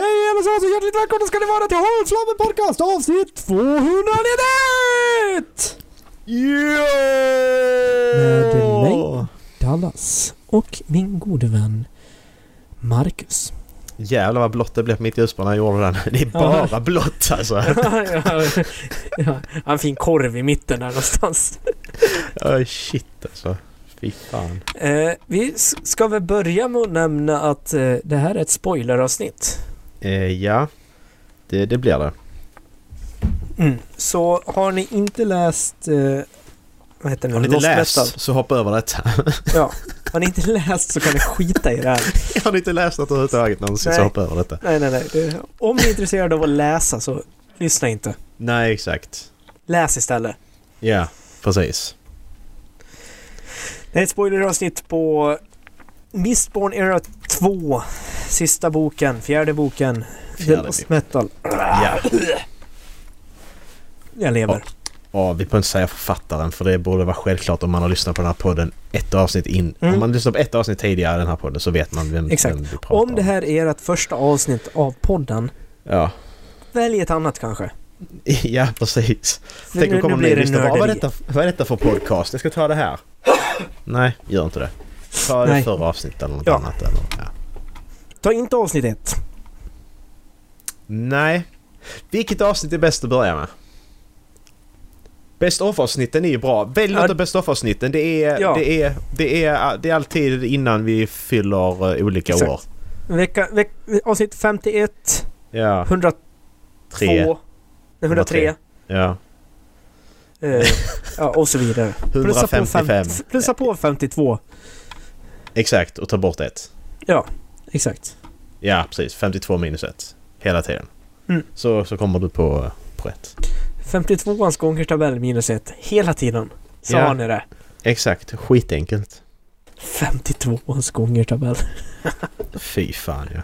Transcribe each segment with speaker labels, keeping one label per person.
Speaker 1: allesammans och så hjärtligt välkomna ska ni vara till Holmflammen Podcast avsnitt 291!
Speaker 2: Ja!
Speaker 1: Med mig, Dallas och min gode vän Marcus.
Speaker 2: Jävlar vad blått det blev på mitt ljusspår när jag gjorde den. Det är bara blått alltså.
Speaker 1: ja, en fin korv i mitten där någonstans.
Speaker 2: Oh, shit alltså. Fy fan.
Speaker 1: Eh, vi s- ska väl börja med att nämna att eh, det här är ett spoileravsnitt.
Speaker 2: Eh, ja, det, det blir det.
Speaker 1: Mm. Så har ni inte läst... Eh, vad heter den?
Speaker 2: Om ni inte
Speaker 1: Lost Metal.
Speaker 2: läst så hoppa över detta.
Speaker 1: Ja. Har ni inte läst så kan ni skita i det här.
Speaker 2: Har ni inte läst något överhuvudtaget någonsin så
Speaker 1: Nej.
Speaker 2: hoppa över detta.
Speaker 1: Nej, nej, nej. Det, om ni är intresserade av att läsa så lyssna inte.
Speaker 2: Nej, exakt.
Speaker 1: Läs istället.
Speaker 2: Ja, precis.
Speaker 1: Det är ett spoileravsnitt på Mistborn Era 2. Sista boken, fjärde boken. The
Speaker 2: Fjärde
Speaker 1: Lost
Speaker 2: bok.
Speaker 1: Metal.
Speaker 2: Ja.
Speaker 1: Jag lever.
Speaker 2: Ja, vi behöver inte säga författaren för det borde vara självklart om man har lyssnat på den här podden ett avsnitt in.
Speaker 1: Mm.
Speaker 2: Om man lyssnar på ett avsnitt tidigare i den här podden så vet man vem,
Speaker 1: Exakt.
Speaker 2: vem vi pratar
Speaker 1: Om det här är ert första avsnitt av podden,
Speaker 2: Ja.
Speaker 1: välj ett annat kanske.
Speaker 2: ja, precis.
Speaker 1: För
Speaker 2: Tänk om
Speaker 1: nu-
Speaker 2: det kommer
Speaker 1: nu
Speaker 2: en
Speaker 1: blir
Speaker 2: ny
Speaker 1: det
Speaker 2: lyssnare. Vad är,
Speaker 1: nörderi.
Speaker 2: detta, vad är detta för podcast? Jag ska ta det här. Nej, gör inte det. Ta det
Speaker 1: Nej.
Speaker 2: förra avsnittet eller något
Speaker 1: Ja.
Speaker 2: annat. Eller, ja.
Speaker 1: Ta inte avsnitt ett.
Speaker 2: Nej. Vilket avsnitt är bäst att börja med? Best of-avsnitten är ju bra. Välj
Speaker 1: Ja.
Speaker 2: något av best of-avsnitten. Det är,
Speaker 1: Ja.
Speaker 2: det, är, det, är, det är alltid innan vi fyller eh, olika
Speaker 1: Exakt.
Speaker 2: år.
Speaker 1: Vecka, veck, avsnitt 51,
Speaker 2: Ja,
Speaker 1: 102,
Speaker 2: tre.
Speaker 1: nej, 103
Speaker 2: Ja.
Speaker 1: eh, ja, och så vidare. Plussa på
Speaker 2: 155.
Speaker 1: fem- Plussa på 52.
Speaker 2: Exakt, och ta bort ett.
Speaker 1: Exakt.
Speaker 2: Ja, precis. 52 minus 1. Hela tiden.
Speaker 1: Mm.
Speaker 2: Så, så kommer du på, eh, på ett.
Speaker 1: 52ans gångertabell minus 1 hela tiden. Sa
Speaker 2: Ja.
Speaker 1: ni det?
Speaker 2: Exakt, skitenkelt.
Speaker 1: 52ans gångertabell.
Speaker 2: Fy fan ja.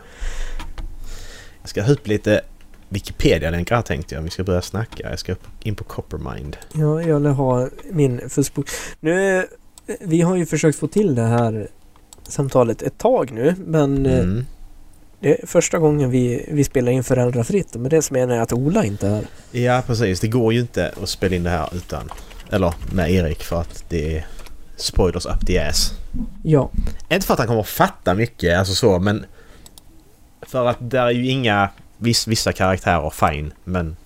Speaker 2: Jag ska ha upp lite Wikipedia-länkar här tänkte jag. Vi ska börja snacka. Jag ska upp- in på Coppermind.
Speaker 1: Ja, jag vill ha min fuskbok. Nu, eh, vi har ju försökt få till det här samtalet ett tag nu, men eh,
Speaker 2: Mm.
Speaker 1: det är första gången vi, vi spelar in föräldrafritt och med det så menar jag att Ola inte är här.
Speaker 2: Ja, precis. Det går ju inte att spela in det här utan... Eller med Erik för att det är spoilers up the ass.
Speaker 1: Ja,
Speaker 2: Inte för att han kommer att fatta mycket, alltså så, men... För att där är ju inga... Viss, vissa karaktärer, fine, men...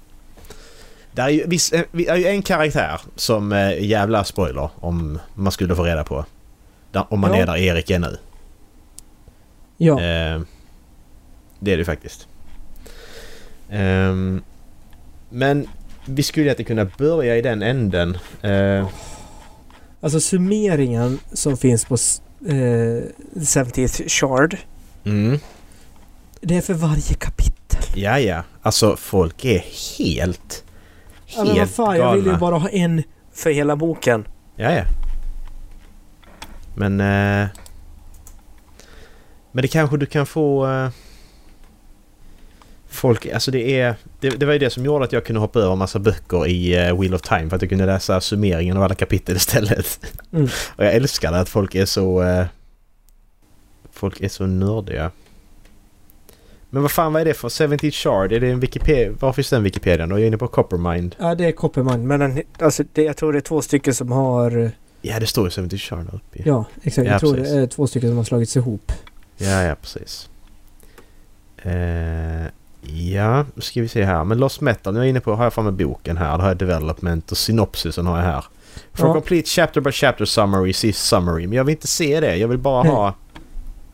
Speaker 2: Där är ju, viss, eh, vi- är ju en karaktär som eh, är jävla spoiler om man skulle få reda på. Där, om man
Speaker 1: Ja.
Speaker 2: är där Erik är nu.
Speaker 1: ja.
Speaker 2: Eh, det är det faktiskt. Ehm, men vi skulle ju inte kunna börja i den änden. Eh,
Speaker 1: Alltså summeringen som finns på s- eh, 70th Shard,
Speaker 2: mm.
Speaker 1: det är för varje kapitel.
Speaker 2: Ja, ja. Alltså folk är helt...
Speaker 1: Ja, men Alltså, vad fan, jag vill ju bara ha en för hela boken.
Speaker 2: Ja, ja. Men... Eh, men det kanske du kan få... Eh, folk... Alltså det är... Det, det var ju det som gjorde att jag kunde hoppa över en massa böcker i eh, Wheel of Time för att jag kunde läsa summeringen av alla kapitel istället.
Speaker 1: Mm.
Speaker 2: Och jag älskar det att folk är så... Eh, folk är så nördiga. Men vad fan vad är det för 70 Shard? Är det en Wikipedia? Var finns den Wikipedian då? Jag är inne på Coppermind.
Speaker 1: Ja, det är Copperman, men den, alltså, det, jag tror det är två stycken som har... eh,
Speaker 2: Ja det står ju 70 Shard där uppe ju.
Speaker 1: Ja, exakt.
Speaker 2: Ja,
Speaker 1: jag tror
Speaker 2: precis.
Speaker 1: det är två stycken som har slagits ihop.
Speaker 2: Ja, ja, precis. Eh, ja, nu ska vi se här. Men Lost Metal, nu är jag inne på, har jag framme boken här. Då har jag development och synopsisen har jag här. For
Speaker 1: Ja.
Speaker 2: complete chapter by chapter summary, see summary. Men jag vill inte se det, jag vill bara
Speaker 1: Nej.
Speaker 2: ha...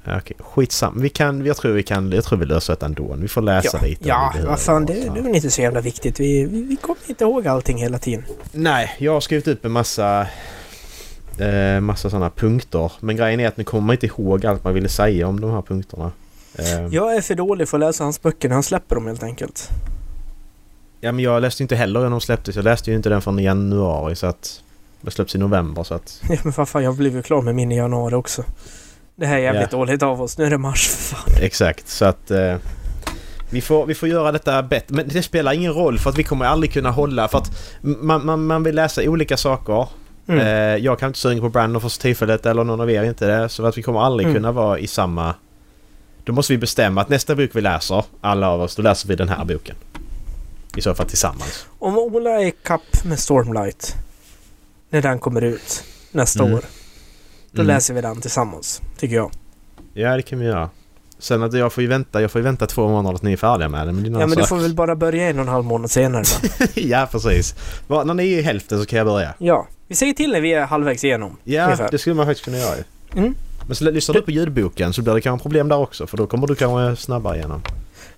Speaker 2: Ja, Okej, skitsamma. Vi kan, jag tror vi kan, jag tror vi löser det ändå. Vi får läsa
Speaker 1: ja,
Speaker 2: lite. om vi
Speaker 1: ja
Speaker 2: behöver
Speaker 1: vad fan, det,
Speaker 2: något, va?
Speaker 1: det är väl inte så jävla viktigt. Vi, vi, vi kommer inte ihåg allting hela tiden.
Speaker 2: Mm. Nej, jag har skrivit upp en massa... Eh, massa sådana punkter. Men grejen är att nu kommer man inte ihåg allt man ville säga om de här punkterna. Eh,
Speaker 1: Jag är för dålig för att läsa hans böcker när han släpper dem helt enkelt.
Speaker 2: Ja men jag läste ju inte heller när de släpptes. Jag läste ju inte den från i januari så att... Den släpps i november så att...
Speaker 1: Ja, men vad fan, jag blev ju klar med min i januari också. Det här är jävligt dåligt av oss. Nu är det mars, för fan.
Speaker 2: Exakt så att... Eh, vi, får, vi får göra detta bättre. Men det spelar ingen roll för att vi kommer aldrig kunna hålla för att man, man, man vill läsa olika saker.
Speaker 1: Mm.
Speaker 2: Eh, jag kan inte suga på Brandon för tillfället eller någon av er inte det. Så att vi kommer aldrig
Speaker 1: Mm.
Speaker 2: kunna vara i samma... Då måste vi bestämma att nästa bok vi läser, alla av oss, då läser vi den här boken. I så fall tillsammans.
Speaker 1: Om Ola är kapp med Stormlight när den kommer ut nästa
Speaker 2: Mm.
Speaker 1: år. Då
Speaker 2: Mm.
Speaker 1: läser vi den tillsammans, tycker jag.
Speaker 2: Ja, det kan vi göra. Sen att jag får ju vänta, jag får ju vänta två månader att ni är färdiga med den. Men det är en
Speaker 1: Ja,
Speaker 2: annan
Speaker 1: men du
Speaker 2: sak.
Speaker 1: får väl bara börja en och en halv månad senare då.
Speaker 2: ja, precis. Va, när ni är i hälften så kan jag börja.
Speaker 1: Ja. Vi säger till när vi är halvvägs igenom.
Speaker 2: Ja,
Speaker 1: Ungefär.
Speaker 2: det skulle man faktiskt kunna göra ju.
Speaker 1: Mm.
Speaker 2: Men så lyssnar du på ljudboken så blir det kanske problem där också för då kommer du kanske snabbare igenom.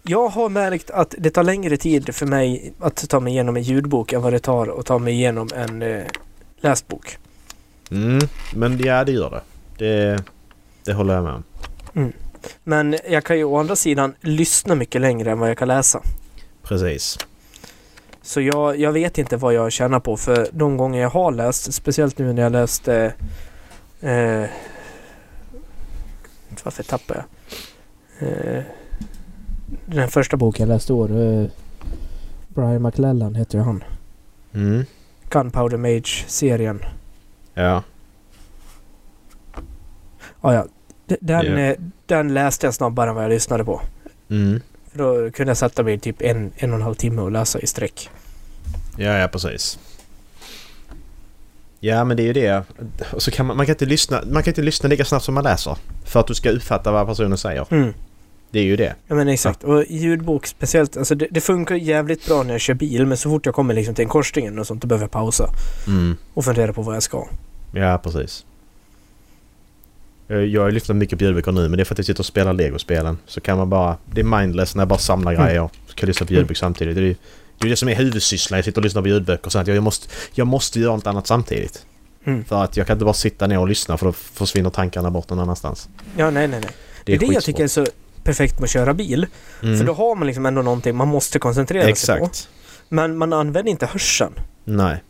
Speaker 1: Jag har märkt att det tar längre tid för mig att ta mig igenom en ljudbok än vad det tar att ta mig igenom en eh, läsbok.
Speaker 2: Mm, men ja det gör det. Det, det håller jag med om.
Speaker 1: Men jag kan ju å andra sidan lyssna mycket längre än vad jag kan läsa.
Speaker 2: Precis.
Speaker 1: Så jag, jag vet inte vad jag tjänar på för de gånger jag har läst, speciellt nu när jag läste... Eh, varför tappar jag? Eh, den första boken jag läste i år. Eh, Brian McLellan heter ju han.
Speaker 2: Mm.
Speaker 1: Gunpowder Mage-serien.
Speaker 2: Ja.
Speaker 1: Ah, ja. D- Den,
Speaker 2: Ja.
Speaker 1: eh, den läste jag snabbare än vad jag lyssnade på.
Speaker 2: Mm.
Speaker 1: För då kunde jag sätta mig i typ en, en och en halv timme och läsa i sträck.
Speaker 2: Ja, ja precis. Ja men det är ju det. Och så kan man, man, kan inte lyssna, man kan inte lyssna lika snabbt som man läser. För att du ska uppfatta vad personen säger.
Speaker 1: Mm.
Speaker 2: Det är ju det.
Speaker 1: Ja men exakt. Och ljudbok speciellt. Alltså det, det funkar jävligt bra när jag kör bil men så fort jag kommer liksom till en korsning och sånt då behöver jag pausa
Speaker 2: Mm.
Speaker 1: och fundera på vad jag ska.
Speaker 2: Ja precis. Eh, Jag har ju lyssnat mycket på ljudböcker nu men det är för att jag sitter och spelar legospelen. Så kan man bara... Det är mindless när jag bara samlar
Speaker 1: Mm.
Speaker 2: grejer. Så kan jag lyssna på ljudböcker samtidigt. Det är ju det, är det som är huvudsysslan. Jag sitter och lyssnar på ljudböcker. Så att jag, jag, måste, jag måste göra något annat samtidigt.
Speaker 1: Mm.
Speaker 2: För att jag kan inte bara sitta ner och lyssna för då försvinner tankarna bort någon annanstans.
Speaker 1: Ja nej nej nej. Det är det jag
Speaker 2: skitsvårt.
Speaker 1: tycker är så perfekt med att köra bil.
Speaker 2: Mm.
Speaker 1: För då har man liksom ändå någonting man måste koncentrera sig på.
Speaker 2: Exakt.
Speaker 1: Men man använder inte hörseln.
Speaker 2: Nej.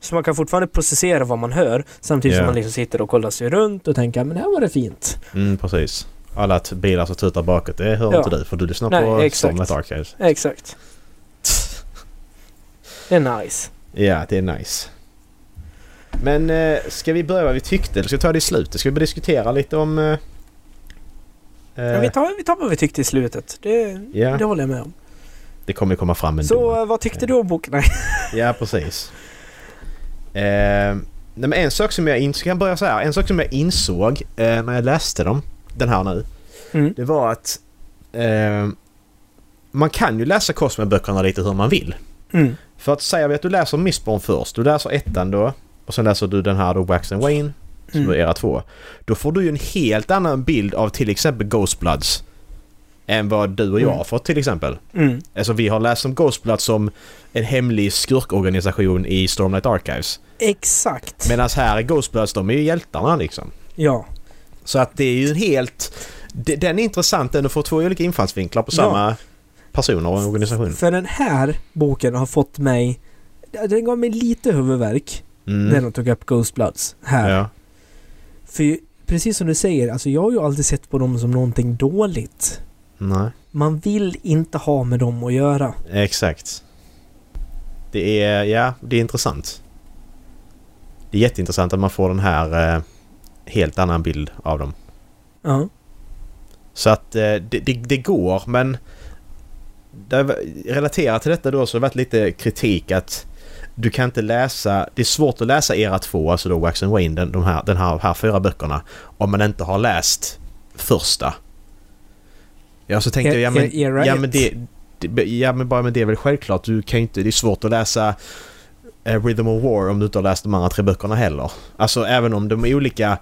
Speaker 1: Så man kan fortfarande processera vad man hör samtidigt
Speaker 2: Ja.
Speaker 1: som man liksom sitter och kollar sig runt och tänker men här var det fint.
Speaker 2: Mm, precis. Alla t- bilar som tutar bakåt, det hör
Speaker 1: Ja.
Speaker 2: inte du för du lyssnar
Speaker 1: Nej,
Speaker 2: på
Speaker 1: exakt.
Speaker 2: Stormlight Archives.
Speaker 1: Exakt. Det är nice.
Speaker 2: Ja, det är nice. Men eh, ska vi börja vad vi tyckte eller ska vi ta det i slutet? Ska vi börja diskutera lite om... Eh,
Speaker 1: Men
Speaker 2: eh,
Speaker 1: vi, tar, vi tar vad vi tyckte i slutet. Det,
Speaker 2: Ja.
Speaker 1: det håller jag med om.
Speaker 2: det kommer ju komma fram ändå.
Speaker 1: så eh, vad tyckte du om boken? Nej.
Speaker 2: Ja, precis. Eh, nej, men en sak som jag, in- så kan jag börja så här. En sak som jag insåg eh, när jag läste dem, den här nu,
Speaker 1: Mm.
Speaker 2: det var att eh, man kan ju läsa Cosmo-böckerna lite hur man vill.
Speaker 1: Mm.
Speaker 2: För att säga vi att du läser Mistborn först, du läser ettan då och sen läser du den här då Wax and Wayne som
Speaker 1: Mm.
Speaker 2: är era två. Då får du ju en helt annan bild av till exempel Ghostbloods än vad du och jag
Speaker 1: Mm.
Speaker 2: har fått till exempel.
Speaker 1: Mm.
Speaker 2: Alltså vi har läst om Ghostbloods som en hemlig skurkorganisation i Stormlight Archives.
Speaker 1: Exakt.
Speaker 2: Medan här är Ghostbloods, de är ju hjältarna liksom.
Speaker 1: ja.
Speaker 2: Så att det är ju en helt... de- Den är intressant den, du får två olika infallsvinklar på
Speaker 1: Ja.
Speaker 2: samma personer och organisation.
Speaker 1: För den här boken har fått mig... Den gav mig lite huvudvärk när
Speaker 2: Mm.
Speaker 1: de tog upp Ghostbloods här.
Speaker 2: Ja.
Speaker 1: För ju- precis som du säger, alltså jag har ju alltid sett på dem som någonting dåligt.
Speaker 2: Nej.
Speaker 1: Man vill inte ha med dem att göra.
Speaker 2: Exakt. Det är, ja, det är intressant. Det är jätteintressant att man får den här eh, helt annan bild av dem.
Speaker 1: Ja.
Speaker 2: Så att eh, det, det, det går, men det har varit- relaterat till detta då så har det varit lite kritik att du kan inte läsa, det är svårt att läsa era två, alltså då Wax and Wayne, den, de här, den här, här fyra böckerna, om man inte har läst första. Ja, så tänkte
Speaker 1: E-
Speaker 2: jag, ja men,
Speaker 1: e- era
Speaker 2: ja,
Speaker 1: ett.
Speaker 2: men det, det, ja men bara men det är väl självklart, du kan ju inte, det är svårt att läsa eh, Rhythm of War om du inte har läst de andra tre böckerna heller. Alltså även om de är olika,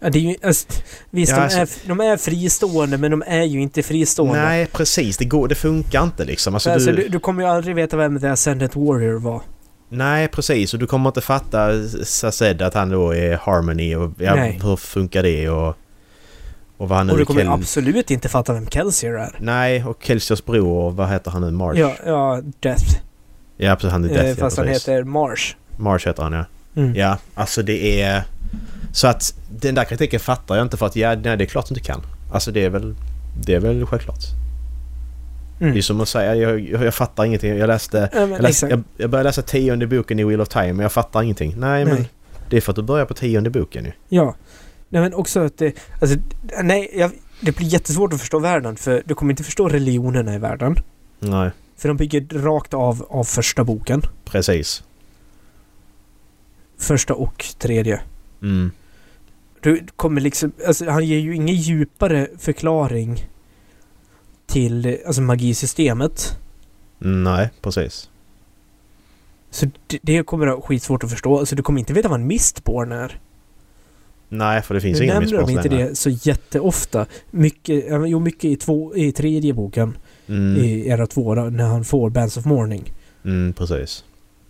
Speaker 1: ja det är ju, alltså, visst,
Speaker 2: Ja,
Speaker 1: de,
Speaker 2: alltså-
Speaker 1: är, de är fristående men de är ju inte fristående.
Speaker 2: nej precis, det, går, det funkar inte liksom. Alltså,
Speaker 1: alltså, du, du kommer ju aldrig veta vem The Ascendant Warrior var.
Speaker 2: Nej, precis. Och du kommer inte fatta Sazed att han då är Harmony och ja,
Speaker 1: Nej.
Speaker 2: hur funkar det och, och vad han nu
Speaker 1: Och du
Speaker 2: är
Speaker 1: kommer
Speaker 2: Kel-
Speaker 1: absolut inte fatta vem Kelsier är.
Speaker 2: Nej, och Kelsios bror och vad heter han nu? Marsh?
Speaker 1: Ja, ja, Death.
Speaker 2: ja precis. Han är Death,
Speaker 1: eh,
Speaker 2: ja,
Speaker 1: fast han
Speaker 2: precis.
Speaker 1: heter Marsh.
Speaker 2: Marsh heter han ja.
Speaker 1: Mm.
Speaker 2: Ja, alltså det är... Så att den där kritiken fattar jag inte för att ja, nej, det är klart du inte kan. Alltså det är väl, det är väl självklart.
Speaker 1: Mm.
Speaker 2: Det är som att säga, jag, jag, jag fattar ingenting. Jag läste...
Speaker 1: Ja, men
Speaker 2: Jag, läste,
Speaker 1: exakt.
Speaker 2: jag, jag började läsa tionde boken i Wheel of Time men jag fattar ingenting. Nej, men
Speaker 1: Nej.
Speaker 2: det är för att du börjar på tionde boken ju.
Speaker 1: Ja. Nej men också att det... Alltså, nej, jag, det blir jättesvårt att förstå världen för du kommer inte förstå religionerna i världen.
Speaker 2: Nej,
Speaker 1: För de bygger rakt av av första boken.
Speaker 2: precis.
Speaker 1: Första och tredje.
Speaker 2: Mm.
Speaker 1: Du kommer liksom... Alltså han ger ju ingen djupare förklaring till eh, alltså, magisystemet.
Speaker 2: Nej, precis.
Speaker 1: Så det, det kommer att vara skitsvårt att förstå. Alltså du kommer inte veta vad en mistborn är.
Speaker 2: Nej, för det finns
Speaker 1: nu
Speaker 2: inga
Speaker 1: nämner de inte
Speaker 2: missbrottsländer.
Speaker 1: det så jätteofta. Mycket, ja, men jo, mycket i, två, i tredje boken
Speaker 2: Mm,
Speaker 1: i era två då, när han får Bands of Morning.
Speaker 2: mm, precis.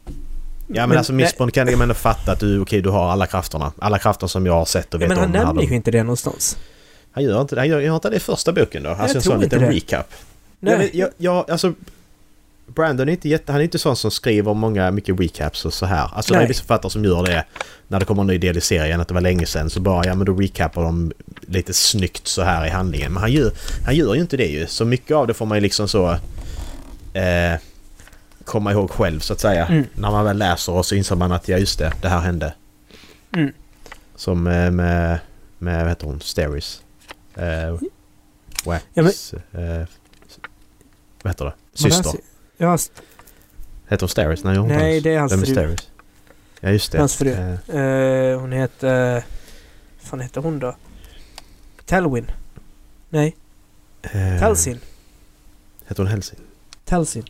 Speaker 2: Ja men,
Speaker 1: Men
Speaker 2: alltså
Speaker 1: det-
Speaker 2: missbrott kan jag ändå fatta att du, okej du har alla krafterna. Alla krafter som jag har sett och
Speaker 1: Ja,
Speaker 2: vet
Speaker 1: men han
Speaker 2: om. hade-
Speaker 1: nämner ju inte det någonstans.
Speaker 2: Han gör inte det. Han gör, gör inte det i första boken då. Alltså
Speaker 1: jag
Speaker 2: en
Speaker 1: tror
Speaker 2: sån
Speaker 1: inte
Speaker 2: liten
Speaker 1: det.
Speaker 2: recap.
Speaker 1: Nej,
Speaker 2: Jag, vet- jag, jag, alltså, Brandon är inte jätte, han är inte sån som skriver många, mycket recaps och så här. Alltså det
Speaker 1: Nej.
Speaker 2: är vissa författare som gör det när det kommer en ny del i serien, att det var länge sedan, så bara ja men då recapar de lite snyggt så här i handlingen. Men han gör, han gör ju inte det ju. Så mycket av det får man ju liksom så eh, komma ihåg själv så att säga.
Speaker 1: Mm.
Speaker 2: När man väl läser och så inser man att ja just det, det här hände.
Speaker 1: Mm.
Speaker 2: Som eh, med, med, vad heter hon, Steris? Eh, Wax...
Speaker 1: Ja,
Speaker 2: eh, vad heter
Speaker 1: men
Speaker 2: det?
Speaker 1: han
Speaker 2: Syster?
Speaker 1: ser- Ja, s-
Speaker 2: Heter hon Steris? Nej, hon
Speaker 1: nej
Speaker 2: inte
Speaker 1: det är hans
Speaker 2: Vem är
Speaker 1: fru.
Speaker 2: Steris? Ja, just det.
Speaker 1: Hans fru.
Speaker 2: Eh,
Speaker 1: Eh, hon heter... Uh, fan heter hon då? Talwin? Nej,
Speaker 2: eh,
Speaker 1: Talsin.
Speaker 2: Heter hon Helsin?
Speaker 1: Talsin.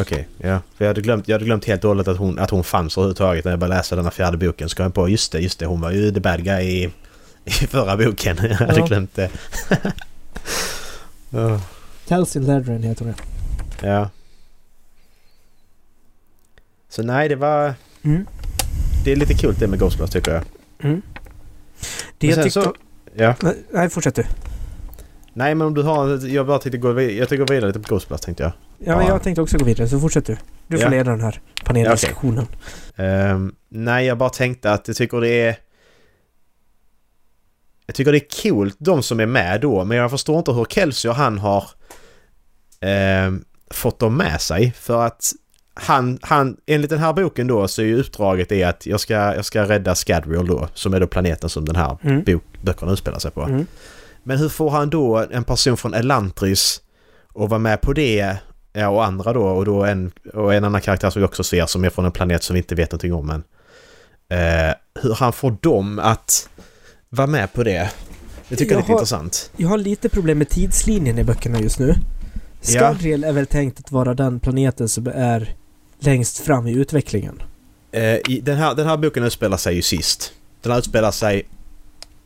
Speaker 2: Okej, ja. För jag hade glömt, jag hade glömt helt och hållet att hon, att hon fanns överhuvudtaget när jag började läsa den här fjärde boken. Så kom jag på, just det, just det, hon var ju the bad guy i, i förra boken. Jag hade
Speaker 1: Ja.
Speaker 2: glömt det. Ja.
Speaker 1: Talsin Ladrin heter hon
Speaker 2: ja. Så nej, det var...
Speaker 1: mm.
Speaker 2: Det är lite kul det med Ghostbusters tycker jag.
Speaker 1: mm. Det
Speaker 2: Men
Speaker 1: jag
Speaker 2: sen
Speaker 1: tyckte...
Speaker 2: så- Ja.
Speaker 1: Nej, fortsätt du.
Speaker 2: Nej men om du har... Jag bara tänkte gå, vid- jag tänkte gå vidare lite på Ghostbusters tänkte jag.
Speaker 1: Ja, men
Speaker 2: Ja.
Speaker 1: jag tänkte också gå vidare, så fortsätt du. Du får
Speaker 2: Ja.
Speaker 1: leda den här paneldiskussionen.
Speaker 2: Ehm, nej, jag bara tänkte att jag tycker det är... Jag tycker det är coolt de som är med då, men jag förstår inte hur Kelsey och han har ehm, fått dem med sig. För att han, han, enligt den här boken då så är ju uppdraget är att jag ska, jag ska rädda Scadrial då, som är då planeten som den här
Speaker 1: Mm.
Speaker 2: bok, böckerna utspelar sig på.
Speaker 1: Mm.
Speaker 2: Men hur får han då en person från Elantris och vara med på det ja, och andra då och då en, och en annan karaktär som vi också ser som är från en planet som vi inte vet någonting om än. Eh, hur han får dem att vara med på det. Det tycker jag är lite
Speaker 1: Jaha.
Speaker 2: intressant.
Speaker 1: Jag har lite problem med tidslinjen i böckerna just nu. Skadriel är väl tänkt att vara den planeten som är längst fram i utvecklingen.
Speaker 2: Eh, i, den, här, den här boken utspelar sig ju sist. Den här utspelar sig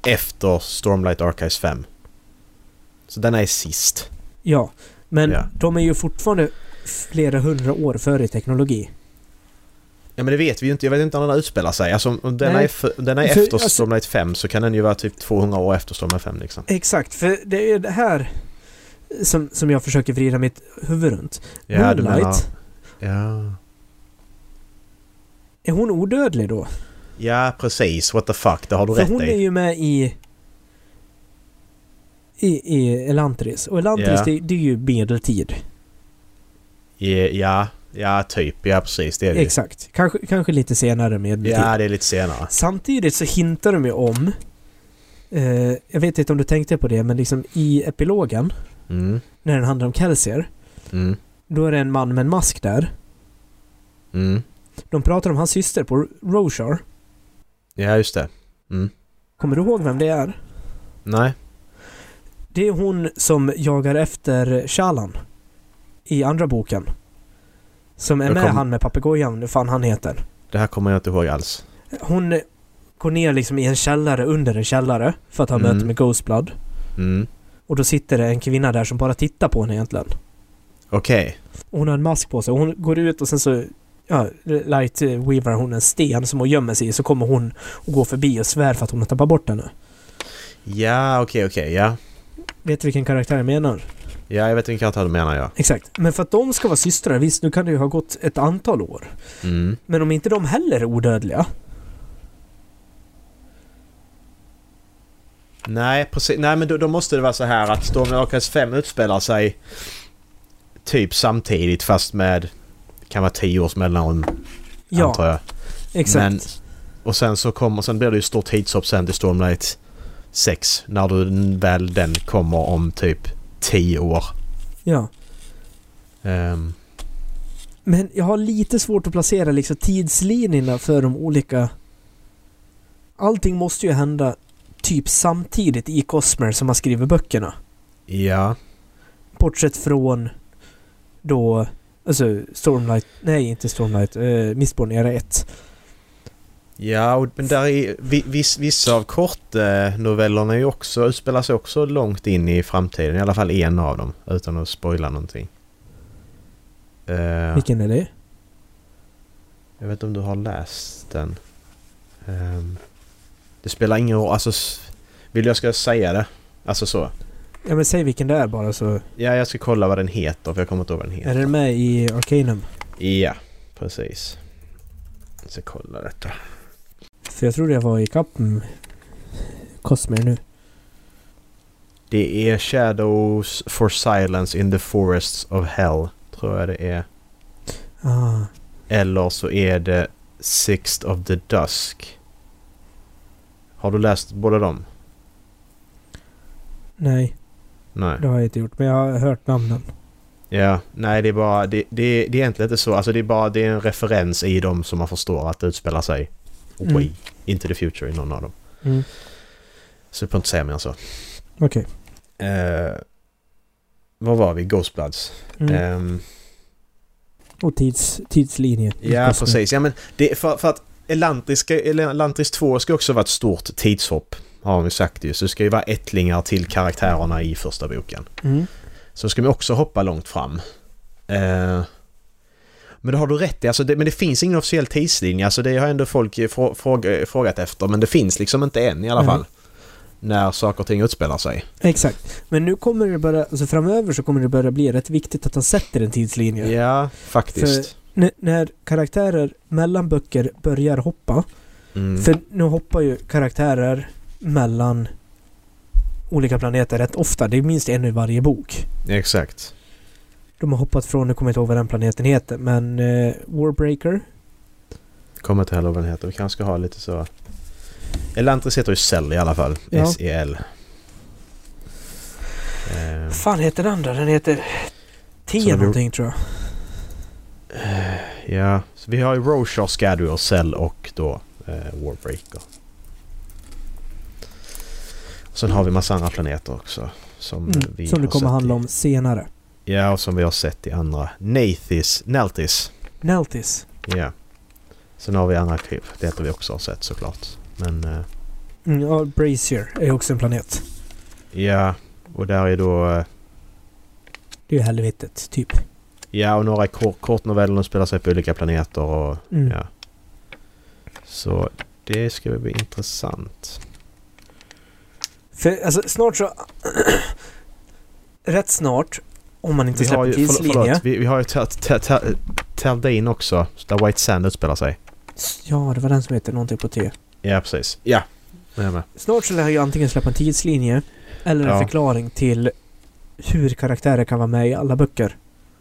Speaker 2: efter Stormlight Archives 5. Så den är sist.
Speaker 1: Ja, men
Speaker 2: Ja.
Speaker 1: de är ju fortfarande flera hundra år före i teknologi.
Speaker 2: Ja men det vet vi ju inte. Jag vet inte när den utspelar sig. Alltså om- om den
Speaker 1: Nej.
Speaker 2: är, för, om den är
Speaker 1: För,
Speaker 2: efter
Speaker 1: alltså-
Speaker 2: Stormlight 5 så kan den ju vara typ 200 år efter Stormlight 5 liksom.
Speaker 1: Exakt, för det är det här som, som jag försöker vrida mitt huvud runt.
Speaker 2: Ja, du menar...
Speaker 1: Moonlight,
Speaker 2: Ja.
Speaker 1: är hon odödlig då?
Speaker 2: ja, precis. What the fuck, det har du
Speaker 1: För
Speaker 2: rätt
Speaker 1: hon är
Speaker 2: i.
Speaker 1: ju med i... I, i Elantris. Och Elantris,
Speaker 2: Ja.
Speaker 1: det, det är ju medeltid.
Speaker 2: Ja, Ja, ja, typ. Ja, precis. Det är det ju.
Speaker 1: Exakt. Kanske, kanske lite senare medeltid.
Speaker 2: Ja, det är lite senare.
Speaker 1: Samtidigt så hintar de ju om... Eh, jag vet inte om du tänkte på det, men liksom i epilogen,
Speaker 2: Mm,
Speaker 1: när den handlar om Kelsier,
Speaker 2: mm,
Speaker 1: då är det en man med en mask där.
Speaker 2: mm.
Speaker 1: De pratar om hans syster på Roshar.
Speaker 2: Ja, just det. Mm.
Speaker 1: Kommer du ihåg vem det är?
Speaker 2: Nej.
Speaker 1: Det är hon som jagar efter Shalan i andra boken. Som är
Speaker 2: Jag
Speaker 1: med
Speaker 2: kom-
Speaker 1: han med papegojan, vad fan han heter.
Speaker 2: Det här kommer jag inte ihåg alls.
Speaker 1: Hon går ner liksom i en källare under en källare för att ha
Speaker 2: Mm.
Speaker 1: möte med Ghostblood.
Speaker 2: Mm.
Speaker 1: Och då sitter det en kvinna där som bara tittar på henne egentligen.
Speaker 2: Okej.
Speaker 1: Och Hon har en mask på sig. Hon går ut och sen så... Ja, Light Weaver hon en sten som hon gömmer sig i så kommer hon och går förbi och svär för att hon har tappat bort henne.
Speaker 2: Ja, okej, okej. Ja.
Speaker 1: Vet du vilken karaktär jag menar?
Speaker 2: ja, jag vet vilken karaktär du menar, ja.
Speaker 1: Exakt. Men för att de ska vara systrar, visst nu kan det ju ha gått ett antal år.
Speaker 2: Mm.
Speaker 1: Men om inte de heller är odödliga.
Speaker 2: Nej, precis. Nej, men då, då måste det vara så här att Stormlight Archives 5 utspelar sig typ samtidigt fast med... Det kan vara tio års mellanrum,
Speaker 1: Ja,
Speaker 2: antar jag.
Speaker 1: exakt.
Speaker 2: Men Och sen så kommer, sen blir det ju stort heatshopp sen till Stormlight 6. När du väl den kommer om typ 10 år.
Speaker 1: Ja.
Speaker 2: Ehm,
Speaker 1: Men jag har lite svårt att placera liksom tidslinjerna för de olika... Allting måste ju hända typ samtidigt i Cosmer som har skrivit böckerna.
Speaker 2: ja.
Speaker 1: Bortsett från då... Alltså Stormlight... Nej, inte Stormlight. Eh, Mistborn era 1.
Speaker 2: Ja, och, men där är, vi- viss, vissa av kortnovellerna är ju också, utspelar sig också långt in i framtiden. I alla fall en av dem. Utan att spoila någonting. Ehm,
Speaker 1: Vilken är det?
Speaker 2: Jag vet inte om du har läst den. Ehm, det spelar ingen roll. Alltså, s- vill jag ska säga det? Alltså så.
Speaker 1: Ja men säg vilken det är bara så...
Speaker 2: Ja, jag ska kolla vad den heter för jag kommer inte ihåg vad
Speaker 1: Är
Speaker 2: den heter.
Speaker 1: den med i Arcanum?
Speaker 2: Ja, precis. Jag ska kolla detta.
Speaker 1: För jag tror jag var i kapp med Cosmer nu.
Speaker 2: Det är Shadows for Silence in the Forests of Hell, tror jag det är.
Speaker 1: Ah.
Speaker 2: Eller så är det Sixth of the Dusk. Har du läst båda dem?
Speaker 1: Nej,
Speaker 2: Nej.
Speaker 1: det har jag inte gjort. Men jag har hört namnen.
Speaker 2: Ja, nej det är bara... Det, det, det är egentligen inte så. Alltså det är bara det är en referens i dem som man förstår att det utspelar sig.
Speaker 1: Mm.
Speaker 2: Way into the future i någon av dem.
Speaker 1: Mm.
Speaker 2: Så jag får inte säga mer än så.
Speaker 1: Okej.
Speaker 2: Eh, vad var vi? Ghostbloods.
Speaker 1: Mm.
Speaker 2: Ehm,
Speaker 1: Och tids, tidslinje.
Speaker 2: ja, precis. Ja, men det, för, för att Elantris, ska, Elantris 2 ska också vara ett stort tidshopp. Har vi sagt ju. Så det ska ju vara ättlingar till karaktärerna i första boken.
Speaker 1: Mm.
Speaker 2: Så ska vi också hoppa långt fram. Eh, men det har du rätt i. Alltså det, men det finns ingen officiell tidslinje. Alltså det har ändå folk eh, frå, fråga, frågat efter. Men det finns liksom inte än i alla
Speaker 1: Nej.
Speaker 2: fall. När saker och ting utspelar sig.
Speaker 1: Exakt. Men nu kommer det bara, alltså framöver så kommer det börja bli rätt viktigt att han sätter en tidslinje.
Speaker 2: Ja, faktiskt.
Speaker 1: N- när karaktärer mellan böcker börjar hoppa.
Speaker 2: Mm.
Speaker 1: För nu hoppar ju karaktärer mellan olika planeter rätt ofta. Det är minst en i varje bok.
Speaker 2: Exakt.
Speaker 1: De har hoppat från, nu kommer jag inte ihåg vad den planeten heter, men eh,
Speaker 2: Mm.
Speaker 1: Warbreaker.
Speaker 2: Kommer inte heller ihåg vad den heter. Vi kanske ska ha lite så... Elantris heter ju Cell i alla fall. E
Speaker 1: Ja.
Speaker 2: S-E-L. Eh,
Speaker 1: Vad fan heter den då? Den heter...
Speaker 2: Så det
Speaker 1: T
Speaker 2: blir-
Speaker 1: någonting tror jag.
Speaker 2: ja, så vi har ju Roshar, Scadur, Cell och då eh, Warbreaker. Och sen har vi massa andra planeter också. Som, vi
Speaker 1: Mm, som det
Speaker 2: har
Speaker 1: kommer
Speaker 2: sett
Speaker 1: handla
Speaker 2: i,
Speaker 1: om senare.
Speaker 2: Ja, och som vi har sett i andra. Nathis, Neltis.
Speaker 1: Neltis.
Speaker 2: Ja. Sen har vi andra planeter vi också har sett såklart. Men... Eh,
Speaker 1: Mm, ja, Brazier är också en planet.
Speaker 2: ja, och där är då... Eh,
Speaker 1: Det är ju helvetet, typ.
Speaker 2: Ja, och några kor- kortnoveller som spelar sig på olika planeter och
Speaker 1: Mm.
Speaker 2: ja. Så det ska bli intressant.
Speaker 1: För alltså, snart så... Rätt snart, om man inte
Speaker 2: Vi har
Speaker 1: släpper
Speaker 2: ju, förl-
Speaker 1: tidslinje.
Speaker 2: förlåt, vi, vi har ju Ter- Ter- Ter- Taldin också, där White Sand utspelar sig.
Speaker 1: Ja, det var den som hette någonting på T.
Speaker 2: Ja, precis. Ja. Jag är med.
Speaker 1: Snart så lär jag antingen släppa en tidslinje eller en
Speaker 2: Ja.
Speaker 1: förklaring till hur karaktärer kan vara med i alla böcker.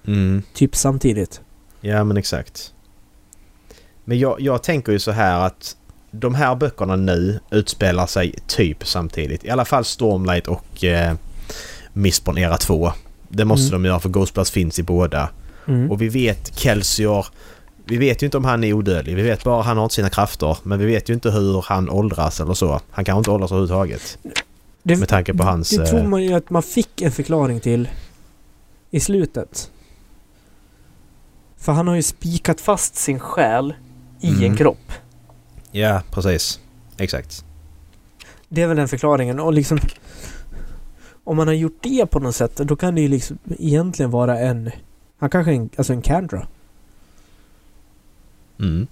Speaker 2: Mm.
Speaker 1: Typ samtidigt.
Speaker 2: Ja, men exakt. Men jag, jag tänker ju så här att de här böckerna nu utspelar sig typ samtidigt. I alla fall Stormlight och eh, Mistborn Era 2. Det måste
Speaker 1: Mm.
Speaker 2: de göra för Ghostblast finns i båda.
Speaker 1: Mm.
Speaker 2: Och vi vet Kelsior. Vi vet ju inte om han är odödlig. Vi vet bara att han har inte sina krafter. Men vi vet ju inte hur han åldras eller så. Han kan inte åldras överhuvudtaget.
Speaker 1: det,
Speaker 2: Med tanke på hans...
Speaker 1: det tror
Speaker 2: eh,
Speaker 1: man ju att man fick en förklaring till i slutet. För han har ju spikat fast sin själ i en
Speaker 2: Mm.
Speaker 1: kropp.
Speaker 2: Ja, precis. Exakt.
Speaker 1: Det är väl den förklaringen. Och liksom... Om man har gjort det på något sätt, då kan det ju liksom egentligen vara en... Han kanske är en, alltså en Candra.
Speaker 2: Mm.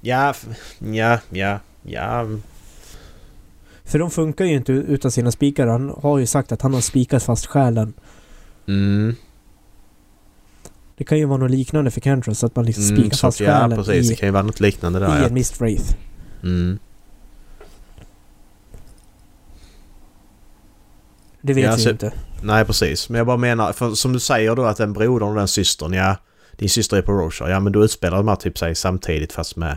Speaker 2: Ja, f- ja, ja, ja.
Speaker 1: För de funkar ju inte utan sina spikar. Han har ju sagt att han har spikat fast själen.
Speaker 2: Mm.
Speaker 1: Det kan ju vara något liknande för Candra, så att man liksom
Speaker 2: Mm,
Speaker 1: spikar
Speaker 2: så,
Speaker 1: fast
Speaker 2: ja,
Speaker 1: själen
Speaker 2: precis. Det
Speaker 1: i,
Speaker 2: kan ju vara något liknande där
Speaker 1: i
Speaker 2: ja.
Speaker 1: en Mist Wraith.
Speaker 2: Mm.
Speaker 1: Det vet
Speaker 2: Ja,
Speaker 1: vi
Speaker 2: så-
Speaker 1: ju inte.
Speaker 2: Nej, precis. Men jag bara menar, för som du säger då att den brodern och den systern, ja. Din syster är på Roshar, ja men då utspelar de här typ sig samtidigt fast med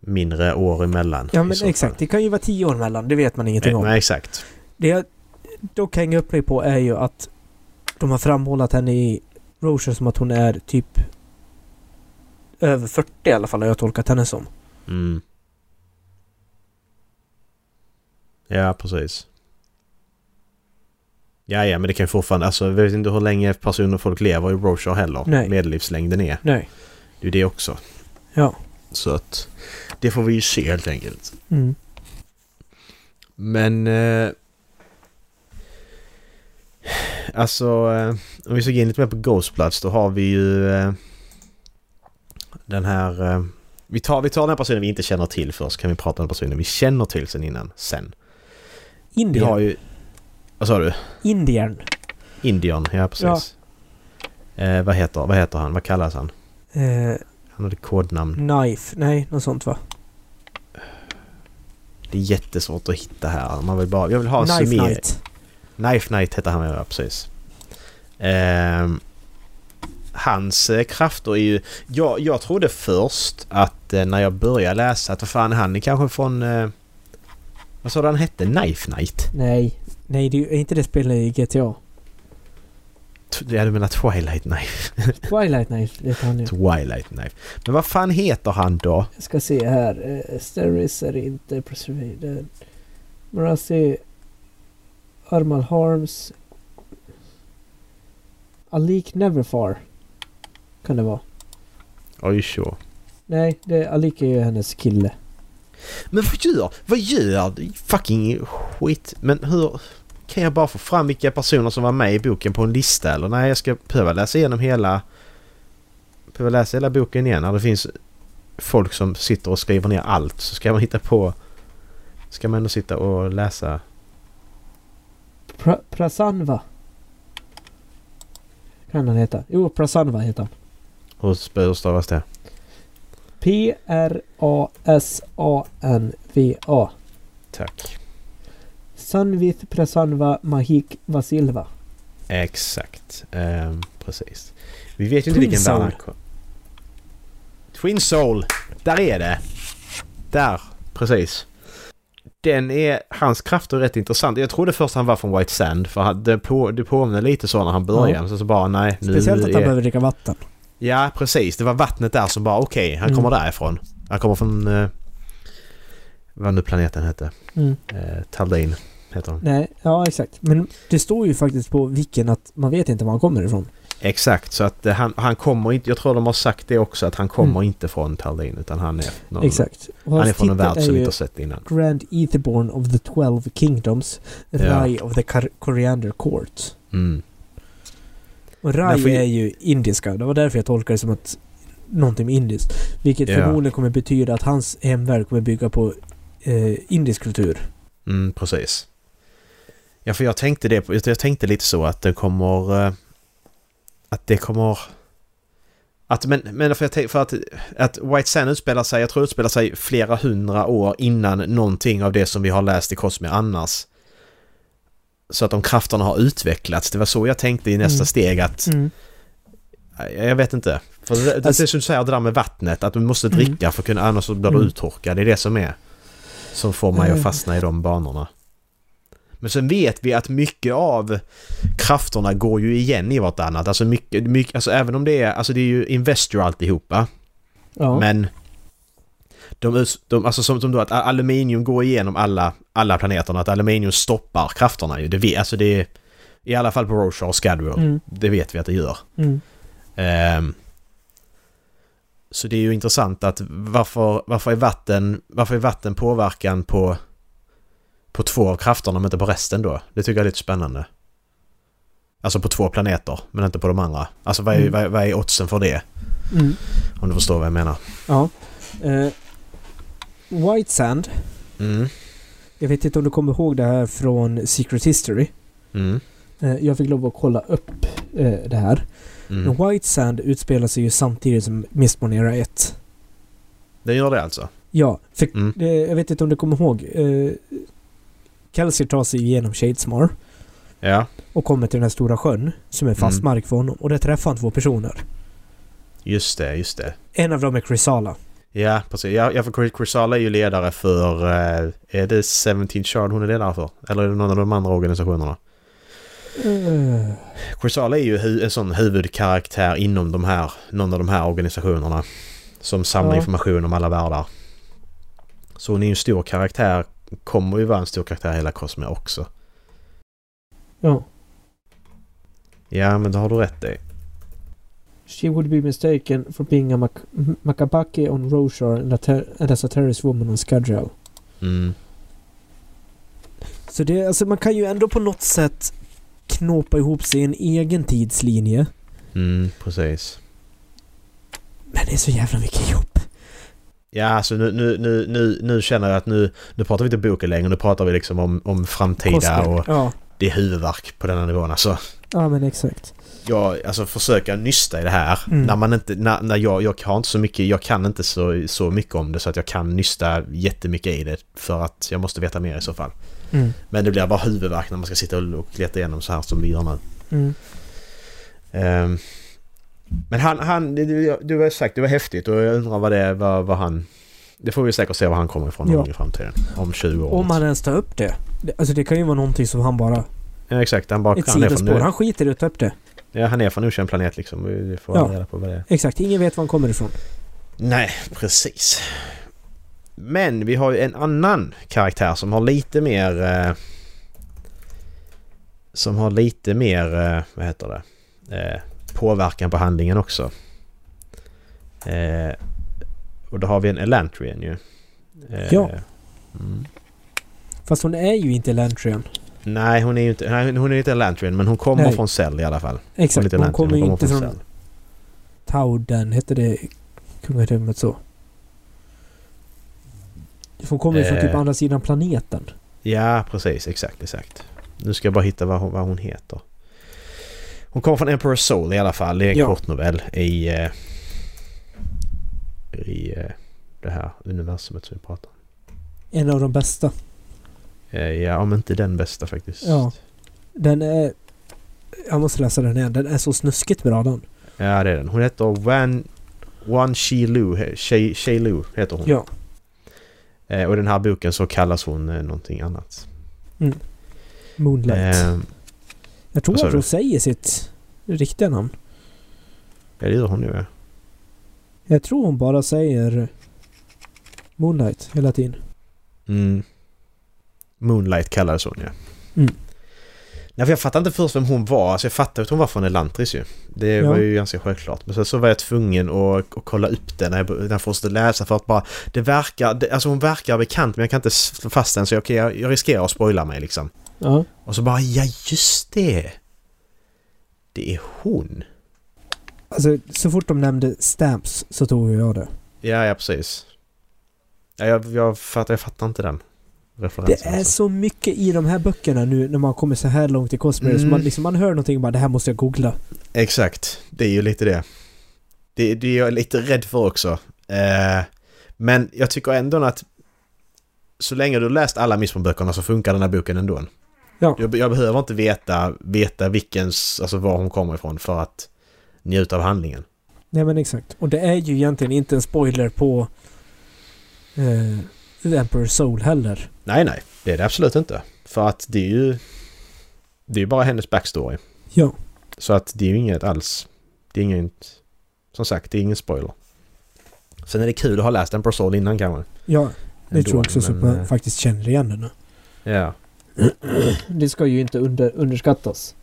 Speaker 2: mindre år emellan.
Speaker 1: Ja
Speaker 2: i
Speaker 1: men
Speaker 2: så
Speaker 1: exakt,
Speaker 2: fall.
Speaker 1: det kan ju vara tio år mellan, det vet man ingenting
Speaker 2: Nej,
Speaker 1: om.
Speaker 2: nej, exakt.
Speaker 1: Det jag dock hänger upp mig på är ju att de har framhållit henne i Rocher som att hon är typ över 40 i alla fall har jag tolkat henne som.
Speaker 2: Mm. Ja, precis. Ja, ja, men det kan ju fortfarande... Alltså, jag vet inte hur länge personer och folk lever i Rocher heller.
Speaker 1: Nej.
Speaker 2: Medellivslängden är.
Speaker 1: Nej.
Speaker 2: Det är ju det också.
Speaker 1: Ja.
Speaker 2: Så att... Det får vi ju se helt enkelt.
Speaker 1: Mm.
Speaker 2: Men... Eh, alltså, eh, om vi ska gå in lite mer på Ghostplatz då har vi ju eh, den här... Eh, vi, tar, vi tar den här personen vi inte känner till först, kan vi prata om den personen vi känner till sen innan. Sen. Vi
Speaker 1: Indian.
Speaker 2: har ju... Vad sa du?
Speaker 1: Indian.
Speaker 2: Indian, ja precis. Eh, vad, heter, vad heter han? Vad kallas han?
Speaker 1: Eh,
Speaker 2: Han hade
Speaker 1: Mm.
Speaker 2: kodnamn.
Speaker 1: knife. Nej, något sånt va?
Speaker 2: Det är jättesvårt att hitta här. Man vill bara... Jag vill ha en
Speaker 1: Knife
Speaker 2: summering.
Speaker 1: Knight.
Speaker 2: Knife Knight hette han ja, precis. Ehm, hans eh, krafter är ju... Jag, jag trodde först att eh, när jag började läsa att vad fan han är kanske från... Eh, vad sa du han hette? Knife Knight?
Speaker 1: Nej. Nej, det är ju inte det spelet i GTA.
Speaker 2: T- Ja, du menar Twilight Knife?
Speaker 1: Twilight Knife heter han ju.
Speaker 2: Twilight Knife. Men vad fan heter han då?
Speaker 1: Jag ska se här. Eh, Steris är inte preserverad. Marassi. Armal Harms. Alik Neverfar. Kan det vara.
Speaker 2: Oj, så.
Speaker 1: Nej, det, Alik är ju hennes kille.
Speaker 2: Men vad gör... Vad gör... du? Fucking skit. Men hur... Kan jag bara få fram vilka personer som var med i boken på en lista eller? Nej, jag ska behöva läsa igenom hela... Behöva läsa hela boken igen när det finns folk som sitter och skriver ner allt så ska man hitta på... Ska man ändå sitta och läsa...
Speaker 1: Pra, Prasanva. Kan han heta. Jo, Prasanva heter han.
Speaker 2: Hur sp- hur stavas det?
Speaker 1: P-R-A-S-A-N-V-A.
Speaker 2: Tack.
Speaker 1: Sanvith Prasanva Mahik Vasilva.
Speaker 2: Exakt. Ehm, precis. Vi vet ju inte
Speaker 1: Twin
Speaker 2: vilken värld han
Speaker 1: Soul.
Speaker 2: kom. Twin Soul! Där är det! Där, precis. Den är... Hans krafter är rätt intressant. Jag trodde först han var från White Sand för han, det, på, det påminner lite så när han började.
Speaker 1: Ja.
Speaker 2: Men sen så bara nej, nu
Speaker 1: Speciellt att han
Speaker 2: är...
Speaker 1: behöver dricka vatten.
Speaker 2: Ja, precis. Det var vattnet där som bara okej, han
Speaker 1: Mm.
Speaker 2: kommer därifrån. Han kommer från... Eh, vad nu planeten hette.
Speaker 1: Mm.
Speaker 2: Eh, Taldin heter han.
Speaker 1: Nej, ja exakt. Men det står ju faktiskt på vilken att man vet inte var han kommer ifrån.
Speaker 2: Exakt, så att eh, han, han kommer inte... Jag tror de har sagt det också att han kommer
Speaker 1: Mm.
Speaker 2: inte från Tallinn utan han är... Någon,
Speaker 1: Exakt. Och
Speaker 2: Han är
Speaker 1: hans
Speaker 2: från en
Speaker 1: titel
Speaker 2: värld som
Speaker 1: är
Speaker 2: vi
Speaker 1: ju
Speaker 2: inte har sett innan.
Speaker 1: Grand Etherborn of the Twelve Kingdoms, Rai of the Cor- Coriander Court.
Speaker 2: Mm.
Speaker 1: Och Rai
Speaker 2: Men får ju-
Speaker 1: är ju indiska, det var därför jag tolkar det som att någonting med indiskt. Vilket
Speaker 2: Ja.
Speaker 1: förmodligen kommer betyda att hans hemvärld kommer bygga på eh, indisk kultur.
Speaker 2: Mm, precis. Ja, för jag tänkte det... på- Jag tänkte lite så att det kommer... eh, Att det kommer... Att, men men för, jag tänk, för att, att White Sand utspelar sig, jag tror utspelar sig flera hundra år innan någonting av det som vi har läst i Cosmere annars. Så att de krafterna har utvecklats. Det var så jag tänkte i nästa
Speaker 1: Mm.
Speaker 2: steg att Nej, Jag vet inte. För det, det,
Speaker 1: Alltså-
Speaker 2: det som du säger det där med vattnet, att du måste
Speaker 1: Mm.
Speaker 2: dricka för att kunna, annars så blir du
Speaker 1: Mm.
Speaker 2: uttorkad. Det är det som är. Som får mig att
Speaker 1: Eh.
Speaker 2: fastna i de banorna. Men sen vet vi att mycket av krafterna går ju igen i vartannat. Alltså mycket, mycket alltså även om det är, alltså det är ju Investor alltihopa.
Speaker 1: Ja.
Speaker 2: Men de, us- de, alltså som, som då att a- aluminium går igenom alla, alla planeterna, att aluminium stoppar krafterna ju. Det vet, alltså det är, i alla fall på Roshar och Scadwell.
Speaker 1: Mm.
Speaker 2: Det vet vi att det gör.
Speaker 1: Mm.
Speaker 2: Ehm, så det är ju intressant att varför, varför, är, vatten, varför är vatten påverkan på, på två av krafterna men inte på resten då? Det tycker jag är lite spännande. Alltså på två planeter men inte på de andra. Alltså vad är,
Speaker 1: Mm.
Speaker 2: vad är, vad är oddsen för det?
Speaker 1: Mm.
Speaker 2: Om du förstår vad jag menar.
Speaker 1: Ja. Eh, White Sand.
Speaker 2: Mm.
Speaker 1: Jag vet inte om du kommer ihåg det här från Secret History.
Speaker 2: Mm.
Speaker 1: Eh, jag fick lov att kolla upp eh, det här.
Speaker 2: Mm.
Speaker 1: Men White Sand utspelar sig ju samtidigt som Mistborn Era 1.
Speaker 2: Det gör det alltså?
Speaker 1: Ja, för
Speaker 2: Mm.
Speaker 1: det, jag vet inte om du kommer ihåg. Eh, Kelsey tar sig igenom Shadesmar
Speaker 2: Ja,
Speaker 1: och kommer till den här stora sjön som är fast
Speaker 2: Mm.
Speaker 1: mark för honom. Och där träffar han två personer.
Speaker 2: just det, just det.
Speaker 1: En av dem är Chrysala.
Speaker 2: Ja, precis. Ja, ja, för Chrysala är ju ledare för... eh, Är det 17 Shard hon är ledare för? Eller är det någon av de andra organisationerna?
Speaker 1: Eh,
Speaker 2: Chrysala är ju hu- en sån huvudkaraktär inom de här, någon av de här organisationerna. Som samlar
Speaker 1: Ja.
Speaker 2: information om alla världar. Så hon är ju en stor karaktär. Kommer ju vara en stor karaktär i hela Cosme också.
Speaker 1: Ja.
Speaker 2: Ja, men det har du rätt i.
Speaker 1: She would be mistaken for being a Mac- M- Makabaki on Roshar and, a ter- and as a terrorist woman on Skadrial.
Speaker 2: Mm.
Speaker 1: Så det, alltså man kan ju ändå på något sätt knåpa ihop sig i en egen tidslinje.
Speaker 2: Mm, precis.
Speaker 1: Men det är så jävla mycket jobb.
Speaker 2: Ja, alltså nu, nu, nu, nu, nu känner jag att nu, nu pratar vi inte boken längre. Nu pratar vi liksom om, om framtida
Speaker 1: Kostnader.
Speaker 2: och
Speaker 1: Ja.
Speaker 2: det är huvudvärk på denna nivån alltså.
Speaker 1: ja, men exakt.
Speaker 2: Jag, alltså försöka nysta i det här.
Speaker 1: Mm.
Speaker 2: När man inte, när, när jag, jag har inte så mycket, jag kan inte så, så mycket om det så att jag kan nysta jättemycket i det. För att jag måste veta mer i så fall.
Speaker 1: Mm.
Speaker 2: Men det blir bara huvudvärk när man ska sitta och, och leta igenom så här som vi gör nu.
Speaker 1: Mm.
Speaker 2: Ehm, men han, han det- du, du har sagt det var häftigt och jag undrar vad det är, vad, vad han... Det får vi säkert se var han kommer ifrån någon
Speaker 1: Ja.
Speaker 2: gång i framtiden. Om 20 år.
Speaker 1: Om han ens tar upp det. Det- Alltså det kan ju vara någonting som han bara...
Speaker 2: Ja, exakt. Han, bara,
Speaker 1: ett
Speaker 2: han, är från,
Speaker 1: sidospår. Han skiter i att ta upp det.
Speaker 2: ja, han är från okänd planet liksom. Vi vi får
Speaker 1: Ja.
Speaker 2: aldrig reda på vad det är.
Speaker 1: Exakt. Ingen vet var han kommer ifrån.
Speaker 2: Nej, precis. Men vi har ju en annan karaktär som har lite mer... Eh, som har lite mer, eh, vad heter det, eh, påverkan på handlingen också. Eh, och då har vi en Elantrian ju. Eh,
Speaker 1: Ja.
Speaker 2: Mm.
Speaker 1: Fast hon är ju inte Lantrian.
Speaker 2: Nej, hon är ju inte, nej, hon är inte Elantrian men hon kommer
Speaker 1: Nej.
Speaker 2: från Cell i alla fall. Hon är
Speaker 1: Exakt.
Speaker 2: inte
Speaker 1: Hon,
Speaker 2: Elantrian,
Speaker 1: kommer ju inte
Speaker 2: från
Speaker 1: från
Speaker 2: Cell.
Speaker 1: Tauden. Hette det kungadömet så? Hon kommer ju från
Speaker 2: Eh.
Speaker 1: typ andra sidan planeten.
Speaker 2: Ja, precis. Exakt, exakt. Nu ska jag bara hitta vad hon, vad hon heter. Hon kommer från Emperor Soul i alla fall. Det är en
Speaker 1: Ja.
Speaker 2: kortnovell i... eh, I eh, det här universumet som vi pratar om.
Speaker 1: En av de bästa.
Speaker 2: Eh, Ja, om inte den bästa faktiskt.
Speaker 1: Ja. Den är... Jag måste läsa den igen. Den är så snuskigt bra den.
Speaker 2: Ja, det är den. Hon heter Wan... Wan Shi Lu. he- Shi Shi Lu heter hon.
Speaker 1: Ja.
Speaker 2: Eh, Och i den här boken så kallas hon eh, någonting annat.
Speaker 1: Moonlight.
Speaker 2: Eh,
Speaker 1: jag tror
Speaker 2: vad sa
Speaker 1: att
Speaker 2: du?
Speaker 1: hon säger sitt riktiga namn.
Speaker 2: Ja, det gör hon nu ja.
Speaker 1: Jag tror hon bara säger Moonlight hela tiden.
Speaker 2: Mm. Moonlight kallades hon ja.
Speaker 1: Mm.
Speaker 2: Nej, för jag fattade inte först vem hon var. Alltså, jag fattade att hon var från Elantris ju. Det
Speaker 1: Ja.
Speaker 2: var ju ganska självklart. Men sen så var jag tvungen att, att kolla upp det när jag, när jag fortsatte läsa för att bara... Det verkar... Det, alltså hon verkar bekant men jag kan inte slå fast den så jag, okej, jag, jag riskerar att spoila mig liksom.
Speaker 1: Ja.
Speaker 2: Och så bara ja just det! Det är hon!
Speaker 1: Alltså så fort de nämnde Stamps så tog jag det.
Speaker 2: Ja, ja precis. Ja, jag, jag, fattar, jag fattar inte den referensen.
Speaker 1: Det är
Speaker 2: alltså.
Speaker 1: så mycket i de här böckerna nu när man kommer så här långt i Cosmere. Så
Speaker 2: Mm.
Speaker 1: man, liksom, man hör någonting och bara det här måste jag googla.
Speaker 2: Exakt, det är ju lite det. Det, det är jag lite rädd för också. Eh, men jag tycker ändå att så länge du läst alla Missbon-böckerna så funkar den här boken ändå.
Speaker 1: Ja.
Speaker 2: Jag, jag behöver inte veta, veta vilkens, alltså var hon kommer ifrån för att njuta av handlingen.
Speaker 1: Nej men exakt. Och det är ju egentligen inte en spoiler på eh, The Emperor's Soul heller.
Speaker 2: Nej, nej, det är det absolut inte. För att det är ju... Det är ju bara hennes backstory.
Speaker 1: Ja.
Speaker 2: Så att det är ju inget alls... Det är inget... Som sagt, det är ingen spoiler. Sen är det kul att ha läst en Soul innan kanske.
Speaker 1: Ja, det
Speaker 2: ändå,
Speaker 1: tror jag också så att
Speaker 2: men,
Speaker 1: man
Speaker 2: eh,
Speaker 1: faktiskt känner igen den.
Speaker 2: Ja,
Speaker 1: Det ska ju inte underskattas.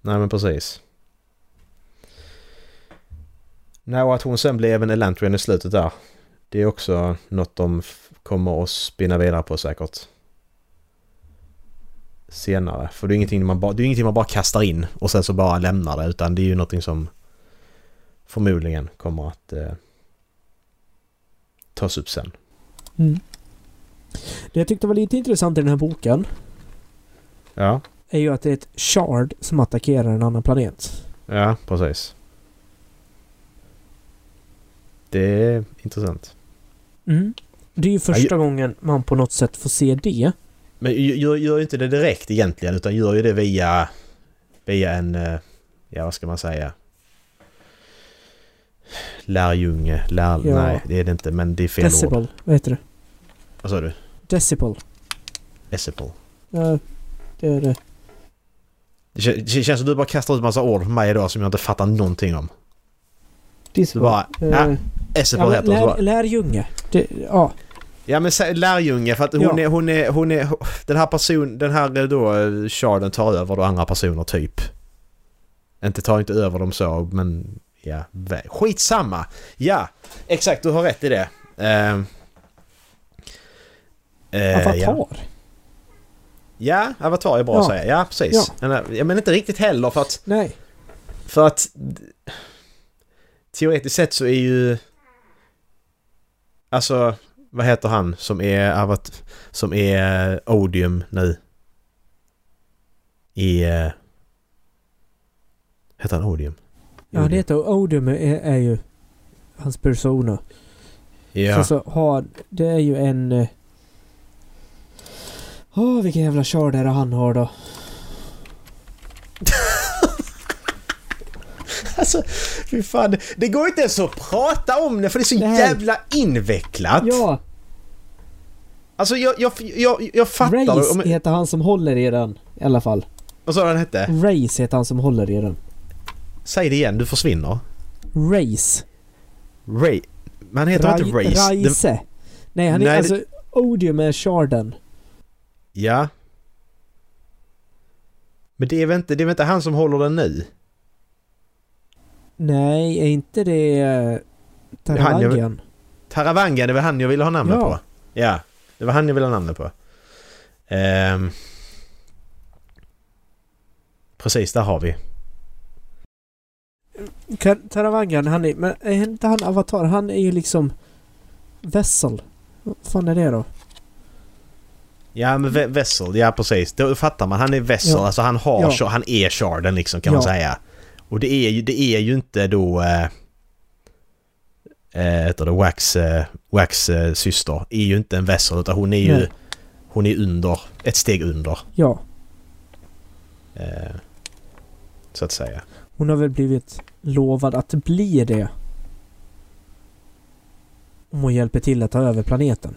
Speaker 2: nej men precis. Nej, och att hon sen blev en Elantrian i slutet där. Det är också något de f- kommer att spinna vidare på säkert. Senare. För det är ingenting man bara, det är ingenting man bara kastar in och sen så bara lämnar det. Utan det är ju någonting som förmodligen kommer att eh, tas upp sen.
Speaker 1: Mm. Det jag tyckte var lite intressant i den här boken
Speaker 2: Ja,
Speaker 1: är ju att det är ett shard som attackerar en annan planet.
Speaker 2: ja precis. Det är intressant.
Speaker 1: Det är ju första gången man på något sätt får se det.
Speaker 2: Men ju- gör, gör ju inte det direkt egentligen utan gör ju det via... Via en... eh, Ja vad ska man säga? Lärjunge, lär...
Speaker 1: Ja.
Speaker 2: Nej, det är det inte. Men det är fel ord.
Speaker 1: Decibel, vad heter det?
Speaker 2: Vad sa du?
Speaker 1: Decibel.
Speaker 2: Decibel.
Speaker 1: Ja, det är eh, det.
Speaker 2: Det kän- det känns som du bara kastar ut massa ord på mig idag som jag inte fattar någonting om. Så
Speaker 1: Decibel.
Speaker 2: bara, ja,
Speaker 1: Eh,
Speaker 2: Essebel
Speaker 1: ja, men
Speaker 2: heter hon.
Speaker 1: lär,
Speaker 2: så bara-
Speaker 1: lärjunge. Det, ja,
Speaker 2: Ja men sä- lärjunge för att hon,
Speaker 1: Ja.
Speaker 2: är, hon är, hon är, den här person, den här då eh, Charden tar över då andra personer typ. Inte tar inte över dem så men ja, vä- skitsamma. Ja, exakt du har rätt i det. Uh, ja.
Speaker 1: avatar.
Speaker 2: eh, ja, avatar är bra att
Speaker 1: Ja.
Speaker 2: säga. Ja, precis. Ja. Men inte riktigt heller för att
Speaker 1: Nej.
Speaker 2: för att teoretiskt sett så är ju... Alltså, vad heter han som är avat, som är Odium nu? I... eh, Heter han Odium? Mm.
Speaker 1: Ja, det heter Odium är, är ju hans persona.
Speaker 2: Ja.
Speaker 1: Sen så har... Det är ju en... eh, Åh, vilken jävla kör där han har då.
Speaker 2: Alltså, fy fan. Det går inte ens att prata om det för det är så
Speaker 1: Nej.
Speaker 2: jävla invecklat.
Speaker 1: Ja,
Speaker 2: Alltså jag, jag, jag, jag fattar.
Speaker 1: Race
Speaker 2: Om,
Speaker 1: heter han som håller i den. I alla fall.
Speaker 2: vad sa han hette?
Speaker 1: Race heter han som håller i den.
Speaker 2: Säg det igen, du försvinner.
Speaker 1: Race.
Speaker 2: Ray. Men han heter inte
Speaker 1: Rai-
Speaker 2: Race. Det-
Speaker 1: Raise. Nej, han är
Speaker 2: Nej, det-
Speaker 1: alltså... Odium är Sharden.
Speaker 2: Ja. Men det är väl inte, det är väl inte han som håller den nu?
Speaker 1: Nej, är inte det... Uh, Taravangian?
Speaker 2: Taravangan, det var han jag ville ha namnet
Speaker 1: Ja.
Speaker 2: på. Ja. Det var han jag ville ha namnet på. Ehm. Precis, där har vi.
Speaker 1: Kar- Taravangan, han är... Men är inte han avatar? Han är ju liksom... Vessel. Vad fan är det då?
Speaker 2: Ja men Ve- Vessel, ja precis. Då fattar man. Han är Vessel,
Speaker 1: Ja.
Speaker 2: alltså han har,
Speaker 1: Ja.
Speaker 2: Char- han är Charden liksom kan man
Speaker 1: Ja.
Speaker 2: säga. Och det är ju, det är ju inte då... Eh, eh, heter det Wax, eh, Wax eh, syster är ju inte en Vessel utan hon är ju...
Speaker 1: Nej.
Speaker 2: Hon är under, ett steg under.
Speaker 1: Ja.
Speaker 2: Eh, så att säga.
Speaker 1: Hon har väl blivit lovad att bli det. Om hon hjälper till att ta över planeten.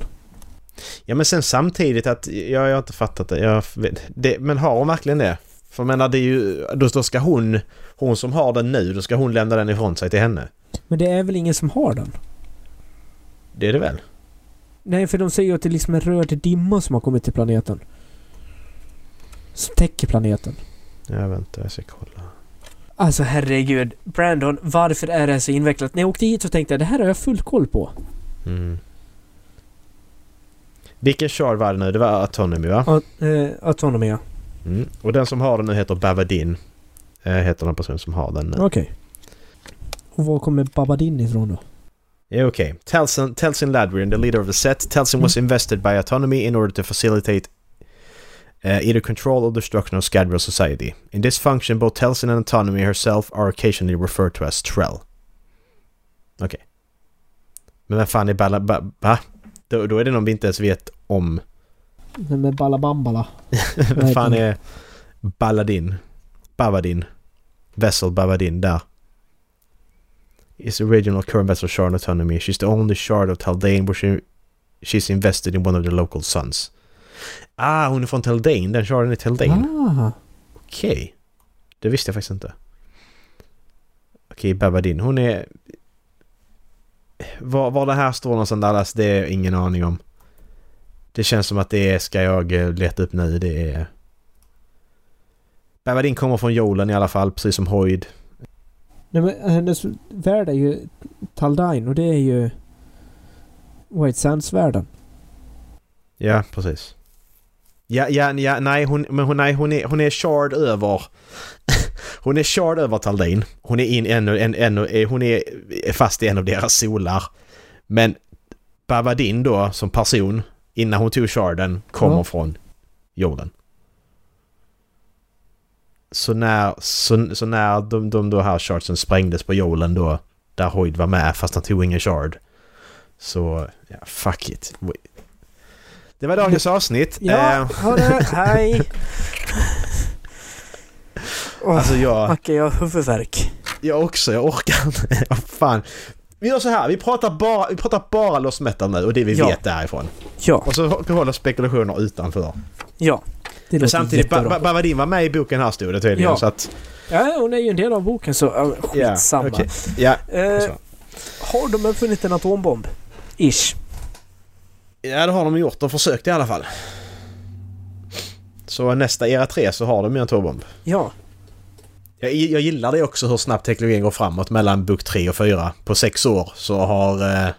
Speaker 2: Ja men sen samtidigt att, jag, jag har inte fattat det. Jag, vet- det. Men har hon verkligen det? För jag menar det är ju, då, då ska hon, hon som har den nu, då ska hon lämna den ifrån sig till henne.
Speaker 1: Men det är väl ingen som har den?
Speaker 2: Det är det väl?
Speaker 1: Nej, för de säger ju att det är liksom en röd dimma som har kommit till planeten. Som täcker planeten.
Speaker 2: Ja vänta jag ska kolla.
Speaker 1: Alltså herregud. Brandon, varför är det här så invecklat? När jag åkte hit så tänkte jag det här har jag full koll på.
Speaker 2: Mm. Vilken shard var det nu? Det var Autonomy va?
Speaker 1: Att, eh, autonomy, ja.
Speaker 2: Mm. Och den som har den nu heter Bavadin. Eh, heter den person som har den nu.
Speaker 1: Okej. Och var kommer Babadin ifrån då?
Speaker 2: Yeah, okay. Telsin, Telsin Ladwin, the leader of the set, Telsin was invested by Autonomy in order to facilitate uh, either control or destruction of Scadrial society. In this function, both Telsin and Autonomy herself are occasionally referred to as Trell. Okej. Men vem fan är Balla... Ba, ba? Då, då är det någon vi inte ens vet om.
Speaker 1: Den med Balabambala.
Speaker 2: vem fan
Speaker 1: inte.
Speaker 2: är Balladin? Bavadin? Vessel Bavadin, där. is the original current vessel shard autonomy. She's the only shard of Taldane where she, she's invested in one of the local sons. Ah, hon är från Taldane. Den sharden är Taldane.
Speaker 1: Ah.
Speaker 2: Okej. Det visste jag faktiskt inte. Okej, Babadin. Hon är... Var, var det här står någonstans Dallas, det är ingen aning om. Det känns som att det är, ska jag eh, leta upp nu, det är... Babadin kommer från Jolen i alla fall, precis som Hoyd.
Speaker 1: Nej men eh, hennes värld är ju Taldain och det är ju White Sands-världen.
Speaker 2: Ja, precis. Ja, ja, ja nej, hon, men hon, nej, hon är, hon är shard över... hon är shard över Taldin. Hon är, in, en, en, en, eh, hon är fast i en av deras solar. Men Bavadin då, som person, innan hon tog sharden, kommer
Speaker 1: Ja.
Speaker 2: från jorden. Så när, så, så när de, de då här shardsen sprängdes på jorden då, där Hoyd var med fast han tog ingen shard. Så, ja, fuck it. Det var dagens avsnitt. Eh,
Speaker 1: hörru, hej!
Speaker 2: alltså jag,
Speaker 1: Macke, jag har huvudvärk.
Speaker 2: alltså, Jag också, jag orkar inte. Vad fan. Vi gör så här, vi pratar bara, vi pratar bara Lost Metal nu och det vi
Speaker 1: Ja.
Speaker 2: vet därifrån.
Speaker 1: Ja,
Speaker 2: Och så håller spekulationer utanför.
Speaker 1: ja. Det
Speaker 2: Men
Speaker 1: låter
Speaker 2: samtidigt,
Speaker 1: jättebra.
Speaker 2: ba ba Bavadin var med i boken här stod det tydligen.
Speaker 1: Ja.
Speaker 2: Så att,
Speaker 1: Ja, hon är ju en del av boken så äh,
Speaker 2: ja,
Speaker 1: skitsamma.
Speaker 2: okej. Ja,
Speaker 1: eh,
Speaker 2: så.
Speaker 1: har de uppfunnit en atombomb? Ish.
Speaker 2: ja, det har de gjort. De försökte i alla fall. Så nästa era 3 så har de ju en atombomb.
Speaker 1: Ja.
Speaker 2: Jag, jag gillar det också hur snabbt teknologin går framåt mellan bok 3 och 4. På sex år så har... Eh,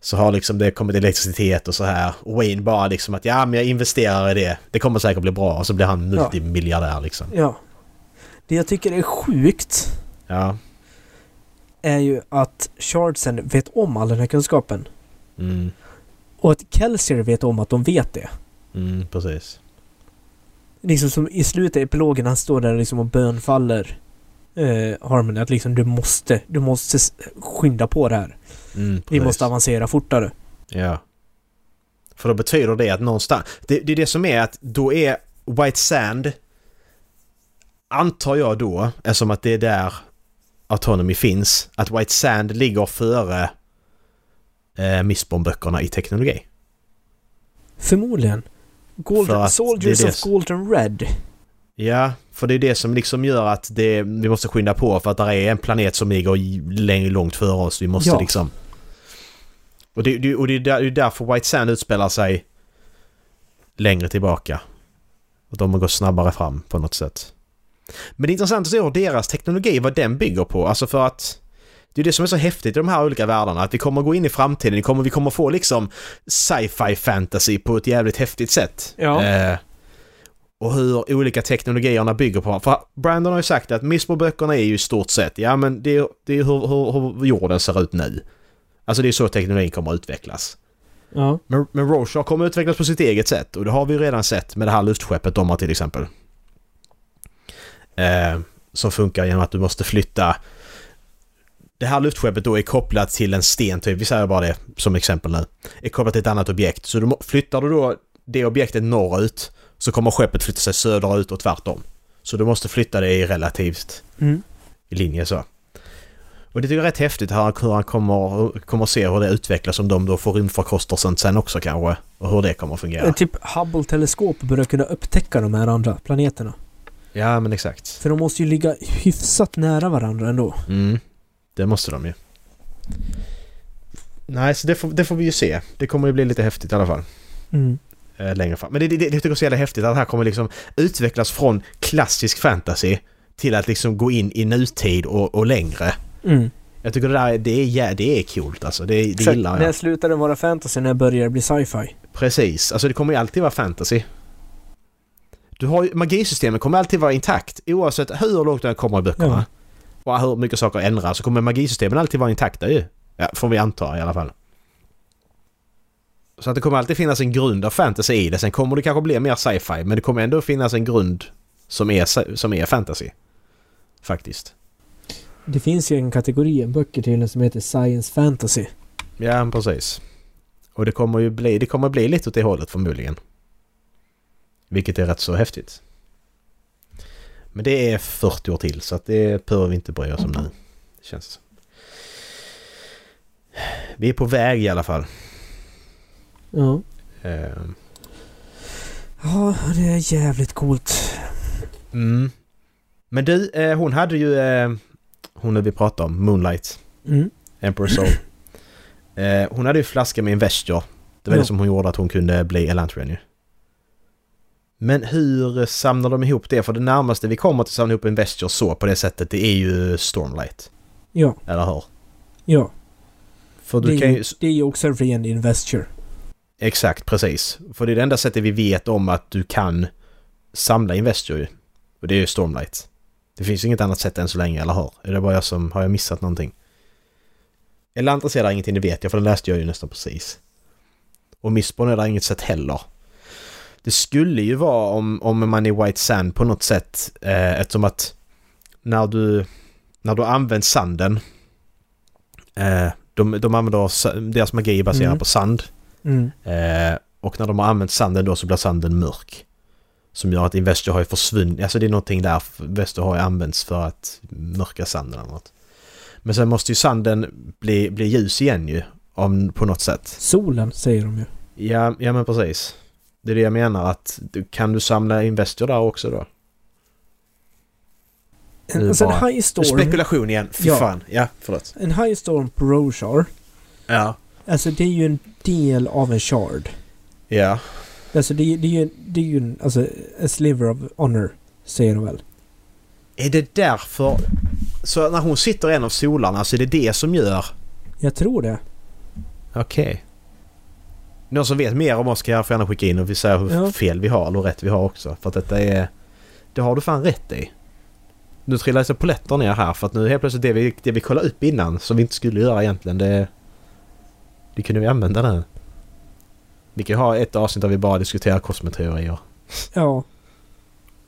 Speaker 2: så har liksom det kommit elektricitet och så här. Och Wayne bara liksom att ja men jag investerar i det. Det kommer säkert bli bra. Och så blir han
Speaker 1: Ja.
Speaker 2: multimiljardär liksom.
Speaker 1: Ja. Det jag tycker är sjukt
Speaker 2: Ja.
Speaker 1: är ju att Chardsen vet om all den här kunskapen.
Speaker 2: Mm,
Speaker 1: Och att Kelsier vet om att de vet det.
Speaker 2: mm, precis.
Speaker 1: Liksom som i slutet av epilogen, han står där liksom och bönfaller eh, Harmony att liksom du måste, du måste s- skynda på det här.
Speaker 2: Mm,
Speaker 1: Vi
Speaker 2: precis.
Speaker 1: måste avancera fortare.
Speaker 2: Ja. För då betyder det att någonstans... Det, det är det som är att då är White Sand... Antar jag då, eftersom att det är där Autonomy finns, att White Sand ligger före eh, Missbomb-böckerna i teknologi.
Speaker 1: Förmodligen. Golden,
Speaker 2: För att
Speaker 1: Soldiers
Speaker 2: det är det
Speaker 1: of
Speaker 2: som-
Speaker 1: Golden Red.
Speaker 2: Ja, för det är det som liksom gör att det, vi måste skynda på för att där är en planet som ligger j- läng- långt före oss. Vi måste
Speaker 1: Ja.
Speaker 2: liksom... Och det, det, och det är där, det är därför White Sand utspelar sig längre tillbaka. Och de går snabbare fram på något sätt. Men det är intressant att se hur deras teknologi, vad den bygger på. Alltså för att... Det är det som är så häftigt i de här olika världarna, att vi kommer gå in i framtiden, vi kommer, vi kommer få liksom sci-fi fantasy på ett jävligt häftigt sätt.
Speaker 1: Ja.
Speaker 2: Eh, och hur olika teknologierna bygger på För Brandon har ju sagt att Missbo-böckerna är ju i stort sett, ja men det är, det är hur, hur, hur jorden ser ut nu. Alltså det är så teknologin kommer att utvecklas.
Speaker 1: Ja.
Speaker 2: Men, men Rorschach kommer att utvecklas på sitt eget sätt och det har vi ju redan sett med det här luftskeppet de har till exempel. Eh, som funkar genom att du måste flytta... Det här luftskeppet då är kopplat till en sten typ, vi säger bara det som exempel nu. Är kopplat till ett annat objekt. Så du, må- flyttar du då det objektet norrut så kommer skeppet flytta sig söderut och tvärtom. Så du måste flytta det i relativt
Speaker 1: Mm.
Speaker 2: i linje så. Och det tycker jag är rätt häftigt här, hur han kommer, kommer se hur det utvecklas om de då får rymdfarkoster sen också kanske. Och hur det kommer att fungera.
Speaker 1: Eh, Typ Hubble-teleskop börjar kunna upptäcka de här andra planeterna.
Speaker 2: Ja men exakt.
Speaker 1: För de måste ju ligga hyfsat nära varandra ändå.
Speaker 2: Mm. Det måste de ju. Nej så det får, det får vi ju se. Det kommer ju bli lite häftigt i alla fall.
Speaker 1: Mm.
Speaker 2: Eh, längre fram. Men det, det, det tycker jag är så jävla häftigt att det här kommer liksom utvecklas från klassisk fantasy till att liksom gå in i nutid och, och längre.
Speaker 1: Mm.
Speaker 2: Jag tycker det där är- det är, jä- det är coolt alltså. Det, det
Speaker 1: Exakt.
Speaker 2: gillar jag.
Speaker 1: När slutar den vara fantasy? När börjar det bli sci-fi?
Speaker 2: Precis, alltså det kommer ju alltid vara fantasy. Du har ju, magisystemet kommer alltid vara intakt oavsett hur långt den kommer i böckerna. Och hur mycket saker ändras så kommer magisystemen alltid vara intakta ju. Ja, får vi anta i alla fall. Så att det kommer alltid finnas en grund av fantasy i det. Sen kommer det kanske bli mer sci-fi men det kommer ändå finnas en grund som är, sci- som är fantasy. Faktiskt.
Speaker 1: Det finns ju en kategori, en böcker tydligen, som heter science fantasy.
Speaker 2: Ja, men precis. Och det kommer ju bli, det kommer bli lite åt det hållet förmodligen. Vilket är rätt så häftigt. Men det är 40 år till så att det behöver vi inte bry oss om nu. Känns det som. Vi är på väg i alla fall.
Speaker 1: Ja.
Speaker 2: Eh,
Speaker 1: Ja, det är jävligt coolt.
Speaker 2: Mm. Men du, eh, hon hade ju... eh, Hon är vi pratar om, Moonlight,
Speaker 1: Mm.
Speaker 2: Emperor Soul. Eh, Hon hade ju flaska med Investor. Det var
Speaker 1: Ja.
Speaker 2: det som hon gjorde att hon kunde bli Elantrian ju. Men hur samlar de ihop det? För det närmaste vi kommer till att samla ihop Investor så på det sättet det är ju Stormlight.
Speaker 1: Ja,
Speaker 2: Eller hur?
Speaker 1: ja.
Speaker 2: För
Speaker 1: Det
Speaker 2: du kan
Speaker 1: är,
Speaker 2: ju...
Speaker 1: ju, det är ju också en ren investure.
Speaker 2: Exakt, precis. För det är det enda sättet vi vet om att du kan samla Investor ju. Och det är ju Stormlight. Det finns ju inget annat sätt än så länge, eller hur? Är det bara jag som... Har jag missat någonting? Eller intresserar ingenting, det vet jag, för den läste jag ju nästan precis. Och Missborn är där inget sätt heller. Det skulle ju vara om, om man i White Sand på något sätt, eh, eftersom att när du... När du använt sanden... Eh, de, de använder sa- deras magi baserad
Speaker 1: Mm.
Speaker 2: på sand.
Speaker 1: Mm.
Speaker 2: Eh, och när de har använt sanden då så blir sanden mörk. Som gör att Investor har ju försvunnit. Alltså det är någonting där Investor har ju använts för att mörka sanden eller något. Men sen måste ju sanden bli, bli ljus igen ju. Om, på något sätt.
Speaker 1: Solen säger de ju.
Speaker 2: Ja, ja men precis. Det är det jag menar att du- kan du samla Investor där också då? Det är
Speaker 1: Och sen
Speaker 2: bara-
Speaker 1: alltså High Storm.
Speaker 2: Spekulation igen. Fy
Speaker 1: Ja.
Speaker 2: fan. Ja, förlåt.
Speaker 1: En High Storm på Roshar.
Speaker 2: Ja.
Speaker 1: Alltså det är ju en del av en shard.
Speaker 2: Ja.
Speaker 1: Alltså det, är- det är ju, det är ju en, alltså, a sliver of honor. Säger de väl.
Speaker 2: Är det därför... Så när hon sitter i en av solarna så är det det som gör...
Speaker 1: Jag tror det.
Speaker 2: Okej. Någon som vet mer om oss kan jag gärna skicka in och vi säger hur
Speaker 1: Ja.
Speaker 2: fel vi har eller hur rätt vi har också. För att detta är... Det har du fan rätt i. Nu trillar lite polletter ner här för att nu helt plötsligt det vi, det vi kollade upp innan som vi inte skulle göra egentligen det... Det kunde vi använda nu. Vi kan ju ha ett avsnitt där vi bara diskuterar kosmeteorier
Speaker 1: Ja.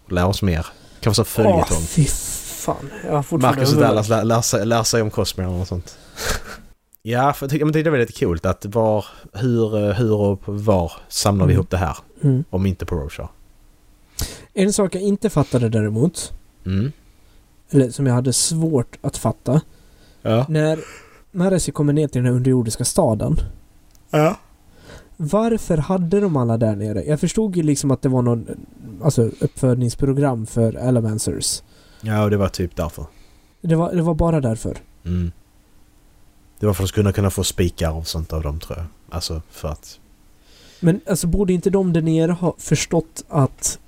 Speaker 2: och lär oss mer. Kanske
Speaker 1: Åh,
Speaker 2: som följetong.
Speaker 1: fy fan. Jag har fortfarande
Speaker 2: Marcus och
Speaker 1: huvudvärk.
Speaker 2: Dallas lär, lär, sig, lär sig om Cosmo eller något sånt. ja, för jag tyckte- men tyckte det var lite coolt att var, hur, eh, hur och var samlar vi
Speaker 1: Mm.
Speaker 2: ihop det här?
Speaker 1: Mm.
Speaker 2: Om inte på Roshar.
Speaker 1: En sak jag inte fattade däremot.
Speaker 2: Mm.
Speaker 1: Eller som jag hade svårt att fatta.
Speaker 2: Ja.
Speaker 1: När Maresi kommer ner till den här underjordiska staden.
Speaker 2: Ja.
Speaker 1: Varför hade de alla där nere? Jag förstod ju liksom att det var någon alltså, uppfödningsprogram för Alamancers.
Speaker 2: Ja, och det var typ därför.
Speaker 1: Det var, det var bara därför.
Speaker 2: Mm. Det var för att kunna kunna få spikar och sånt av dem tror jag. Alltså för att...
Speaker 1: Men alltså borde inte de där nere ha förstått att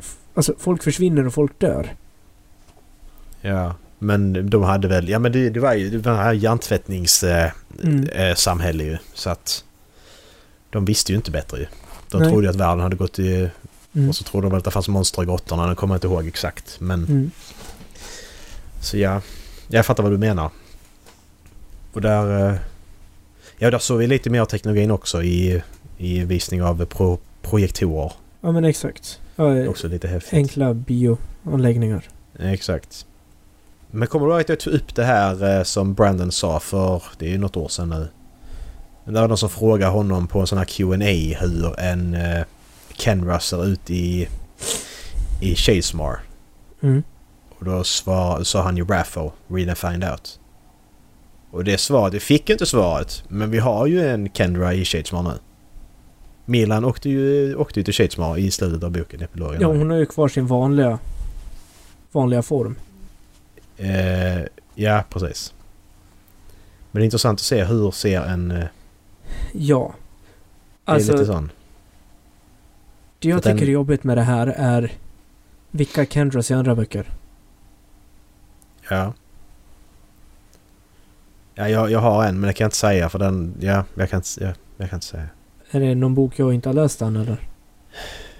Speaker 1: f- Alltså folk försvinner och folk dör.
Speaker 2: Ja. Men de hade väl... Ja men det, det var ju det var det här hjärntvättningssamhället
Speaker 1: Mm.
Speaker 2: eh, samhälle ju. Så att... De visste ju inte bättre ju. De
Speaker 1: Nej.
Speaker 2: trodde ju att världen hade gått i
Speaker 1: Mm.
Speaker 2: Och så trodde de väl att det fanns monster i grottorna, nu kommer jag inte ihåg exakt. Men
Speaker 1: Mm.
Speaker 2: så ja, jag fattar vad du menar. Och där... eh, Ja, där såg vi lite mer av teknologin också i, i visning av pro, projektorer.
Speaker 1: Ja men exakt. Ja, eh,
Speaker 2: Också lite häftigt.
Speaker 1: enkla bioanläggningar.
Speaker 2: Exakt. Men kommer du ihåg att jag tog upp det här eh, som Brandon sa för, det är ju något år sedan nu. Men Det var någon som frågade honom på en sån här Q&A hur en eh, Kenra ser ut i, i Shadesmar.
Speaker 1: Mm.
Speaker 2: Och då svar, sa han ju Raffo, read and find out. Och det svaret, vi fick ju inte svaret, men vi har ju en Kendra i Shadesmar nu. Milan åkte ju, åkte ju till Shadesmar i slutet av boken, epilogen.
Speaker 1: Ja hon har ju kvar sin vanliga vanliga form.
Speaker 2: eh, ja, precis. Men det är intressant att se hur ser en... eh,
Speaker 1: Ja. Alltså,
Speaker 2: Det är lite sån.
Speaker 1: Det jag
Speaker 2: För den-
Speaker 1: tycker är jobbigt med det här är vilka Kendras i andra böcker.
Speaker 2: Ja. Ja, jag, jag har en men jag kan inte säga för den... Ja, jag kan inte, ja, jag kan inte säga.
Speaker 1: Är det någon bok jag inte har läst än eller?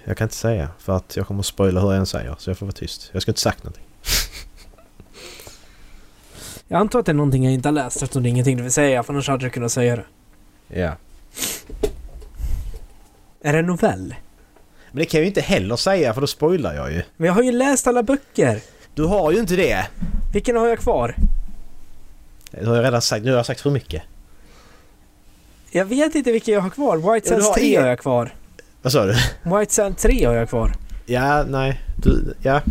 Speaker 2: Jag kan inte säga för att jag kommer att spoila hur jag än säger så jag får vara tyst. Jag ska inte sagt någonting.
Speaker 1: Jag antar att det är någonting jag inte har läst eftersom det är ingenting du vill säga för annars hade du kunnat säga det.
Speaker 2: Ja.
Speaker 1: Är det en novell?
Speaker 2: Men det kan jag ju inte heller säga för då spoilar jag ju.
Speaker 1: Men jag har ju läst alla böcker!
Speaker 2: Du har ju inte det!
Speaker 1: Vilken har jag kvar?
Speaker 2: Det har jag redan sagt. Nu har jag sagt för mycket.
Speaker 1: Jag vet inte vilken jag har kvar. White
Speaker 2: Ja, du
Speaker 1: Sands
Speaker 2: har
Speaker 1: 3
Speaker 2: en.
Speaker 1: har jag kvar.
Speaker 2: Vad sa du?
Speaker 1: White Sands 3 har jag kvar.
Speaker 2: Ja, nej. Du, ja.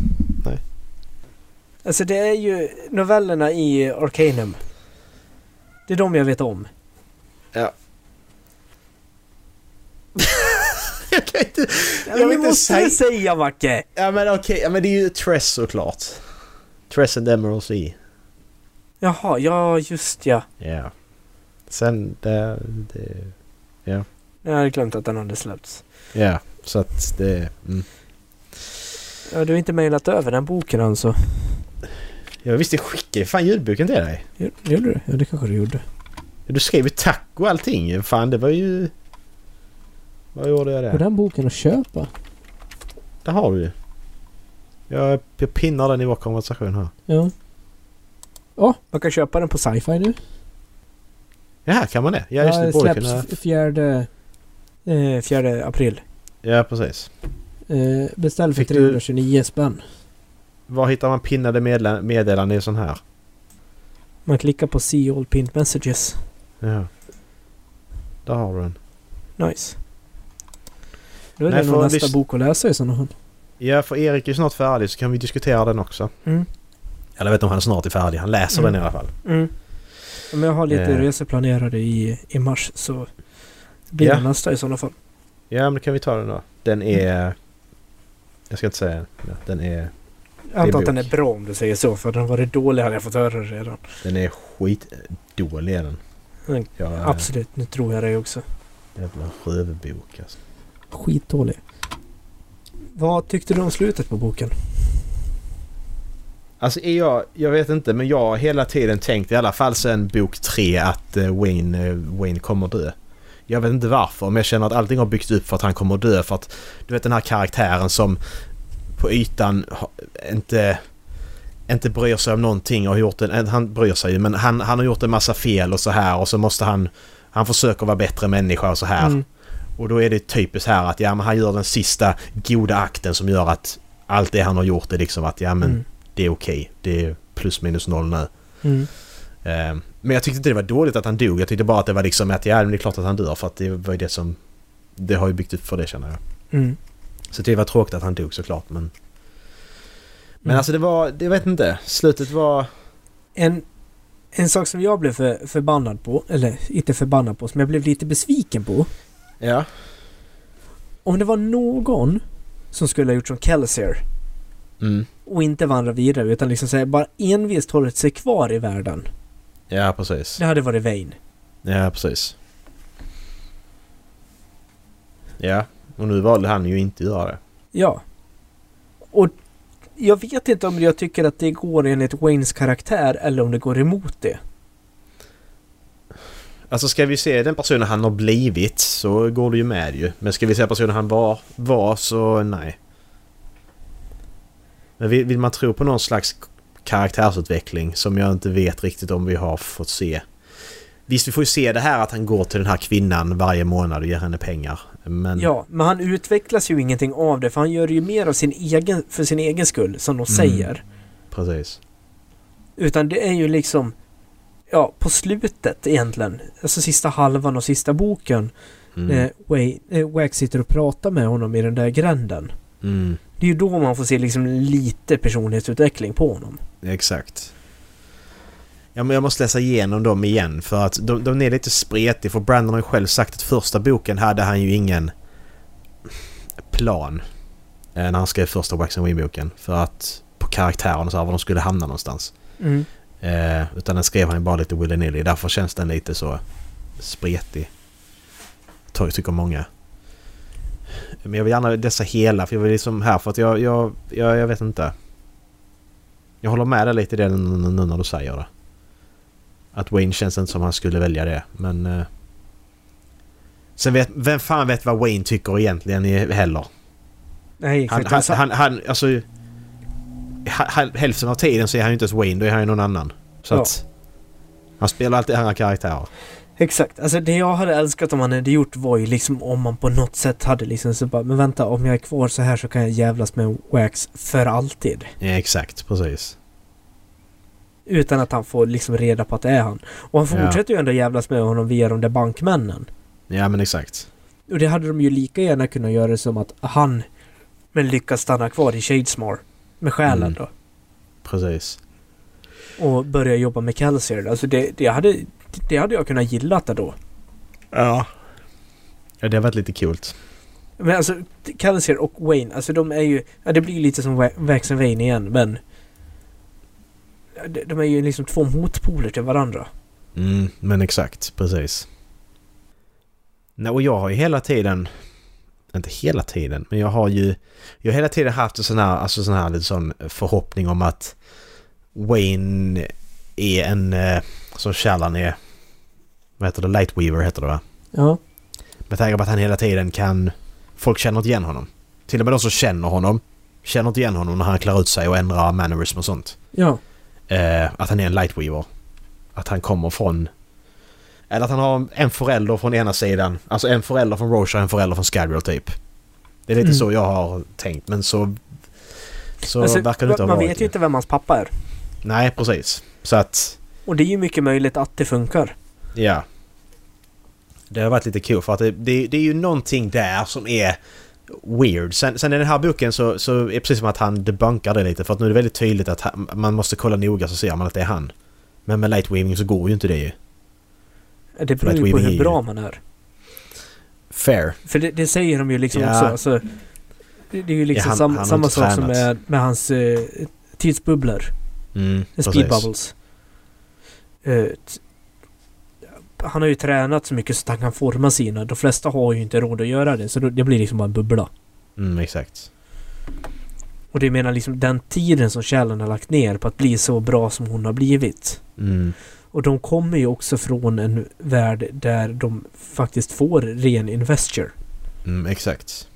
Speaker 1: Alltså det är ju novellerna i Arcanum. Det är de jag vet om.
Speaker 2: Jag kan inte...
Speaker 1: Ja, men
Speaker 2: vill
Speaker 1: det
Speaker 2: inte
Speaker 1: måste
Speaker 2: säga-
Speaker 1: jag säga Macke!
Speaker 2: Ja men okej, ja men det är ju Tress såklart. Tress and Emerald Sea.
Speaker 1: Jaha, ja just ja.
Speaker 2: Ja. Sen, det... det
Speaker 1: Jag hade glömt att den hade släppts.
Speaker 2: ja, så att det... Mm.
Speaker 1: Ja, du har inte mejlat över den boken alltså?
Speaker 2: Jag visste skicka ju fan ljudboken till dig.
Speaker 1: Gjorde du? Ja, det kanske du gjorde.
Speaker 2: Du skrev ju tack och allting. Fan det var ju... Vad gjorde jag
Speaker 1: Går
Speaker 2: där?
Speaker 1: den boken att köpa?
Speaker 2: Det har du ju. Jag, jag pinnar den i vår konversation här.
Speaker 1: Ja. Ja, man kan köpa den på sci-fi nu.
Speaker 2: Ja, kan man det? Ja, just det. Borde
Speaker 1: släpps
Speaker 2: kunna...
Speaker 1: f- fjärde... Eh, fjärde april.
Speaker 2: Ja, precis.
Speaker 1: Eh, beställ för
Speaker 2: Fick du-
Speaker 1: 329 spänn.
Speaker 2: Var hittar man pinnade medla- meddelanden i sån här?
Speaker 1: Man klickar på see all pinned messages.
Speaker 2: Ja. Där har du den.
Speaker 1: Nice. Då är
Speaker 2: Nej,
Speaker 1: det nog
Speaker 2: för
Speaker 1: nästa
Speaker 2: visst-
Speaker 1: bok att läsa i sådana fall.
Speaker 2: Ja, för Erik är ju snart färdig så kan vi diskutera den också.
Speaker 1: Mm.
Speaker 2: Eller jag vet inte om han snart är färdig. Han läser
Speaker 1: Mm.
Speaker 2: den i alla fall.
Speaker 1: Mm. Ja, Men jag har lite
Speaker 2: Eh.
Speaker 1: resor planerade i, i mars så blir
Speaker 2: Ja.
Speaker 1: det nästa i sådana fall.
Speaker 2: Ja, men då kan vi ta den då. Den är... Jag ska inte säga den. Ja, Den är,
Speaker 1: Jag antar att
Speaker 2: bok.
Speaker 1: den är bra om du säger så för den varit dålig hade jag fått höra det redan.
Speaker 2: den är skitdålig är den.
Speaker 1: Mm,
Speaker 2: Jag, eh,
Speaker 1: Absolut, nu tror jag det också.
Speaker 2: Jävla rövbok alltså.
Speaker 1: Skitdålig. Vad tyckte du om slutet på boken?
Speaker 2: Alltså är jag, jag vet inte men jag har hela tiden tänkt i alla fall sen bok tre att eh, Wayne, eh, Wayne kommer dö. Jag vet inte varför men jag känner att allting har byggts upp för att han kommer dö för att du vet den här karaktären som på ytan har- inte, inte bryr sig om någonting och har gjort en, han bryr sig ju men han, han har gjort en massa fel och så här och så måste han, han försöker vara bättre människa och så här.
Speaker 1: Mm.
Speaker 2: Och då är det typiskt här att ja men han gör den sista goda akten som gör att allt det han har gjort är liksom att ja men
Speaker 1: Mm.
Speaker 2: det är okej. Det är plus minus noll nu.
Speaker 1: Mm.
Speaker 2: Eh, Men jag tyckte inte det var dåligt att han dog. Jag tyckte bara att det var liksom att ja, men det är klart att han dör för att det var ju det som... Det har ju byggt upp för det känner jag.
Speaker 1: Mm.
Speaker 2: Så det var tråkigt att han dog såklart men... Men alltså det var... Det jag vet inte. Slutet var...
Speaker 1: En, en sak som jag blev för, förbannad på, eller inte förbannad på, som jag blev lite besviken på.
Speaker 2: Ja.
Speaker 1: Om det var någon som skulle ha gjort som Kelsier
Speaker 2: Mm.
Speaker 1: och inte vandra vidare utan liksom så här, bara envist hållit sig kvar i världen.
Speaker 2: Ja precis.
Speaker 1: Det hade varit Wayne.
Speaker 2: Ja precis. Ja. Och nu valde han ju inte att göra det.
Speaker 1: Ja. Och jag vet inte om jag tycker att det går enligt Waynes karaktär eller om det går emot det.
Speaker 2: Alltså ska vi se den personen han har blivit så går du ju med ju. Men ska vi se personen han var, var så nej. Men vill, vill man tro på någon slags karaktärsutveckling som jag inte vet riktigt om vi har fått se. Visst, vi får ju se det här att han går till den här kvinnan varje månad och ger henne pengar. Men...
Speaker 1: Ja, men han utvecklas ju ingenting av det för han gör det ju mer av sin egen, för sin egen skull, som de
Speaker 2: Mm.
Speaker 1: säger.
Speaker 2: Precis.
Speaker 1: Utan det är ju liksom Ja, på slutet egentligen. Alltså sista halvan och sista boken.
Speaker 2: Mm.
Speaker 1: Eh, Way, eh, Wack sitter och pratar med honom i den där gränden.
Speaker 2: Mm.
Speaker 1: Det är ju då man får se liksom lite personlighetsutveckling på honom.
Speaker 2: Exakt. Ja, men jag måste läsa igenom dem igen för att de, de är lite spretiga för Brandon har ju själv sagt att första boken hade han ju ingen plan eh, när han skrev första Wax and Wing-boken för att på karaktären och så här var de skulle hamna någonstans.
Speaker 1: Mm.
Speaker 2: Eh, utan den skrev han ju bara lite willy-nilly. Därför känns den lite så spretig. Ty- Tycker många. Men jag vill gärna läsa hela för jag vill liksom här för att jag, jag, jag, jag vet inte. Jag håller med dig lite i det nu nu- nu när du säger det. Att Wayne känns inte som han skulle välja det men... Eh, sen vet, vem fan vet vad Wayne tycker egentligen i- heller?
Speaker 1: Nej,
Speaker 2: Han,
Speaker 1: exakt.
Speaker 2: han,
Speaker 1: Alltså,
Speaker 2: han, han alltså... ha- ha- Hälften av tiden så är han ju inte ens Wayne, då är han ju någon annan. Så
Speaker 1: Ja.
Speaker 2: att... Han spelar alltid andra karaktärer.
Speaker 1: exakt. Alltså det jag hade älskat om han hade gjort var ju liksom om man på något sätt hade liksom så bara, men vänta om jag är kvar så här så kan jag jävlas med Wax för alltid.
Speaker 2: Ja, exakt, precis.
Speaker 1: Utan att han får liksom reda på att det är han. Och han
Speaker 2: Ja.
Speaker 1: fortsätter ju ändå jävlas med honom via de där bankmännen.
Speaker 2: Ja men exakt.
Speaker 1: Och det hade de ju lika gärna kunnat göra som att han men lyckas stanna kvar i Shadesmar med själen
Speaker 2: Mm.
Speaker 1: då.
Speaker 2: Precis.
Speaker 1: Och börja jobba med Calcier. Alltså det, det, hade, det hade jag kunnat gilla det då.
Speaker 2: Ja. Ja det har varit lite kul.
Speaker 1: Men alltså Calcier och Wayne, alltså de är ju... Ja, det blir ju lite som Wa- Wax and Wayne igen men... Ja, de- De är ju liksom två motpoler till varandra.
Speaker 2: Mm, men exakt, precis. Nej, och jag har ju hela tiden... Inte hela tiden, men jag har ju... Jag har hela tiden haft en sån här, alltså sån här lite sån förhoppning om att Wayne är en... eh, Som Shallan är... Vad heter det? Lightweaver heter det va?
Speaker 1: Ja.
Speaker 2: Med tanke på att han hela tiden kan... Folk känner inte igen honom. Till och med de som känner honom känner inte igen honom när han klär ut sig och ändrar mannerism och sånt
Speaker 1: Ja.
Speaker 2: eh, att han är en lightweaver. Att han kommer från... Eller att han har en förälder från ena sidan. Alltså en förälder från Roche och en förälder från Skadriel typ. Det är lite
Speaker 1: Mm.
Speaker 2: så jag har tänkt men så... Så
Speaker 1: alltså,
Speaker 2: verkar det inte ha
Speaker 1: man
Speaker 2: varit
Speaker 1: vet
Speaker 2: det.
Speaker 1: ju inte vem hans pappa är.
Speaker 2: Nej precis. Så att...
Speaker 1: Och det är ju mycket möjligt att det funkar.
Speaker 2: Ja. Det har varit lite kul för att det, det, det är ju någonting där som är weird. Sen, sen i den här boken så, så är det precis som att han debunkar det lite för att nu är det väldigt tydligt att han, man måste kolla noga så ser man att det är han. Men med lightweaving så går ju inte det ju.
Speaker 1: Det beror ju på
Speaker 2: Lightweaving är
Speaker 1: hur
Speaker 2: ju-
Speaker 1: bra man är.
Speaker 2: Fair.
Speaker 1: För det, det säger de ju liksom
Speaker 2: Ja.
Speaker 1: också. Alltså, det, det är ju liksom
Speaker 2: Ja, han-
Speaker 1: sam,
Speaker 2: han har
Speaker 1: samma
Speaker 2: inte
Speaker 1: sak som
Speaker 2: tränat.
Speaker 1: med, med hans eh, tidsbubblor.
Speaker 2: Mm,
Speaker 1: Speed
Speaker 2: precis.
Speaker 1: bubbles. Eh, t- han har ju tränat så mycket så att han kan forma sina. De flesta har ju inte råd att göra det. Så då- det blir liksom bara en bubbla.
Speaker 2: Mm, exakt.
Speaker 1: Och det menar liksom den tiden som Shallan har lagt ner på att bli så bra som hon har blivit.
Speaker 2: Mm,
Speaker 1: Och de kommer ju också från en värld där de faktiskt får ren investure.
Speaker 2: mm, exakt.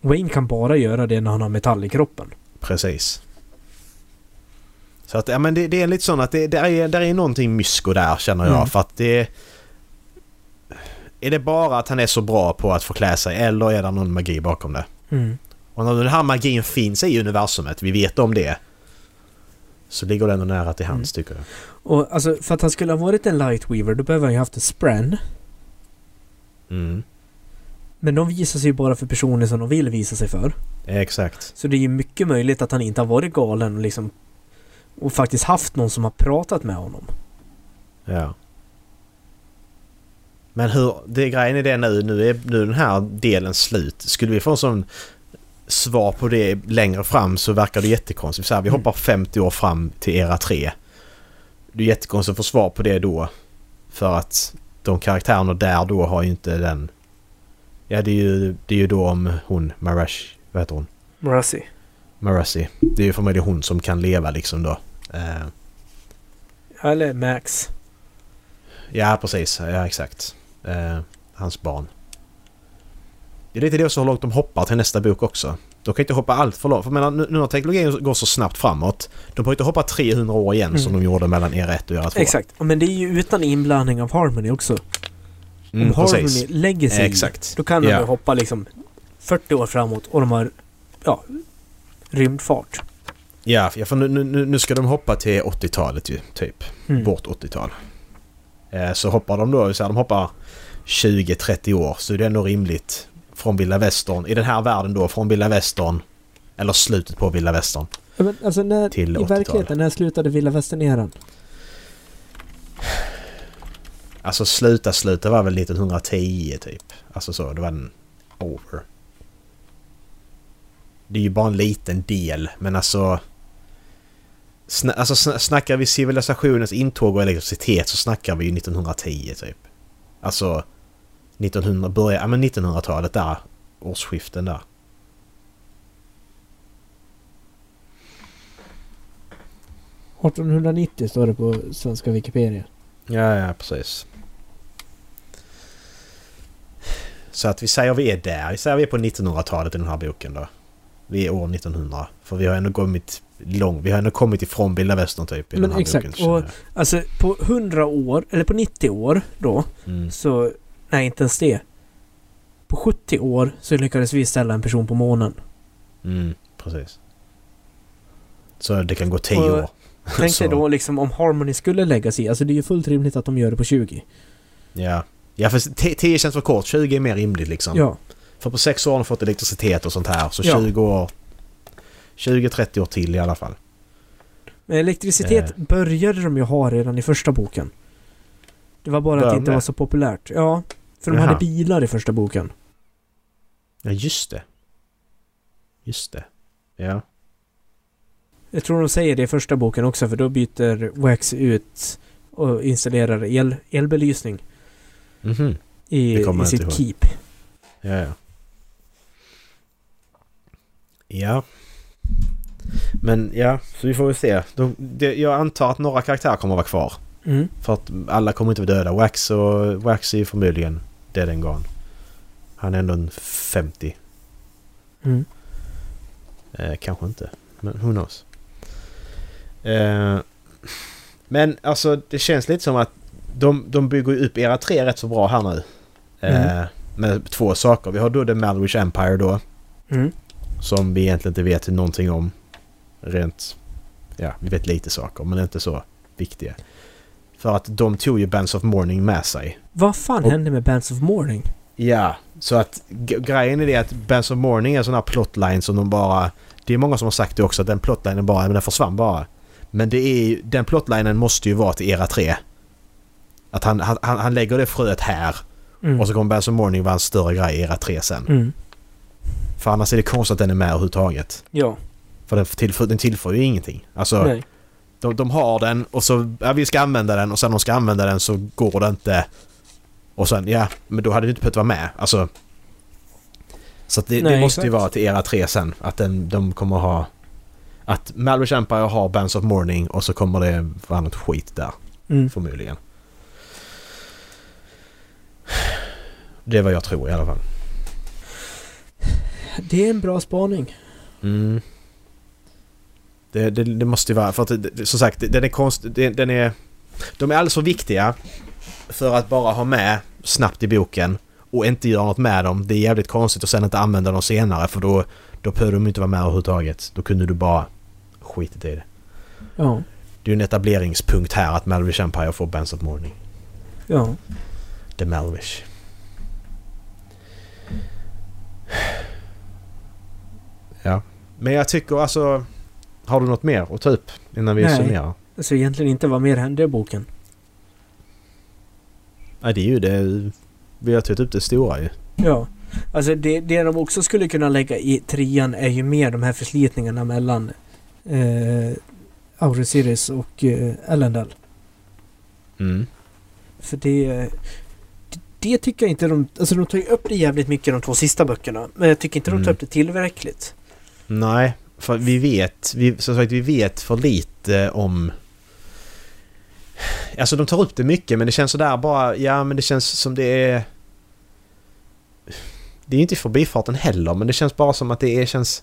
Speaker 1: Wayne kan bara göra det när han har metall i kroppen.
Speaker 2: Precis. Så att, ja men det, det är lite sån att det där är, där är någonting mysko där känner jag
Speaker 1: Mm.
Speaker 2: för att det... Är det bara att han är så bra på att förklä sig eller är det någon magi bakom det? Och när den här magin finns i universumet, vi vet om det. Så ligger det ändå nära till hands
Speaker 1: Mm.
Speaker 2: tycker jag.
Speaker 1: Och alltså för att han skulle ha varit en lightweaver då behöver han ju haft en spren.
Speaker 2: Mm.
Speaker 1: Men de visar sig ju bara för personer som de vill visa sig för.
Speaker 2: Exakt.
Speaker 1: Så det är ju mycket möjligt att han inte har varit galen och liksom... Och faktiskt haft någon som har pratat med honom.
Speaker 2: Ja. Men hur, det grejen är det nu, nu är nu är den här delen slut. Skulle vi få en sån svar på det längre fram så verkar det jättekonstigt. Så här, vi
Speaker 1: Mm.
Speaker 2: hoppar 50 år fram till era tre. Det är jättekonstigt att få svar på det då. För att de karaktärerna där då har ju inte den... Ja det är ju, det är ju då om hon, Marash, vad heter hon?
Speaker 1: Morassi.
Speaker 2: Marassi. Det är ju förmodligen hon som kan leva liksom då. Eh,
Speaker 1: Eller Max.
Speaker 2: ja, precis. Ja, exakt. Eh, hans barn. Det är lite det också hur långt de hoppar till nästa bok också. De kan inte hoppa allt för långt. För jag menar, nu, nu när teknologin går så snabbt framåt. De får inte hoppa 300 år igen som
Speaker 1: Mm.
Speaker 2: de gjorde mellan era 1 och era 2.
Speaker 1: Exakt. Och Men det är ju utan inblandning av Harmony också. Om
Speaker 2: Mm,
Speaker 1: Harmony
Speaker 2: precis.
Speaker 1: lägger sig i,
Speaker 2: Exakt.
Speaker 1: Då kan de
Speaker 2: Ja.
Speaker 1: ju hoppa liksom 40 år framåt och de har... Ja. Rymdfart.
Speaker 2: Ja, för nu, nu, nu nu ska de hoppa till 80-talet ju, typ.
Speaker 1: Mm.
Speaker 2: vårt 80-tal. Eh, Så hoppar de då, så här, de hoppar 20-30 år så det är ändå rimligt. Från vilda västern, i den här världen då, från vilda västern. Eller slutet på vilda västern.
Speaker 1: Ja, Men alltså när,
Speaker 2: Till
Speaker 1: i
Speaker 2: 80-talet.
Speaker 1: verkligheten, när slutade Villa Västerneran?
Speaker 2: Alltså sluta sluta var väl 1910 typ. Alltså så, det var en over. Det är ju bara en liten del men alltså... Sna- alltså sn- snackar vi civilisationens intåg och elektricitet så snackar vi ju 1910 typ. Alltså... 1900, börja, ja men 1900-talet där. Årsskiften där.
Speaker 1: Ja. 1890 står det på svenska Wikipedia.
Speaker 2: Ja, ja precis. Så att vi säger vi är där. Vi säger vi är på 1900-talet i den här boken då. Vi är år 1900. För vi har ändå kommit lång. Vi har ändå kommit ifrån vilda västern typ i
Speaker 1: Men
Speaker 2: den här
Speaker 1: exakt,
Speaker 2: boken. känner
Speaker 1: och- Alltså på 100 år, eller på 90 år då,
Speaker 2: jag. Mm.
Speaker 1: så... Nej, inte ens det. På 70 år så lyckades vi ställa en person på månen.
Speaker 2: Mm, precis. Så det kan gå 10
Speaker 1: Och-
Speaker 2: år.
Speaker 1: Tänk dig
Speaker 2: Så.
Speaker 1: då liksom om Harmony skulle lägga sig i. Alltså det är ju fullt rimligt att de gör det på 20.
Speaker 2: Ja. Ja för 10 10 känns för kort. 20 är mer rimligt liksom.
Speaker 1: Ja.
Speaker 2: För på 6 år har de fått elektricitet och sånt här. Så
Speaker 1: Ja.
Speaker 2: 20 år... 20-30 år till i alla fall.
Speaker 1: Men elektricitet
Speaker 2: Eh.
Speaker 1: började de ju ha redan i första boken. Det var bara att det
Speaker 2: Började
Speaker 1: inte var
Speaker 2: med?
Speaker 1: så populärt. Ja. För de hade
Speaker 2: Jaha.
Speaker 1: bilar i första boken.
Speaker 2: Ja just det. Just det. Ja.
Speaker 1: Jag tror de säger det i första boken också för då byter Wax ut och installerar el, elbelysning
Speaker 2: Mhm.
Speaker 1: i,
Speaker 2: Det
Speaker 1: i
Speaker 2: kommer jag
Speaker 1: sitt
Speaker 2: inte
Speaker 1: keep.
Speaker 2: Ja, ja. Ja. Men ja, så vi får väl se. De, det, jag antar att några karaktärer kommer vara kvar.
Speaker 1: Mm.
Speaker 2: För att alla kommer inte vara döda. Wax, och, Wax är ju förmodligen dead and gone. Han är ändå en 50.
Speaker 1: Mm.
Speaker 2: Eh, kanske inte. Men who knows. Eh, men alltså det känns lite som att de, de bygger ju upp era tre rätt så bra här nu. Eh, Med två saker. Vi har då The Malwish Empire då.
Speaker 1: Mm.
Speaker 2: Som vi egentligen inte vet någonting om. Rent... Ja, vi vet lite saker men inte så viktiga. För att de tog ju Bands of Morning med sig.
Speaker 1: Vad fan
Speaker 2: Och-
Speaker 1: hände med Bands of Morning?
Speaker 2: Ja, så att g- grejen är det att Bands of Morning är en sån här plotline som de bara... Det är många som har sagt det också, att den plotlinen bara, men den försvann bara. Men det är ju- den plotlinen måste ju vara till era tre. Att han, han, han han lägger det fröet här
Speaker 1: Mm.
Speaker 2: och så kommer Bands of Morning vara en större grej i era tre sen.
Speaker 1: Mm.
Speaker 2: För annars är det konstigt att den är med överhuvudtaget.
Speaker 1: Ja,
Speaker 2: För den tillför, den tillför ju ingenting. Alltså,
Speaker 1: nej.
Speaker 2: de, de har den och så, ja vi ska använda den och sen de ska använda den så går det inte. Och sen, ja, men då hade du inte behövt vara med. Alltså. Så att det, det
Speaker 1: Nej,
Speaker 2: måste ju
Speaker 1: exakt.
Speaker 2: vara till era tre sen. Att den, de kommer ha... Att Malwish Empire har Bands of Morning och så kommer det vara något skit där.
Speaker 1: Mm.
Speaker 2: Förmodligen. Det är vad jag tror i alla fall.
Speaker 1: Det är en bra spaning.
Speaker 2: Mm. Det, det, det måste ju vara... För att, det- det, som sagt, den är konst... det- Den är... De är alldeles för viktiga för att bara ha med snabbt i boken och inte göra något med dem. Det är jävligt konstigt och sen inte använda dem senare för då, då behöver de inte vara med överhuvudtaget. Då kunde du bara skitit i det.
Speaker 1: Ja,
Speaker 2: Det är ju en etableringspunkt här att Malvish Empire får Bands of Morning.
Speaker 1: ja.
Speaker 2: The Malvish. Ja. Men jag tycker alltså... Har du något mer att ta upp innan vi
Speaker 1: Nej.
Speaker 2: summerar?
Speaker 1: Alltså egentligen inte vad mer hände i boken.
Speaker 2: Nej, det är ju det... Vi har tagit upp det stora ju.
Speaker 1: Ja. Alltså det, det de också skulle kunna lägga i trean är ju mer de här förslitningarna mellan eh, Aurosiris och eh, Elendal.
Speaker 2: Mm.
Speaker 1: För det... det- Det tycker jag inte de... Alltså de tar ju upp det jävligt mycket de två sista böckerna. Men jag tycker inte de
Speaker 2: Mm.
Speaker 1: tar upp det tillräckligt.
Speaker 2: Nej, för vi vet... Vi, som sagt, vi vet för lite om... Alltså de tar upp det mycket men det känns sådär bara... Ja, men det känns som det är... Det är ju inte i förbifarten heller men det känns bara som att det är, känns...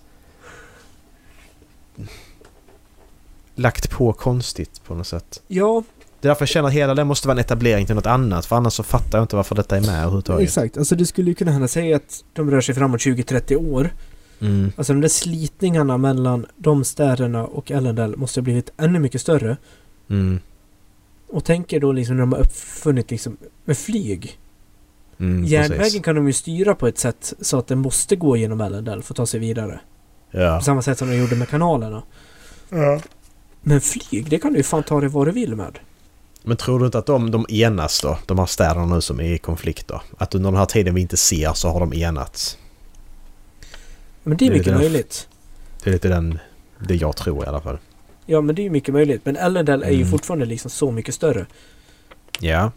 Speaker 2: Lagt på konstigt på något sätt.
Speaker 1: Ja,
Speaker 2: Det är därför jag känner att hela det måste vara en etablering till något annat för annars så fattar jag inte varför detta är med överhuvudtaget.
Speaker 1: exakt. Alltså du skulle ju kunna hända säga att de rör sig framåt 20-30 år.
Speaker 2: Mm.
Speaker 1: Alltså de där slitningarna mellan de städerna och Ellendale måste ha blivit ännu mycket större.
Speaker 2: Mm.
Speaker 1: Och tänker då liksom när de har uppfunnit liksom med flyg.
Speaker 2: Mm,
Speaker 1: Järnvägen
Speaker 2: precis.
Speaker 1: kan de ju styra på ett sätt så att den måste gå genom Ellendale för att ta sig vidare.
Speaker 2: Ja.
Speaker 1: På samma sätt som de gjorde med kanalerna. Men flyg, det kan du ju fan ta dig vad du vill med.
Speaker 2: Men tror du inte att de, de enas då? De här städerna nu som är i konflikt då? Att under den här tiden vi inte ser så har de enats?
Speaker 1: Men det är
Speaker 2: Det är
Speaker 1: mycket
Speaker 2: det.
Speaker 1: möjligt.
Speaker 2: Det är lite den... Det jag tror i alla fall.
Speaker 1: Ja, men det är ju mycket möjligt. Men Ellendale är ju
Speaker 2: Mm.
Speaker 1: fortfarande liksom så mycket större.
Speaker 2: Ja.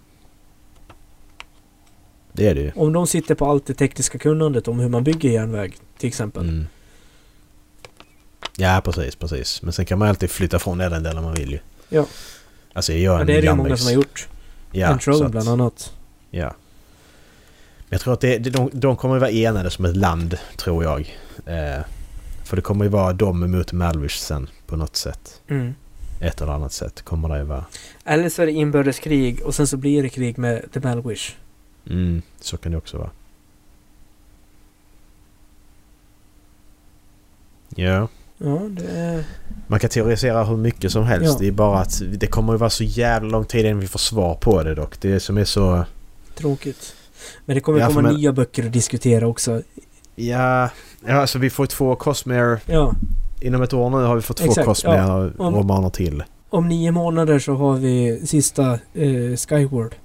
Speaker 2: Det är det ju.
Speaker 1: Om de sitter på allt det tekniska kunnandet om hur man bygger järnväg till exempel.
Speaker 2: Mm. Ja, precis, precis. Men sen kan man alltid flytta från den delen man vill ju.
Speaker 1: Ja.
Speaker 2: Alltså jag är
Speaker 1: Ja,
Speaker 2: en
Speaker 1: det är det ju
Speaker 2: järnvägs-
Speaker 1: många som har gjort.
Speaker 2: Ja, så
Speaker 1: Control
Speaker 2: att-
Speaker 1: bland annat.
Speaker 2: Ja. Men jag tror att det, det, de, de kommer vara enade som ett land, tror jag. Eh, för det kommer ju vara dem mot Malwish sen, på något sätt.
Speaker 1: Mm.
Speaker 2: ett eller annat sätt kommer det ju vara.
Speaker 1: Eller så är det inbördeskrig och sen så blir det krig med The Malwish.
Speaker 2: Mm. Så kan det också vara. Ja.
Speaker 1: Ja, det är...
Speaker 2: Man kan teorisera hur mycket som helst.
Speaker 1: Ja.
Speaker 2: Det är bara att det kommer ju vara så jävla lång tid innan vi får svar på det dock. Det som är så...
Speaker 1: Tråkigt. Men det kommer
Speaker 2: Ja,
Speaker 1: komma
Speaker 2: men-
Speaker 1: nya böcker att diskutera också.
Speaker 2: Ja, ja alltså vi får två Cosmere...
Speaker 1: Ja,
Speaker 2: Inom ett år nu har vi fått två
Speaker 1: Exakt, ja. Om-
Speaker 2: Cosmere-romaner till.
Speaker 1: om nio månader så har vi sista eh, Skyward.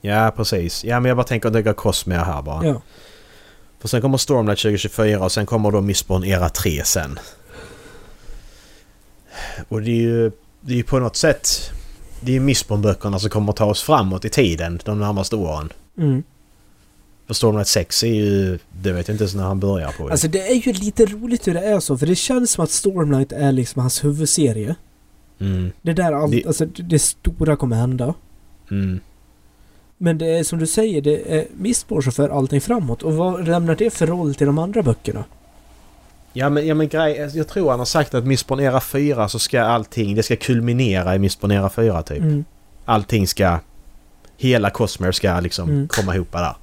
Speaker 2: Ja, precis. Ja, men jag bara tänker att lägga Cosmere här bara.
Speaker 1: Ja.
Speaker 2: För sen kommer Stormlight 2024 och sen kommer då Mistborn Era 3 sen. Och det är ju, det är ju på något sätt... Det är ju Mistborn-böckerna som kommer ta oss framåt i tiden de närmaste åren.
Speaker 1: Mm.
Speaker 2: För Stormlight 6 är ju... Det vet jag inte ens när han börjar på.
Speaker 1: Alltså det är ju lite roligt hur det är så, för det känns som att Stormlight är liksom hans huvudserie.
Speaker 2: mm,
Speaker 1: Det där allt,
Speaker 2: Det-
Speaker 1: alltså det, det stora kommer hända.
Speaker 2: mm,
Speaker 1: Men det är som du säger, det är Mistborn som för allting framåt. Och vad lämnar det för roll till de andra böckerna?
Speaker 2: ja, men, ja, men grej, jag tror han har sagt att Mistborn Era 4 så ska allting... Det ska kulminera i Mistborn Era 4 typ.
Speaker 1: Mm.
Speaker 2: allting ska... Hela Cosmere ska liksom
Speaker 1: Mm.
Speaker 2: komma ihop där.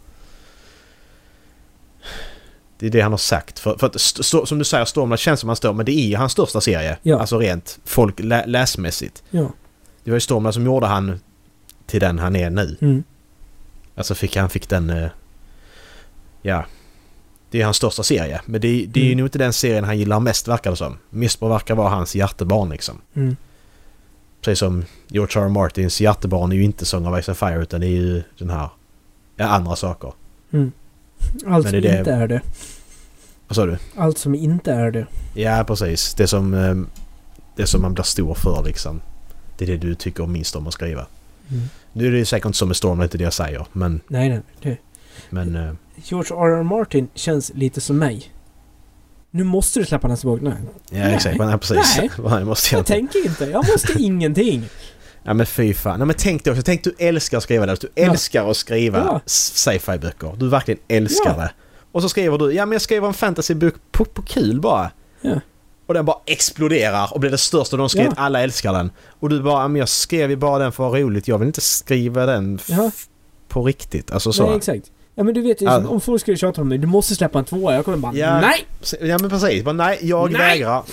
Speaker 2: Det är det han har sagt. För, för att, st- st- som du säger, Stormlight känns som han står, men det är ju hans största serie.
Speaker 1: Ja.
Speaker 2: Alltså rent folk lä- läsmässigt.
Speaker 1: Ja.
Speaker 2: Det var ju Stormlight som gjorde han till den han är nu.
Speaker 1: Mm.
Speaker 2: Alltså fick han fick den eh, ja, det är hans största serie. Men det, det är ju
Speaker 1: Mm.
Speaker 2: nog inte den serien han gillar mest verkar det som. Mistborn verkar vara hans hjärtebarn liksom.
Speaker 1: Mm.
Speaker 2: Precis som George R. R. Martins hjärtebarn är ju inte Song of Ice and Fire utan det är ju den här, ja, andra saker.
Speaker 1: Allt
Speaker 2: Men
Speaker 1: som
Speaker 2: det är det-
Speaker 1: inte är det.
Speaker 2: Vad sa du?
Speaker 1: Allt som inte är det.
Speaker 2: Ja, precis. Det som, eh, det som man blir stor för liksom. Det är det du tycker minst om att skriva.
Speaker 1: Mm.
Speaker 2: Nu är det ju säkert inte som med Storm, det är inte det jag säger. Men,
Speaker 1: Nej, nej. Det.
Speaker 2: men eh,
Speaker 1: George R.R. Martin känns lite som mig. Nu måste du släppa nästa bok. Nej.
Speaker 2: ja,
Speaker 1: Nej.
Speaker 2: exakt. Nej, precis.
Speaker 1: Nej.
Speaker 2: Nej, måste jag
Speaker 1: Jag
Speaker 2: inte.
Speaker 1: tänker inte. Jag måste ingenting.
Speaker 2: Ja, men fy fan. Nej, men tänk dig också. Tänk du älskar att skriva det. Du
Speaker 1: Ja.
Speaker 2: älskar att skriva
Speaker 1: Ja.
Speaker 2: s- sci-fi-böcker. Du verkligen älskar
Speaker 1: Ja.
Speaker 2: det. Och så skriver du, ja men jag skriver en fantasybok på, på kul bara.
Speaker 1: Ja.
Speaker 2: Och den bara exploderar och blir det största de skrivit.
Speaker 1: Ja.
Speaker 2: Alla älskar den. Och du bara, ja, men jag skrev ju bara den för att ha roligt. Jag vill inte skriva den f-
Speaker 1: Ja.
Speaker 2: på riktigt. Alltså så.
Speaker 1: Nej, exakt. Ja men du vet, ju,
Speaker 2: Ja.
Speaker 1: om folk skulle tjata om mig, du måste släppa en tvåa. Jag kommer bara
Speaker 2: Ja.
Speaker 1: NEJ!
Speaker 2: Så- Ja men precis. Bara, nej, jag
Speaker 1: Nej!
Speaker 2: vägrar.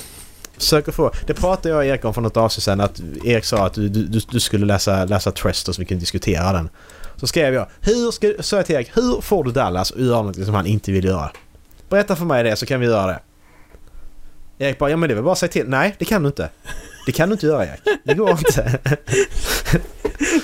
Speaker 2: Försök att få. Det pratade jag och Erik om för något avsnitt sedan. Att Erik sa att du, du, du- du skulle läsa, läsa Tresters, vi kunde diskutera den. Så skrev jag, hur ska, sa jag till Erik, hur får du Dallas att göra något som han inte vill göra? Berätta för mig det så kan vi göra det. Erik bara, ja men det är väl bara att säga till. Nej, det kan du inte. Det kan du inte göra Erik. Det går inte.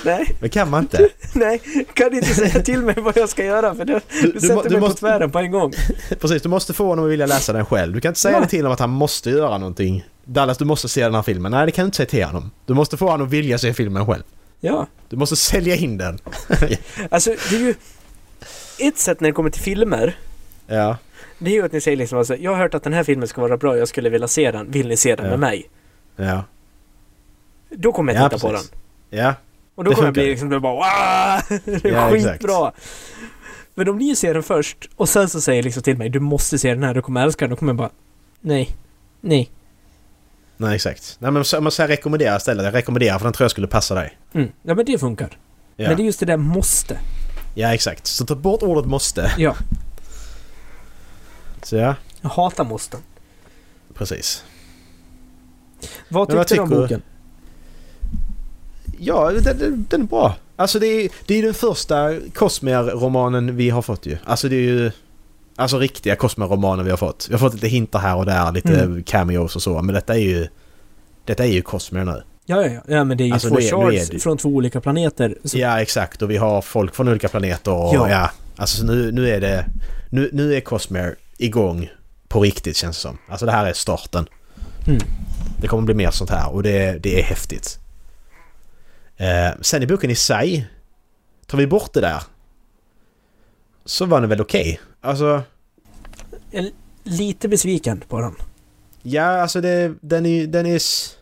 Speaker 1: Nej,
Speaker 2: Det kan man inte.
Speaker 1: nej. Kan du inte säga till mig vad jag ska göra för du,
Speaker 2: Du, du, må- du, måste,
Speaker 1: tvären på en gång.
Speaker 2: Precis, du måste få honom att vilja läsa den själv. Du kan inte säga
Speaker 1: Nej.
Speaker 2: det till honom att han måste göra någonting. Dallas, du måste se den här filmen. Nej, det kan du inte säga till honom. Du måste få honom att vilja se filmen själv.
Speaker 1: Ja.
Speaker 2: Du måste sälja in den.
Speaker 1: Alltså, det är ju... Ett sätt när det kommer till filmer,
Speaker 2: Ja,
Speaker 1: det är ju att ni säger liksom alltså, jag har hört att den här filmen ska vara bra, jag skulle vilja se den, vill ni se den
Speaker 2: Ja.
Speaker 1: med mig?
Speaker 2: ja.
Speaker 1: Då kommer jag
Speaker 2: ja,
Speaker 1: titta på den.
Speaker 2: precis. Ja,
Speaker 1: Och då
Speaker 2: Det
Speaker 1: kommer jag
Speaker 2: funkar.
Speaker 1: bli liksom bara wow! Det är
Speaker 2: Ja, exakt.
Speaker 1: skitbra! Men om ni ser den först och sen så säger liksom till mig du måste se den här, du kommer älska den, då kommer jag bara nej, nej.
Speaker 2: nej exakt. Nej men så- om man säger rekommendera istället. Jag rekommenderar för den tror jag skulle passa dig.
Speaker 1: Mm. Ja men det funkar.
Speaker 2: Ja,
Speaker 1: Men det är just det där måste.
Speaker 2: ja exakt. Så ta bort ordet måste.
Speaker 1: Ja.
Speaker 2: Så ja,
Speaker 1: Jag hatar måsten.
Speaker 2: precis.
Speaker 1: Vad
Speaker 2: Men
Speaker 1: tyckte
Speaker 2: vad
Speaker 1: du om
Speaker 2: tycker du?
Speaker 1: boken?
Speaker 2: Ja, den, den, den är bra. Alltså det är, det är ju den första Cosmer-romanen vi har fått ju. Alltså det är ju... Alltså riktiga Cosmer-romaner vi har fått. Vi har fått lite hintar här och där, lite
Speaker 1: Mm.
Speaker 2: cameos och så. Men detta är ju... Detta är ju Cosmer nu.
Speaker 1: Ja, ja, ja. ja men det är ju
Speaker 2: Alltså,
Speaker 1: två
Speaker 2: nu är- nu
Speaker 1: shards
Speaker 2: är det-
Speaker 1: från två olika planeter. Så,
Speaker 2: Ja, exakt. Och vi har folk från olika planeter och
Speaker 1: Ja.
Speaker 2: ja. Alltså så nu, nu är det... Nu, nu är Cosmer igång på riktigt känns det som. Alltså det här är starten.
Speaker 1: Mm.
Speaker 2: Det kommer bli mer sånt här och det, det är häftigt. Eh, sen i boken i sig, tar vi bort det där så var den väl okej. Alltså,
Speaker 1: Lite besviken på den.
Speaker 2: ja alltså det, den är den är... s-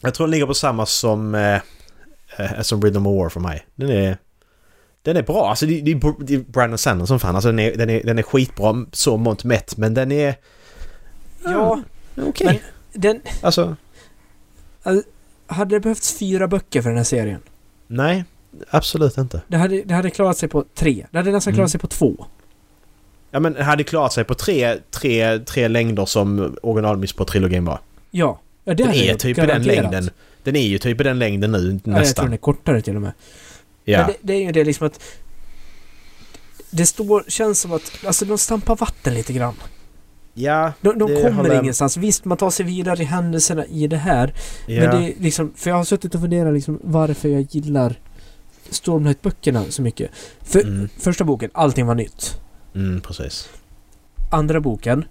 Speaker 2: Jag tror den ligger på samma som, eh, eh, som Rhythm of War för mig. Den är... Den är bra, alltså det, det, är Br- det är Brandon Sanderson som fan. Alltså den är, den är, den är skitbra så mått mätt men den är
Speaker 1: Ja,
Speaker 2: okej.
Speaker 1: Men- den...
Speaker 2: Alltså,
Speaker 1: Hade det behövts fyra böcker för den här serien?
Speaker 2: nej. Absolut inte.
Speaker 1: Det hade, det hade klarat sig på tre. Det hade nästan
Speaker 2: Mm.
Speaker 1: klarat sig på två.
Speaker 2: Ja men hade klarat sig på tre, tre, tre längder som originalmiss på trilogin var.
Speaker 1: Ja. ja det
Speaker 2: Den
Speaker 1: hade
Speaker 2: är
Speaker 1: jag
Speaker 2: typ i den
Speaker 1: garanterat.
Speaker 2: längden. Den är ju typ i den längden nu
Speaker 1: Ja, jag tror den
Speaker 2: nästan.
Speaker 1: är kortare till och med. Men
Speaker 2: Ja,
Speaker 1: det, det är ju det liksom att... Det står, känns som att, alltså de stampar vatten lite grann.
Speaker 2: ja,
Speaker 1: De, de
Speaker 2: Det håller
Speaker 1: kommer
Speaker 2: jag-
Speaker 1: ingenstans. Visst, man tar sig vidare i händelserna i det här.
Speaker 2: ja.
Speaker 1: Men det är liksom, för jag har suttit och funderat liksom varför jag gillar Stormlight-böckerna så mycket. För
Speaker 2: Mm,
Speaker 1: första boken, allting var nytt.
Speaker 2: mm, precis.
Speaker 1: Andra boken,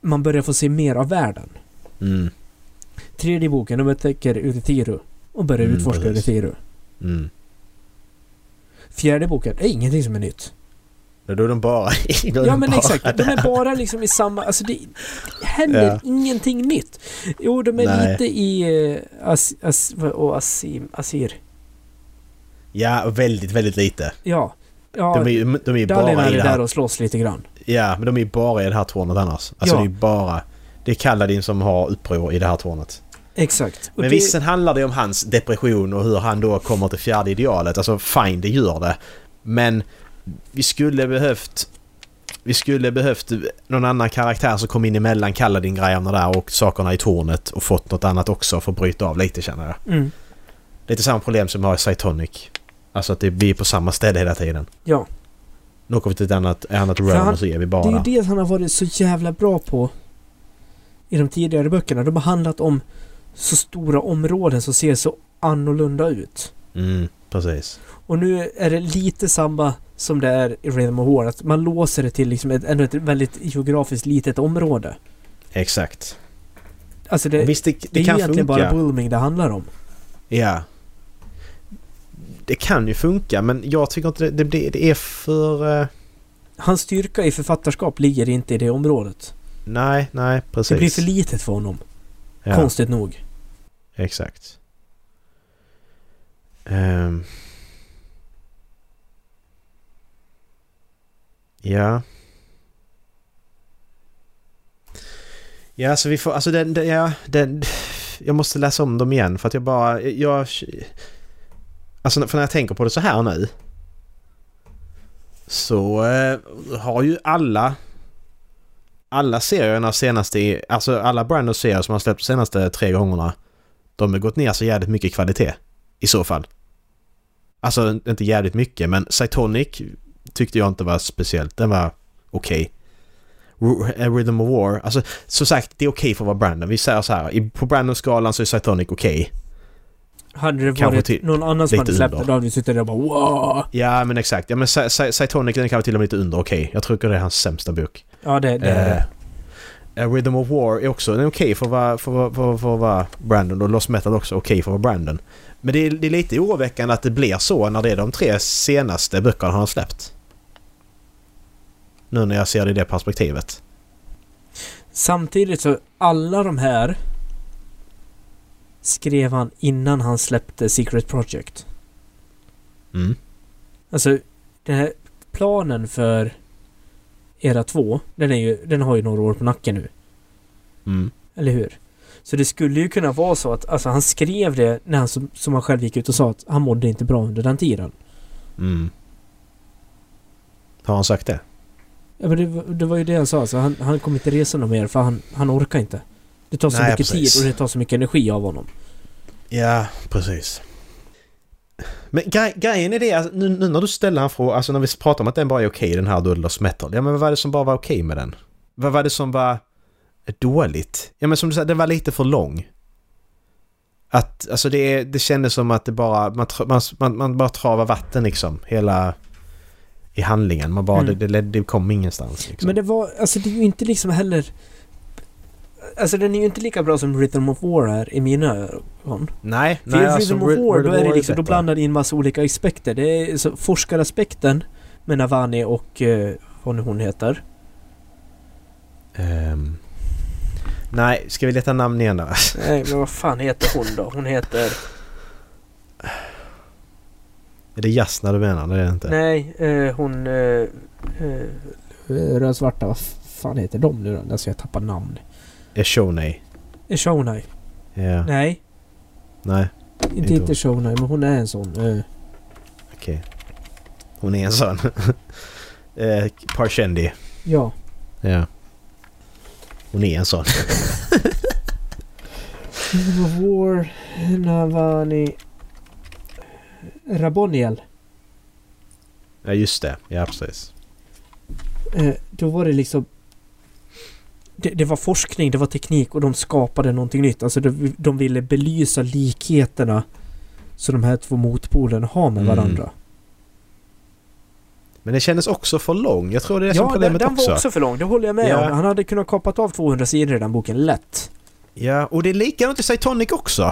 Speaker 1: man börjar få se mer av världen.
Speaker 2: Mm,
Speaker 1: Tredje boken, de upptäcker Uritiru och börjar
Speaker 2: Mm,
Speaker 1: utforska
Speaker 2: precis.
Speaker 1: Uritiru.
Speaker 2: mm.
Speaker 1: Fjärde boken, det är ingenting som är nytt.
Speaker 2: Då är de bara... då är
Speaker 1: Ja
Speaker 2: de
Speaker 1: men
Speaker 2: bara
Speaker 1: exakt, de
Speaker 2: där.
Speaker 1: är bara liksom i samma, alltså det händer
Speaker 2: Ja.
Speaker 1: ingenting nytt. Jo, de är
Speaker 2: Nej.
Speaker 1: lite i eh, as, as, och Asim, Asir.
Speaker 2: Ja, och väldigt, väldigt lite.
Speaker 1: Ja.
Speaker 2: De
Speaker 1: Ja,
Speaker 2: är ju de är ju
Speaker 1: Dalin
Speaker 2: bara i
Speaker 1: är
Speaker 2: det
Speaker 1: där
Speaker 2: här...
Speaker 1: och slåss lite grann.
Speaker 2: Ja, men de är ju bara i det här tornet annars. Alltså
Speaker 1: Ja.
Speaker 2: det är ju bara... Det är Kaladin som har uppror i det här tornet.
Speaker 1: Exakt. Och
Speaker 2: Men
Speaker 1: det-
Speaker 2: visst, sen handlar det om hans depression och hur han då kommer till fjärde idealet. Alltså fine, det gör det. Men vi skulle behövt... Vi skulle behövt någon annan karaktär som kom in emellan Kaladin-grejerna där och sakerna i tornet och fått något annat också för att bryta av lite känner jag.
Speaker 1: Mm.
Speaker 2: Lite samma problem som jag har i Cytonic. Alltså att det, vi är på samma ställe hela tiden.
Speaker 1: Ja.
Speaker 2: Nu åker vi till ett annat, ett annat
Speaker 1: För
Speaker 2: realm
Speaker 1: han-
Speaker 2: och så är vi
Speaker 1: Det är
Speaker 2: bara
Speaker 1: ju
Speaker 2: där.
Speaker 1: det han har varit så jävla bra på i de tidigare böckerna. De har handlat om så stora områden som ser så annorlunda ut.
Speaker 2: Mm, precis.
Speaker 1: Och nu är det lite samma som det är i Rhythm of War. Att man låser det till liksom ett, ändå ett väldigt geografiskt litet område.
Speaker 2: Exakt.
Speaker 1: Alltså det,
Speaker 2: Och
Speaker 1: det,
Speaker 2: Visst, det, det,
Speaker 1: är
Speaker 2: kan
Speaker 1: egentligen
Speaker 2: funka.
Speaker 1: bara Bulming det handlar om.
Speaker 2: Ja. Det kan ju funka men jag tycker inte det, det, blir- det är för... eh,
Speaker 1: Hans styrka i författarskap ligger inte i det området.
Speaker 2: Nej, nej precis.
Speaker 1: Det blir för litet för honom.
Speaker 2: ja,
Speaker 1: Konstigt nog.
Speaker 2: Exakt. Ehm. Ja. Ja, så vi får... Alltså den... den ja, den... Jag måste läsa om dem igen för att jag bara... Jag... Alltså för när jag tänker på det så här nu. Så eh, har ju alla... Alla serierna senaste... i- Alltså alla Brandos serier som har släppt senaste tre gångerna. De har gått ner så jävligt mycket i kvalitet. I så fall. Alltså inte jävligt mycket men Cytonic tyckte jag inte var speciellt. Den var okej. R- Rhythm of War. Alltså som sagt det är okej för att vara Brandon. Vi säger så här. i- På Brandon-skalan så är Cytonic okej.
Speaker 1: Hade det
Speaker 2: Kanske
Speaker 1: varit
Speaker 2: till-
Speaker 1: någon annan som
Speaker 2: lite
Speaker 1: hade släppt det
Speaker 2: under.
Speaker 1: då hade vi suttit där och bara wow.
Speaker 2: Ja men exakt. Ja men Cy- Cy- Cytonic den är kanske till och med lite under okej. Jag tror det är hans sämsta bok.
Speaker 1: Ja, det, det är det.
Speaker 2: Eh, eh, Rhythm of War är också den är okej för att vara- för att vara- för att- för att vara Brandon och Lost Metal också okej för att vara Brandon. Men det är, det är lite oroväckande att det blir så när det är de tre senaste böckerna han har släppt. Nu när jag ser det i det perspektivet.
Speaker 1: Samtidigt så, alla de här skrev han innan han släppte Secret Project.
Speaker 2: Mm.
Speaker 1: Alltså, den här planen för era två, den, är ju, den har ju några år på nacken nu.
Speaker 2: Mm.
Speaker 1: Eller hur? Så det skulle ju kunna vara så att alltså, han skrev det när han, som, som han själv gick ut och sa att han mådde inte bra under den tiden.
Speaker 2: Mm. Har han sagt det?
Speaker 1: Ja, men det, var- det var ju det han sa. Alltså, han, han kommer inte resa någon mer för han, han orkar inte. Det tar så
Speaker 2: Nej,
Speaker 1: mycket
Speaker 2: precis.
Speaker 1: tid och det tar så mycket energi av honom.
Speaker 2: Ja, precis. Men gre- grejen är det, alltså, nu, nu när du ställer en fråga, alltså när vi pratar om att den bara är okej den här då Lost Metal. Ja men vad var det som bara var okej med den? Vad var det som var dåligt? Ja men som du sa, den var lite för lång. Att, alltså det, det kändes som att det bara, man, tra- man, man, man bara travar vatten liksom. Hela, i handlingen. Man bara,
Speaker 1: Mm.
Speaker 2: det, det, ledde- det kom ingenstans liksom.
Speaker 1: Men det var, alltså det är ju inte liksom heller... Alltså den är ju inte lika bra som Rhythm of War är i mina ögon.
Speaker 2: nej,
Speaker 1: För
Speaker 2: nej. alltså,
Speaker 1: i Rhythm of War, då är det liksom, då
Speaker 2: bättre.
Speaker 1: blandar det in massa olika aspekter. Det är så forskaraspekten med Navani och eh, vad nu hon heter.
Speaker 2: Ehm. nej, ska vi leta namn igen då?
Speaker 1: Nej men vad fan heter hon då? Hon heter...
Speaker 2: Är det Jasna du menar? Det är det inte.
Speaker 1: Nej, eh, hon... Eh, eh, Rödsvarta, vad fan heter de nu då? Där ska jag tappa namn.
Speaker 2: Är Shoney.
Speaker 1: Eh, Shonai.
Speaker 2: Ja. Nej.
Speaker 1: Nej, inte,
Speaker 2: Inte
Speaker 1: inte
Speaker 2: hon.
Speaker 1: Shonai, men hon är en sån. Eh,
Speaker 2: Okej. Hon är en sån. eh, Parshendi.
Speaker 1: ja.
Speaker 2: Ja. Hon är en sån.
Speaker 1: Civil War, Navani... Raboniel.
Speaker 2: Ja just det. Ja precis.
Speaker 1: Eh, då var det liksom... Det, det var forskning, det var teknik och de skapade någonting nytt. Alltså de, de ville belysa likheterna som de här två motpolerna har med
Speaker 2: Mm.
Speaker 1: varandra.
Speaker 2: Men det kändes också för lång. Jag tror det är det som
Speaker 1: Ja, den,
Speaker 2: är problemet
Speaker 1: den
Speaker 2: också.
Speaker 1: var också för lång. Det håller jag med
Speaker 2: Ja.
Speaker 1: om. Han hade kunnat kapat av 200 sidor i den boken lätt.
Speaker 2: Ja, och det är likadant i Cytonic också.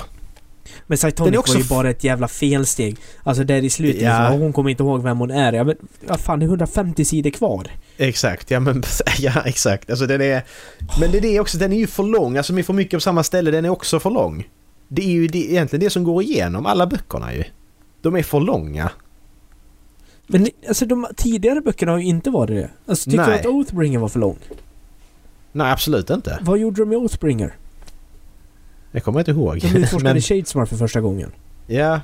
Speaker 1: Men
Speaker 2: Den
Speaker 1: Saitonic
Speaker 2: är också
Speaker 1: var ju
Speaker 2: f-
Speaker 1: bara ett jävla felsteg. Alltså där i slutet,
Speaker 2: Ja.
Speaker 1: liksom, hon kommer inte ihåg vem hon är. Ja, men, ja, fan, det är 150 sidor kvar.
Speaker 2: Exakt, ja men ja exakt. Alltså den är... Men det är det också, den är ju för lång. Alltså vi får mycket på samma ställe, den är också för lång. Det är ju det, egentligen det som går igenom alla böckerna ju. De är för långa.
Speaker 1: Men alltså, de tidigare böckerna har ju inte varit det. Alltså, tycker du
Speaker 2: Nej.
Speaker 1: att Oathbringer var för lång?
Speaker 2: Nej, absolut inte.
Speaker 1: Vad gjorde de med Oathbringer?
Speaker 2: Jag kommer inte ihåg.
Speaker 1: De utforskade
Speaker 2: Men-
Speaker 1: Shadesmar för första gången.
Speaker 2: Ja. Ja,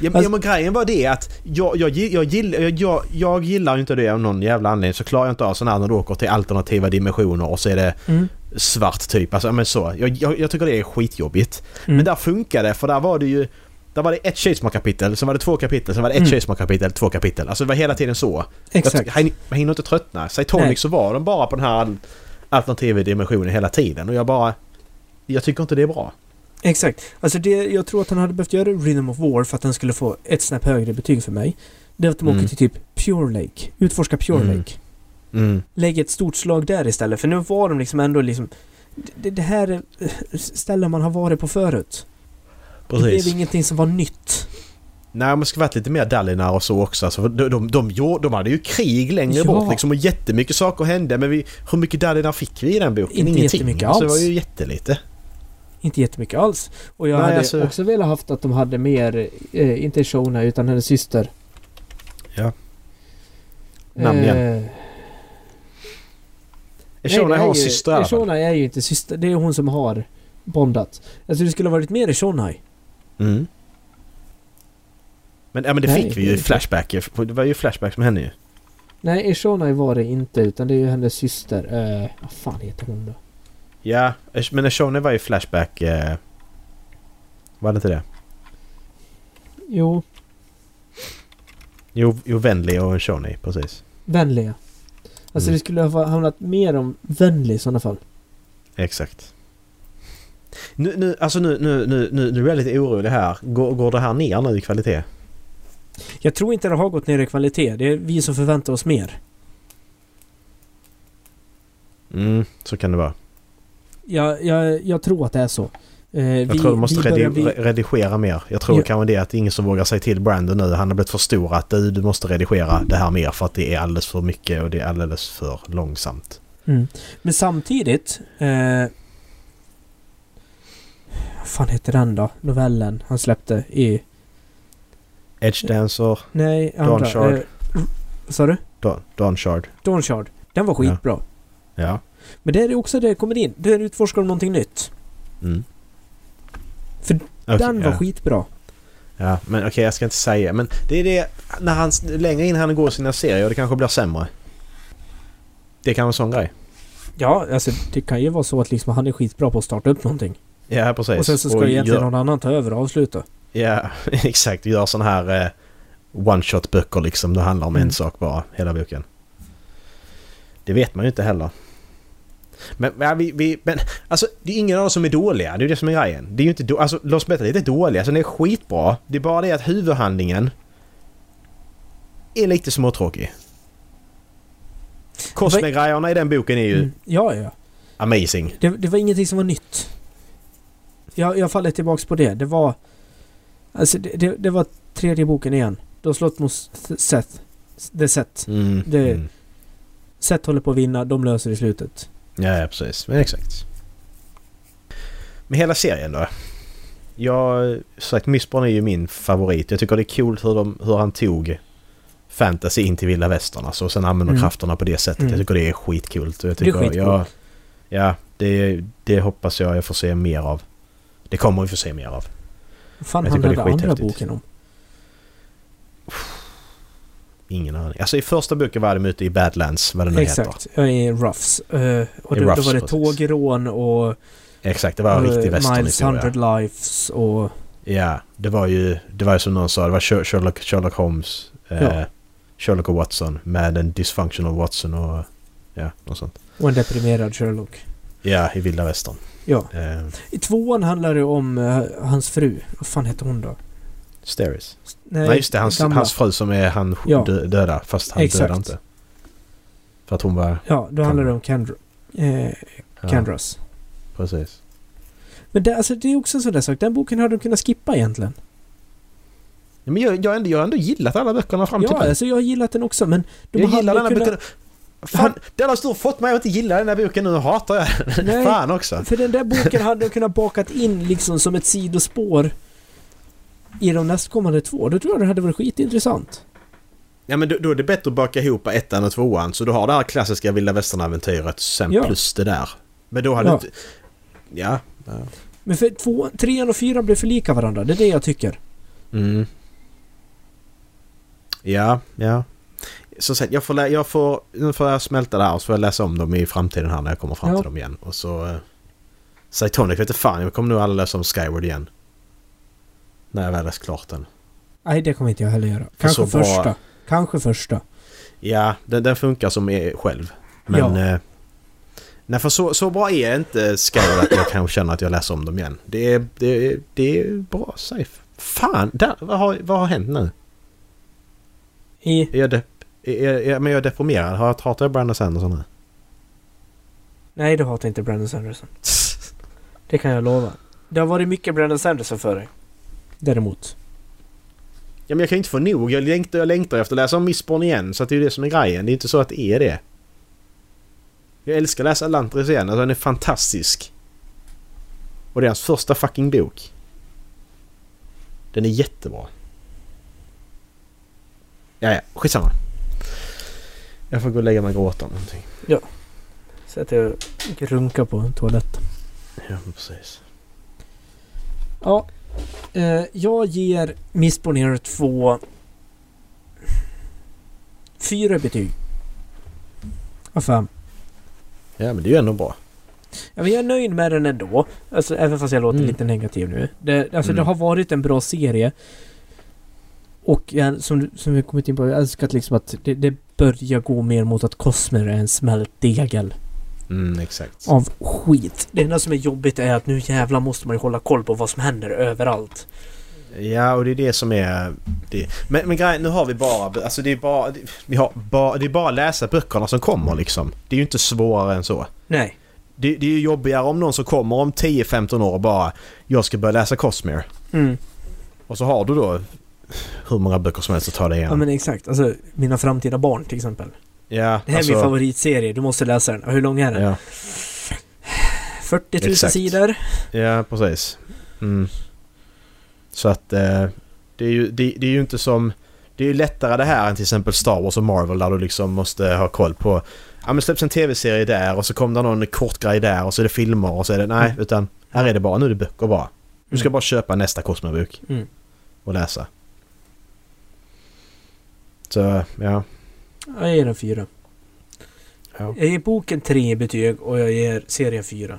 Speaker 2: men,
Speaker 1: Fast-
Speaker 2: ja, men grejen var det att jag, jag, gi- jag, gillar, jag, jag, jag gillar ju inte det av någon jävla anledning. Så klarar jag inte av sådana här när du åker till alternativa dimensioner och så är det
Speaker 1: Mm.
Speaker 2: svart typ. Alltså, ja, men så. Jag, jag, jag tycker det är skitjobbigt.
Speaker 1: Mm.
Speaker 2: Men där funkar det för där var det ju... Där var det ett Shadesmar-kapitel, sen var det två kapitel, sen var det ett
Speaker 1: Mm.
Speaker 2: Shadesmar-kapitel, två kapitel. Alltså det var hela tiden så.
Speaker 1: Exakt.
Speaker 2: Jag, jag hinner inte tröttna.
Speaker 1: Nej.
Speaker 2: Cytonic så var de bara på den här al- alternativa dimensionen hela tiden och jag bara... Jag tycker inte det är bra.
Speaker 1: Exakt. Alltså det, jag tror att han hade behövt göra Rhythm of War för att den skulle få ett snäpp högre betyg för mig. Det är att de
Speaker 2: Mm.
Speaker 1: åker till typ Pure Lake. Utforska Pure
Speaker 2: Mm.
Speaker 1: Lake. Lägg ett stort slag där istället. För nu var de liksom ändå liksom... Det, det här är eh, ställen man har varit på förut. Det
Speaker 2: Precis.
Speaker 1: blev ingenting som var nytt.
Speaker 2: Nej, man ska varit lite mer Dallinar och så också. Alltså, för de, de, de, gjorde- de hade ju krig längre
Speaker 1: Ja.
Speaker 2: bort liksom, och jättemycket saker hände. Men vi, hur mycket Dallinar fick vi i den boken?
Speaker 1: Inte
Speaker 2: Ingenting.
Speaker 1: jättemycket
Speaker 2: alltså, det var
Speaker 1: alls.
Speaker 2: ju jättelite.
Speaker 1: Inte jättemycket alls. Och jag
Speaker 2: Nej,
Speaker 1: hade
Speaker 2: alltså-
Speaker 1: också velat haft att de hade mer, eh, inte Shona utan hennes syster.
Speaker 2: Ja. Namn igen.
Speaker 1: Eh,
Speaker 2: Eshona har en syster i alla fall.
Speaker 1: Eshona är ju inte syster. Det är hon som har bondat. Alltså det skulle ha varit mer Eshonai.
Speaker 2: Mm. Men, ja, men det
Speaker 1: Nej,
Speaker 2: fick
Speaker 1: det
Speaker 2: vi
Speaker 1: är
Speaker 2: ju i
Speaker 1: inte.
Speaker 2: Flashback. Det var ju Flashback som hände ju.
Speaker 1: Nej, Eshonai var det inte utan det är ju hennes syster. Eh, vad fan heter hon då?
Speaker 2: Ja, Ash- men Ashone var ju Flashback... Eh, var det inte det?
Speaker 1: Jo,
Speaker 2: Jo, jo Venli och Ashone, precis.
Speaker 1: Vänliga. Alltså
Speaker 2: Mm.
Speaker 1: det skulle ha handlat mer om Vänlig i sådana fall.
Speaker 2: Exakt. Nu, nu, alltså nu, nu, nu, nu, nu är jag lite orolig här. Går, går det här ner nu i kvalitet?
Speaker 1: Jag tror inte det har gått ner i kvalitet. Det är vi som förväntar oss mer.
Speaker 2: Mm, så kan det vara.
Speaker 1: Jag, jag, jag tror att det är så. Eh,
Speaker 2: Jag tror du måste redi-
Speaker 1: börjar bli-
Speaker 2: re- redigera mer. Jag tror
Speaker 1: Ja.
Speaker 2: kanske det är att det är ingen som vågar säga till Brandon nu. Han har blivit för stor att du, du måste redigera det här mer för att det är alldeles för mycket och det är alldeles för långsamt.
Speaker 1: Mm. Men samtidigt... Eh, vad fan heter den då? Novellen han släppte i...
Speaker 2: Edge Dancer,
Speaker 1: Nej, andra.
Speaker 2: Dawn Shard.
Speaker 1: Eh, r- vad sa du?
Speaker 2: Dawn, Dawn Shard.
Speaker 1: Dawn Shard. Den var skitbra.
Speaker 2: Ja.
Speaker 1: Men där är också det jag kommer in. Där utforskar de någonting nytt.
Speaker 2: Mm.
Speaker 1: För
Speaker 2: Okej,
Speaker 1: den var
Speaker 2: ja.
Speaker 1: skitbra.
Speaker 2: Ja, men okej jag ska inte säga. Men det är det, när han, längre in han går i sina serier, det kanske blir sämre. Det kan vara en sån grej.
Speaker 1: Ja, alltså det kan ju vara så att liksom han är skitbra på att starta upp någonting.
Speaker 2: Ja, precis.
Speaker 1: Och sen så ska
Speaker 2: Och
Speaker 1: egentligen
Speaker 2: gör-
Speaker 1: någon annan ta över och avsluta.
Speaker 2: Ja, exakt. Gör sån här eh, one-shot böcker liksom. Det handlar om
Speaker 1: Mm.
Speaker 2: en sak bara, hela boken. Det vet man ju inte heller. Men, men, ja, vi, vi, men alltså, det är ingen av dem som är dåliga. Det är ju det som är grejen. Det är ju inte då, alltså, Lost Metal är inte dåliga. Alltså, den är skitbra. Det är bara det att huvudhandlingen är lite småtråkig. Cosme-grejerna i den boken är ju
Speaker 1: Mm. Ja, ja.
Speaker 2: amazing.
Speaker 1: Det, det var ingenting som var nytt. Jag, jag faller tillbaks på det. Det var... Alltså det, det, det var tredje boken igen. De har slått mot Seth. Det Seth.
Speaker 2: Mm.
Speaker 1: Det-
Speaker 2: Mm.
Speaker 1: Seth håller på att vinna. De löser i slutet.
Speaker 2: Ja, ja precis. Men exakt. Men hela serien då? Jag, som sagt, Mistborn är ju min favorit. Jag tycker det är coolt hur, de, hur han tog fantasy in till vilda västern alltså, och sen använder
Speaker 1: Mm.
Speaker 2: krafterna på det sättet.
Speaker 1: Mm.
Speaker 2: Jag tycker det är skitcoolt. och Jag
Speaker 1: Det är
Speaker 2: tycker,
Speaker 1: skitcoolt.
Speaker 2: Jag, ja, det, det hoppas jag jag får se mer av. Det kommer vi få se mer av.
Speaker 1: Vad fan
Speaker 2: Jag tycker
Speaker 1: handlade
Speaker 2: det är
Speaker 1: andra
Speaker 2: skithäftigt.
Speaker 1: boken om?
Speaker 2: Ingen aning. Alltså i första boken var de ute i Badlands, vad det nu heter.
Speaker 1: Exakt. Jag är Ruffs. Eh, och
Speaker 2: I
Speaker 1: då, då
Speaker 2: Ruffs,
Speaker 1: var det
Speaker 2: precis.
Speaker 1: tågrån och...
Speaker 2: Exakt, det var en
Speaker 1: eh,
Speaker 2: riktig
Speaker 1: Miles
Speaker 2: västernhistoria.
Speaker 1: 100 Lives och...
Speaker 2: Ja, det var ju det var ju som någon sa, det var Sher- Sherlock, Sherlock Holmes, eh,
Speaker 1: Ja.
Speaker 2: Sherlock och Watson med en dysfunctional Watson och ja, något sånt.
Speaker 1: Och en deprimerad Sherlock.
Speaker 2: Ja, i vilda västern.
Speaker 1: Ja.
Speaker 2: Eh,
Speaker 1: I tvåan handlar det om eh, hans fru. Vad fan hette hon då?
Speaker 2: Steris.
Speaker 1: Nej,
Speaker 2: Nej, just det, hans,
Speaker 1: gamla.
Speaker 2: hans fru som är han
Speaker 1: Ja.
Speaker 2: dö- döda, fast han
Speaker 1: Exakt.
Speaker 2: dödar inte. För att hon var...
Speaker 1: Ja, då handlar det om Kendra. Eh,
Speaker 2: Ja,
Speaker 1: Kendras.
Speaker 2: Precis.
Speaker 1: Men det, alltså, det är också en sån där sak. Den boken hade de kunnat skippa egentligen.
Speaker 2: Ja, Men jag, jag, har ändå, jag har ändå gillat alla böckerna fram till
Speaker 1: ja,
Speaker 2: nu.
Speaker 1: alltså jag har gillat den också men... De
Speaker 2: typ. Jag
Speaker 1: hade
Speaker 2: gillar den här
Speaker 1: kunnat-
Speaker 2: boken. Fan, den har stor fått mig att inte gilla den här boken nu och hatar jag den.
Speaker 1: Nej.
Speaker 2: Fan också.
Speaker 1: För den där boken hade de kunnat bakat in liksom som ett sidospår i de nästkommande två. Då tror jag det hade varit skitintressant.
Speaker 2: Ja men då, då är det bättre att baka ihop ettan och tvåan så du har det här klassiska vilda västern-äventyret sen
Speaker 1: Ja.
Speaker 2: plus det där. Men då hade
Speaker 1: Ja.
Speaker 2: du inte... Ja.
Speaker 1: Men för två, trean och fyran blev för lika varandra. Det är det jag tycker.
Speaker 2: Mm. Ja, ja. Som sagt, jag får, lä- jag får... Nu får jag smälta det här och så får jag läsa om dem i framtiden här när jag kommer fram
Speaker 1: Ja.
Speaker 2: till dem igen. Och så... eh, Cytonic vet inte fan, jag kommer nog aldrig läsa om Skyward igen. När jag väl läst klart den.
Speaker 1: Nej, det kommer inte jag heller göra. Kanske
Speaker 2: så bra-
Speaker 1: första. Kanske första.
Speaker 2: Ja, den, den funkar som är själv. Men...
Speaker 1: Ja.
Speaker 2: Eh, nej, för så, så bra är jag inte Skyrim att jag kanske känner att jag läser om dem igen. Det är, det är, det är bra safe. Fan! Där, vad, har, vad har hänt nu?
Speaker 1: I...
Speaker 2: Är jag, depp, är, är, är, men jag är deprimerad. Har jag hatar jag Brandon Sanderson nu?
Speaker 1: Nej, du hatar inte Brandon Sanderson. Det kan jag lova. Det har varit mycket Brandon Sanderson för dig. Däremot.
Speaker 2: Ja, men jag kan ju inte få nog. Jag längtar, jag längtar efter att läsa om Mistborn igen. Så att det är ju det som är grejen. Det är inte så att det är det. Jag älskar att läsa Lantris igen. Alltså, den är fantastisk. Och det är hans första fucking bok. Den är jättebra. Ja, ja. Skitsamma. Jag får gå och lägga mig och gråta om någonting.
Speaker 1: Så att jag runkar på en toalett.
Speaker 2: Ja, men precis.
Speaker 1: Ja. Eh, jag ger Mistborn Hero 2... Fyra betyg. Av fem.
Speaker 2: Ja, men det är ju ändå bra.
Speaker 1: Ja, men jag är nöjd med den ändå. Alltså, även fast jag låter
Speaker 2: Mm.
Speaker 1: lite negativ nu. Det, alltså, det
Speaker 2: Mm.
Speaker 1: har varit en bra serie. Och jag, som, du- som vi kommit in på, jag älskar att liksom att det, det börjar gå mer mot att Cosmer är en smält degel
Speaker 2: Mm, exakt.
Speaker 1: av skit. Det enda som är jobbigt är att nu jävlar måste man ju hålla koll på vad som händer överallt.
Speaker 2: Ja, och det är det som är... Det. Men, men grejen, nu har vi bara... Alltså det är bara... det- Vi har bara det är bara att läsa böckerna som kommer liksom. Det är ju inte svårare än så.
Speaker 1: Nej.
Speaker 2: Det, det är ju jobbigare om någon som kommer om 10-15 år och bara... Jag ska börja läsa Cosmere.
Speaker 1: Mm.
Speaker 2: Och så har du då hur många böcker som helst att ta dig
Speaker 1: Ja.
Speaker 2: igenom.
Speaker 1: men exakt. Alltså mina framtida barn till exempel.
Speaker 2: Ja, alltså,
Speaker 1: Det här är min favoritserie. Du måste läsa den. Hur lång är den?
Speaker 2: Ja,
Speaker 1: 40 000
Speaker 2: Exakt.
Speaker 1: sidor.
Speaker 2: ja precis. Mm. Så att... Eh, det, är ju, det, det är ju inte som... Det är ju lättare det här än till exempel Star Wars och Marvel där du liksom måste ha koll på... Ja men släpps en tv-serie där och så kom det någon kort grej där och så är det filmer och så är det... Nej, utan här är det bara. Nu är det böcker bara. Du ska
Speaker 1: Mm.
Speaker 2: bara köpa nästa Cosmobok
Speaker 1: Mm.
Speaker 2: och läsa. Så, ja.
Speaker 1: Jag ger den fyra.
Speaker 2: Ja,
Speaker 1: Jag ger boken tre betyg och jag ger serien fyra.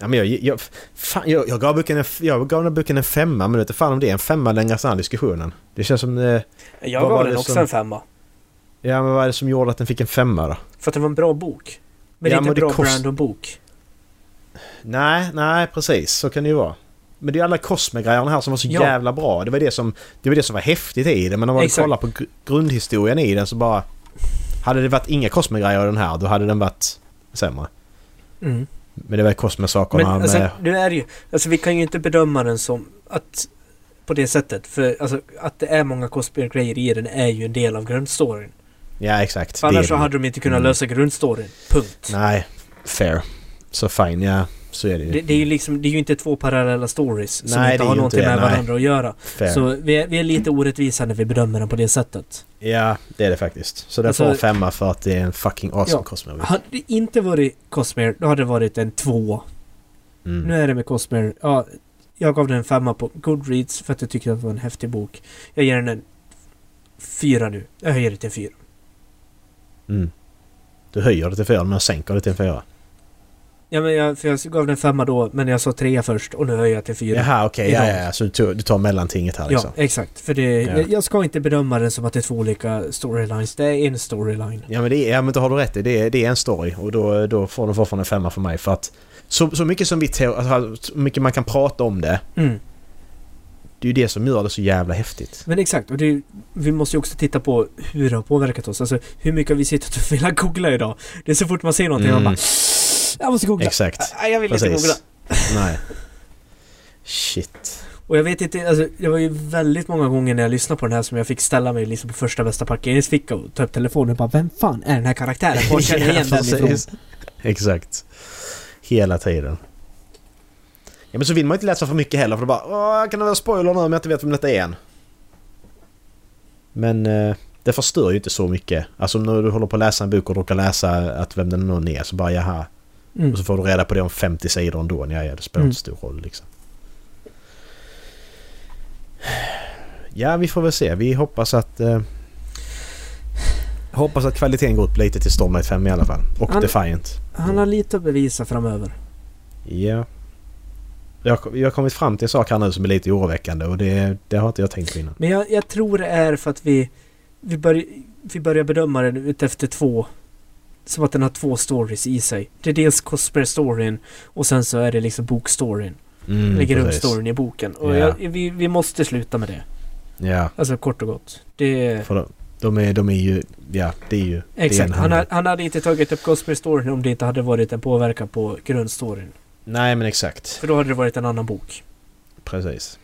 Speaker 2: men jag... Jag, fan, jag, jag gav boken en... f- Jag gav den här boken en femma men vet inte fan om det är en femma längre sedan diskussionen. Det känns som... Eh,
Speaker 1: Jag
Speaker 2: Vad
Speaker 1: gav
Speaker 2: var
Speaker 1: den
Speaker 2: det
Speaker 1: också
Speaker 2: som-
Speaker 1: en femma.
Speaker 2: ja men vad är det som gjorde att den fick en femma då?
Speaker 1: För att det var en bra bok. Men
Speaker 2: Ja,
Speaker 1: det är
Speaker 2: men
Speaker 1: inte
Speaker 2: det
Speaker 1: en bra
Speaker 2: kost-
Speaker 1: Brandon-bok.
Speaker 2: Nej, nej precis. Så kan det ju vara. Men det är alla Cosme-grejerna här som var så
Speaker 1: Ja.
Speaker 2: jävla bra. Det var det, som, det var det som var häftigt i det. Men om man
Speaker 1: Exakt.
Speaker 2: kollar på gr- grundhistorien i den så bara... Hade det varit inga Cosme-grejer i den här då hade den varit sämre.
Speaker 1: Mm.
Speaker 2: Men det var
Speaker 1: Men
Speaker 2: Cosme-sakerna
Speaker 1: alltså,
Speaker 2: med...
Speaker 1: nu är det ju... Alltså vi kan ju inte bedöma den som att... På det sättet. För alltså, att det är många cosplay-grejer i den är ju en del av grundstoryn.
Speaker 2: Ja, exakt.
Speaker 1: För
Speaker 2: Det är
Speaker 1: annars så
Speaker 2: det.
Speaker 1: hade de inte kunnat
Speaker 2: Mm.
Speaker 1: lösa grundstoryn. Punkt.
Speaker 2: Nej, fair. Så fine, ja. Så är det ju.
Speaker 1: Det, det är ju liksom... Det är ju inte två parallella stories som
Speaker 2: Nej, det
Speaker 1: inte
Speaker 2: är
Speaker 1: har
Speaker 2: ju
Speaker 1: någonting
Speaker 2: inte det,
Speaker 1: med
Speaker 2: nej.
Speaker 1: varandra att göra.
Speaker 2: fair.
Speaker 1: Så vi är, vi är lite orättvisa när vi bedömer den på det sättet.
Speaker 2: Ja, det är det faktiskt. Så den
Speaker 1: Alltså-
Speaker 2: får en femma för att det är en fucking awesome
Speaker 1: Ja.
Speaker 2: Cosme.
Speaker 1: Hade det inte varit Cosmere, då hade det varit en två. Nu
Speaker 2: Mm.
Speaker 1: är det med Cosmere. Ja, jag gav den en femma på Goodreads för att jag tyckte att det var en häftig bok. Jag ger den en fyra nu. Jag höjer det till en fyra.
Speaker 2: Mm. Du höjer det till fyra men jag sänker det till en fyra.
Speaker 1: Ja, men jag, för jag gav den en femma då, men jag sa trea först och nu höjer jag till fyra.
Speaker 2: Jaha okej,
Speaker 1: Idag.
Speaker 2: ja, ja, ja. Så du tar, du tar mellantinget här liksom.
Speaker 1: Ja, exakt. För det,
Speaker 2: Ja.
Speaker 1: jag- jag ska inte bedöma den som att det är två olika storylines. Det är en storyline.
Speaker 2: Ja men, det är, ja, men då har du rätt i. Det är, det är en story och då, då får den fortfarande en femma för mig för att så, så mycket som vi te- alltså, så mycket man kan prata om det,
Speaker 1: Mm.
Speaker 2: det är ju det som gör det så jävla häftigt.
Speaker 1: Men exakt, och det, vi måste ju också titta på hur det har påverkat oss. Alltså hur mycket har vi suttit och velat googla idag? Det är så fort man ser någonting man
Speaker 2: Mm.
Speaker 1: bara Jag måste googla!
Speaker 2: Exakt.
Speaker 1: Nej, jag vill inte googla.
Speaker 2: Precis. Nej. Shit.
Speaker 1: Och jag vet inte, alltså det var ju väldigt många gånger när jag lyssnade på den här som jag fick ställa mig liksom på första bästa parkeringsficka och ta upp telefonen och bara Vem fan är den här karaktären? Var känner jag igen
Speaker 2: Ja,
Speaker 1: den ifrån?
Speaker 2: precis. Exakt. Hela tiden. Ja men så vill man ju inte läsa för mycket heller för då bara Åh, jag kan ha spoiler nu om jag inte vet vem detta är än. Men eh, det förstör ju inte så mycket. Alltså när du håller på att läsa en bok och råkar läsa att vem den någon är så bara jaha.
Speaker 1: Mm.
Speaker 2: Och så får du reda på det om 50 sidor ändå. Ja, ja, det spelar inte stor roll liksom. Ja, vi får väl se. Vi hoppas att... Eh, hoppas att kvaliteten går upp lite till Stormlight 5 i alla fall. Och
Speaker 1: Han-
Speaker 2: Defiant.
Speaker 1: Han har lite att bevisa framöver.
Speaker 2: Ja. Jag, jag har kommit fram till en sak här nu som är lite oroväckande och det, det har inte jag tänkt på innan.
Speaker 1: Men jag, jag tror det är för att vi, vi, bör, vi börjar bedöma den utefter två. Som att den har två stories i sig. Det är dels Cosper-storyn och sen så är det liksom bokstoryn.
Speaker 2: Mm,
Speaker 1: Eller
Speaker 2: precis.
Speaker 1: grundstoryn i boken. Och
Speaker 2: Ja.
Speaker 1: jag, vi, vi måste sluta med det.
Speaker 2: Ja,
Speaker 1: Alltså kort och gott. Det,
Speaker 2: för de, de, är, de är ju... Ja, det är ju... det är
Speaker 1: exakt.
Speaker 2: en
Speaker 1: Han,
Speaker 2: handling.
Speaker 1: ha- han hade inte tagit upp Cosper-storyn om det inte hade varit en påverkan på grundstoryn.
Speaker 2: Nej, men exakt.
Speaker 1: För då hade det varit en annan bok.
Speaker 2: Precis.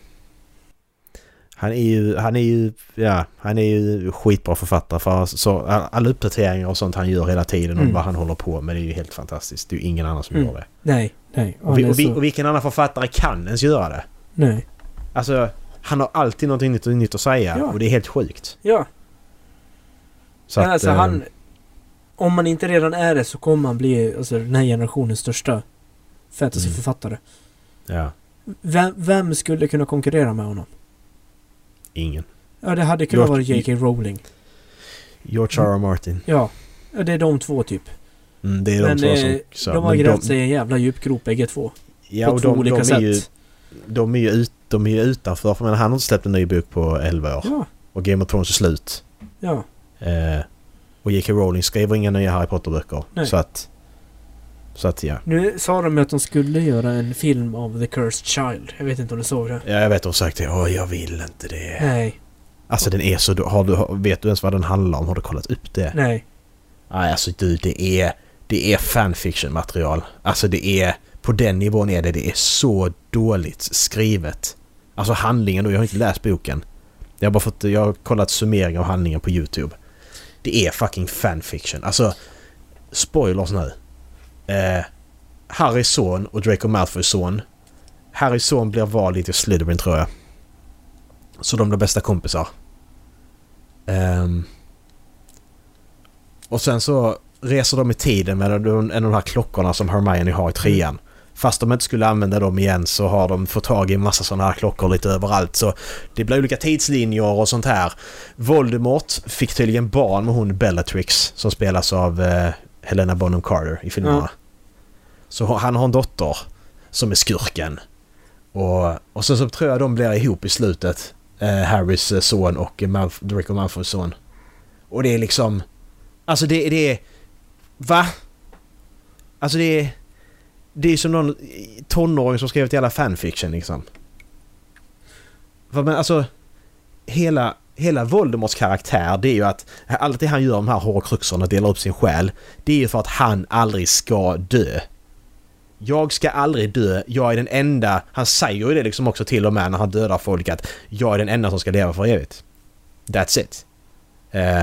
Speaker 2: Han är ju... Han är ju... Ja, han är ju skitbra författare för så, all- alla uppdateringar och sånt han gör hela tiden om
Speaker 1: Mm.
Speaker 2: vad han håller på med det är ju helt fantastiskt. Det är ju ingen annan som
Speaker 1: Mm.
Speaker 2: gör det.
Speaker 1: Nej, nej.
Speaker 2: Och,
Speaker 1: Och
Speaker 2: vi,
Speaker 1: han är
Speaker 2: och, vi,
Speaker 1: så,
Speaker 2: och vilken annan författare kan ens göra det?
Speaker 1: nej.
Speaker 2: Alltså, han har alltid någonting nytt, nytt att säga
Speaker 1: Ja.
Speaker 2: och det är helt sjukt.
Speaker 1: Ja,
Speaker 2: Så
Speaker 1: men alltså
Speaker 2: eh,
Speaker 1: han... Om man inte redan är det så kommer han bli alltså, den här generationens största fantasyförfattare.
Speaker 2: Ja,
Speaker 1: Vem, vem skulle kunna konkurrera med honom?
Speaker 2: ingen.
Speaker 1: Ja, det hade kunnat
Speaker 2: Jag-
Speaker 1: vara J.K. Rowling.
Speaker 2: George
Speaker 1: Mm.
Speaker 2: R. R. Martin.
Speaker 1: Ja. Ja, det är de två typ.
Speaker 2: Mm, det är de
Speaker 1: Men
Speaker 2: två som...
Speaker 1: eh,
Speaker 2: så,
Speaker 1: de har
Speaker 2: men
Speaker 1: grävt sig i en jävla djupgrop bägge två.
Speaker 2: ja,
Speaker 1: på
Speaker 2: och
Speaker 1: två
Speaker 2: de,
Speaker 1: olika
Speaker 2: de,
Speaker 1: sätt.
Speaker 2: är ju, de är ju ut, de är ju utanför. För jag menar, han har inte släppt en ny bok på 11 år.
Speaker 1: Ja,
Speaker 2: Och Game of Thrones är slut.
Speaker 1: ja.
Speaker 2: Eh, och J.K. Rowling skriver inga nya Harry Potter-böcker.
Speaker 1: Nej.
Speaker 2: Så att... Så att ja.
Speaker 1: Nu sa de ju att de skulle göra en film av The Cursed Child. Jag vet inte om du såg det?
Speaker 2: ja jag vet, hon har sagt det. Åh, jag vill inte det.
Speaker 1: Nej,
Speaker 2: Alltså den är så... Har du, har- vet du ens vad den handlar om? Har du kollat upp det?
Speaker 1: nej.
Speaker 2: Nej, alltså du, det är, det är fanfiction-material. Alltså det är... På den nivån är det. Det är så dåligt skrivet. Alltså handlingen då, jag har inte läst boken. Jag har bara fått... Jag har kollat summering av handlingen på YouTube. Det är fucking fanfiction. Alltså... Spoilers nu. Eh, Harrys son och Draco Malfoys son. Harrys son blir vald till Slytherin tror jag. Så de blir bästa kompisar. Ehm, och sen så reser de i tiden med en av de här klockorna som Hermione har i trean. Fast de inte skulle använda dem igen så har de fått tag i en massa sådana här klockor lite överallt. Så det blir olika tidslinjer och sånt här. Voldemort fick tydligen barn med hon Bellatrix som spelas av eh, Helena Bonham Carter i filmerna.
Speaker 1: Ja.
Speaker 2: Så ha- han har en dotter som är skurken. Och, och sen så tror jag de blir ihop i slutet. Eh, Harrys eh, son och eh, Malf- Draco Malfoys son. Och det är liksom... Alltså det, det är... Va? Alltså det är... Det är som någon tonåring som skrivit hela fanfiction liksom. Va, Men alltså... Hela, hela Voldemorts karaktär det är ju att allt det han gör med de här horcruxerna, delar upp sin själ. Det är ju för att han aldrig ska dö. Jag ska aldrig dö, jag är den enda... Han säger ju det liksom också till och med när han dödar folk att jag är den enda som ska leva för evigt. That's it. Eh,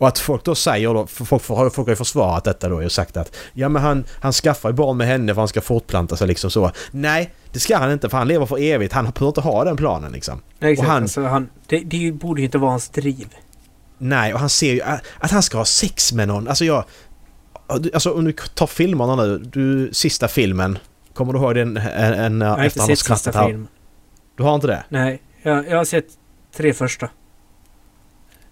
Speaker 2: och att folk då säger då, för folk, för, folk har ju försvarat detta då och sagt att ja men han, han skaffar ju barn med henne för han ska fortplanta sig liksom så. Nej, det ska han inte för han lever för evigt. Han behöver inte ha den planen liksom.
Speaker 1: nej exakt.
Speaker 2: Och han-
Speaker 1: Alltså, han, det, det borde ju inte vara hans driv.
Speaker 2: Nej, och han ser ju att, att han ska ha sex med någon. Alltså jag... Alltså om du tar filmerna nu, du, sista filmen. Kommer du ihåg den en, en,
Speaker 1: Jag har
Speaker 2: efter
Speaker 1: inte
Speaker 2: han har
Speaker 1: sett sista
Speaker 2: skrattat här?
Speaker 1: film.
Speaker 2: Du har inte det?
Speaker 1: Nej, jag, jag har sett tre första.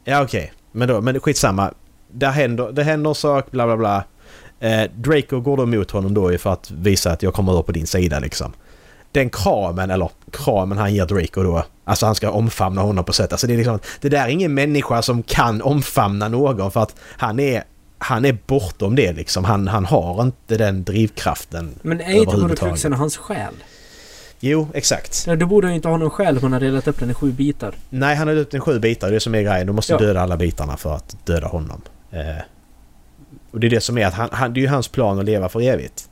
Speaker 2: Ja okej, men då, men skitsamma. Där händer, det händer en sak, bla bla bla. Eh, Draco går då emot honom då ju för att visa att jag kommer över på din sida liksom. Den kramen, eller kramen han ger Draco då, alltså han ska omfamna honom på sätt. Alltså det är liksom, det där är ingen människa som kan omfamna någon för att han är, han är bortom det liksom. Han, han har inte den drivkraften.
Speaker 1: Men är inte
Speaker 2: Överhuvudtaget.
Speaker 1: horcruxen hans själ?
Speaker 2: Jo, exakt.
Speaker 1: Ja, Då borde han ju inte ha någon själ om han har delat upp den i sju bitar.
Speaker 2: Nej, han har ut en sju bitar. Det är det som är grejen. Du måste
Speaker 1: Ja.
Speaker 2: döda alla bitarna för att döda honom. Eh, och det är det som är att han, han, det är ju hans plan att leva för evigt.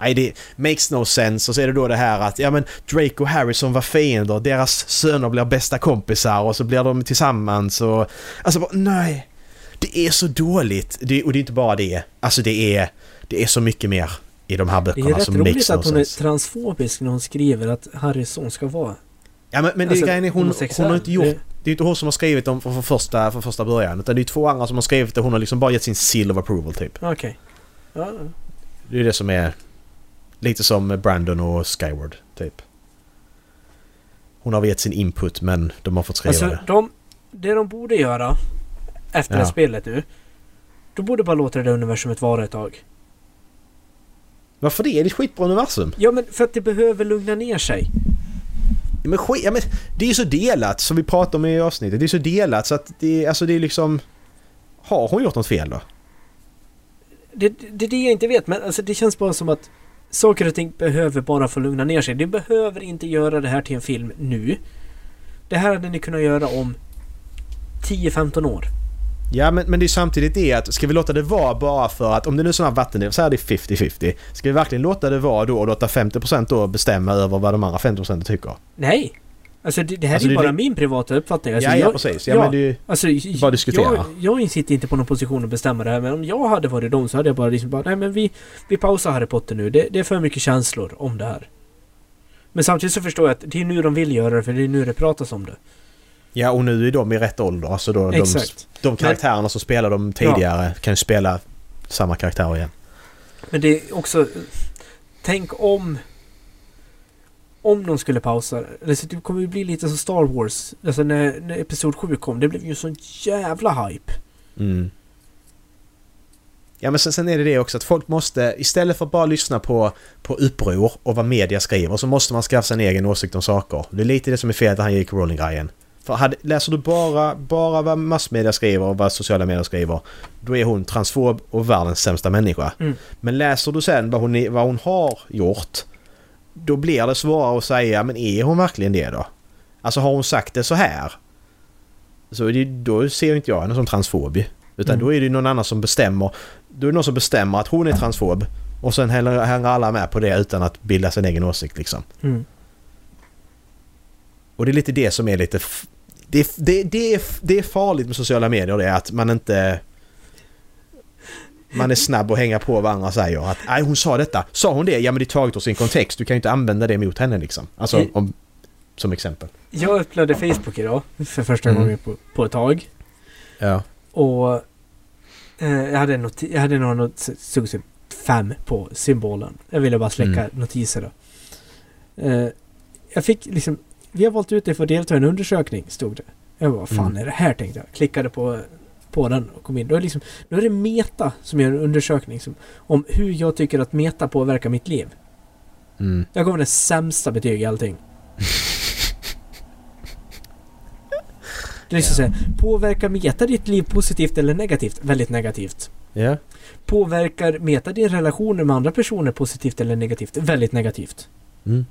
Speaker 2: Nej, det makes no sense. Och så är det då det här att ja men Drake och Harrison var fiender. Deras söner blir bästa kompisar och så blir de tillsammans och... Alltså bara, nej! Det är så dåligt. Det, och det är inte bara det. Alltså det är... Det är så mycket mer i de här
Speaker 1: Det är ju
Speaker 2: böckerna
Speaker 1: rätt
Speaker 2: som makes no
Speaker 1: roligt
Speaker 2: sense.
Speaker 1: att hon är transfobisk när hon skriver att Harrys son ska vara...
Speaker 2: Ja men, men
Speaker 1: Alltså,
Speaker 2: det är grejen är hon, hon
Speaker 1: homosexuell.
Speaker 2: har inte gjort...
Speaker 1: Det-
Speaker 2: Det är ju inte hon som har skrivit dem från från första, från första början. Utan det är ju två andra som har skrivit det. Hon har liksom bara gett sin seal of approval typ.
Speaker 1: Okej. Ja, ja.
Speaker 2: Det är det som är... Lite som Brandon och Skyward typ. Hon har gett sin input men de har fått skriva
Speaker 1: Alltså,
Speaker 2: det.
Speaker 1: de, det de borde göra efter det
Speaker 2: Ja.
Speaker 1: här spelet nu. Då borde bara låta det där universumet vara ett tag.
Speaker 2: Varför det? Det är ett skitbra universum.
Speaker 1: Ja men för att det behöver lugna ner sig.
Speaker 2: Ja, Men skit, ja, men det är ju så delat som vi pratade om i avsnittet. Det är så delat så att det, alltså det är liksom... Har hon gjort något fel då?
Speaker 1: Det är det, det är det jag inte vet men alltså det känns bara som att saker och ting behöver bara få lugna ner sig. Du behöver inte göra det här till en film nu. Det här hade ni kunnat göra om 10-15 år.
Speaker 2: Ja men, men det är ju samtidigt det att ska vi låta det vara bara för att om det nu är sådana vattendel, så här är det 50-50. Ska vi verkligen låta det vara då och låta 50% då bestämma över vad de andra 50% tycker?
Speaker 1: Nej! Alltså det, det här
Speaker 2: Alltså,
Speaker 1: är ju
Speaker 2: det-
Speaker 1: bara
Speaker 2: det-
Speaker 1: min privata uppfattning. Alltså,
Speaker 2: ja, ja
Speaker 1: jag,
Speaker 2: precis. Ja,
Speaker 1: ja.
Speaker 2: men det är ju...
Speaker 1: Alltså, j-
Speaker 2: Bara diskutera.
Speaker 1: Jag, jag sitter inte på någon position att bestämma det här men om jag hade varit dem så hade jag bara liksom bara nej men vi, vi pausar Harry Potter nu. Det, det är för mycket känslor om det här. Men samtidigt så förstår jag att det är nu de vill göra det för det är nu det pratas om det.
Speaker 2: Ja och nu är de i rätt ålder. Alltså då, de,
Speaker 1: Exakt.
Speaker 2: de karaktärerna som spelade de tidigare kan ju spela samma karaktär igen.
Speaker 1: Men det är också... Tänk om... Om de skulle pausa det. Alltså, det kommer ju bli lite som Star Wars. Alltså när, när Episod 7 kom. Det blev ju sån jävla hype.
Speaker 2: Mm. Ja men sen, sen är det det också att folk måste, istället för att bara lyssna på, på uppror och vad media skriver så måste man skaffa sig en egen åsikt om saker. Det är lite det som är fel att han gick Rowling-grejen. För hade, läser du bara, bara vad massmedia skriver och vad sociala medier skriver då är hon transfob och världens sämsta människa.
Speaker 1: Mm.
Speaker 2: Men läser du sen vad hon, är- vad hon har gjort då blir det svårare att säga men är hon verkligen det då? Alltså har hon sagt det så här? Så är det, då ser ju inte jag henne som transfob. ju. Utan
Speaker 1: Mm.
Speaker 2: då är det ju någon annan som bestämmer. Då är det någon som bestämmer att hon är transfob. Och sen hänger hänger alla med på det utan att bilda sin egen åsikt liksom.
Speaker 1: Mm.
Speaker 2: Och det är lite det som är lite... f- Det, är f- det, det, är, f- det är farligt med sociala medier det är att man inte... Man är snabb att hänga på vad andra säger. Att nej hon sa detta. Sa hon det? Ja men det är taget ur sin kontext. Du kan ju inte använda det mot henne liksom. Alltså
Speaker 1: I-
Speaker 2: om... Som exempel.
Speaker 1: Jag öppnade Facebook idag. För första
Speaker 2: Mm.
Speaker 1: gången på, på ett tag.
Speaker 2: Ja.
Speaker 1: Och... Eh, jag hade, noti- jag hade några not- stod typ fem på symbolen. Jag ville bara släcka notiser då. Eh, jag fick liksom... Vi har valt ut dig för att delta i en undersökning, stod det. Jag bara, vad fan
Speaker 2: Mm.
Speaker 1: är det här, tänkte jag. Klickade på, på den och kom in. Då är, liksom, då är det Meta som gör en undersökning som, om hur jag tycker att Meta påverkar mitt liv.
Speaker 2: Mm.
Speaker 1: Jag gav den sämsta betyg i allting. Det är liksom såhär, påverkar Meta ditt liv positivt eller negativt? Väldigt negativt.
Speaker 2: Ja.
Speaker 1: Påverkar Meta din relationer med andra personer positivt eller negativt? Väldigt negativt.
Speaker 2: Mm.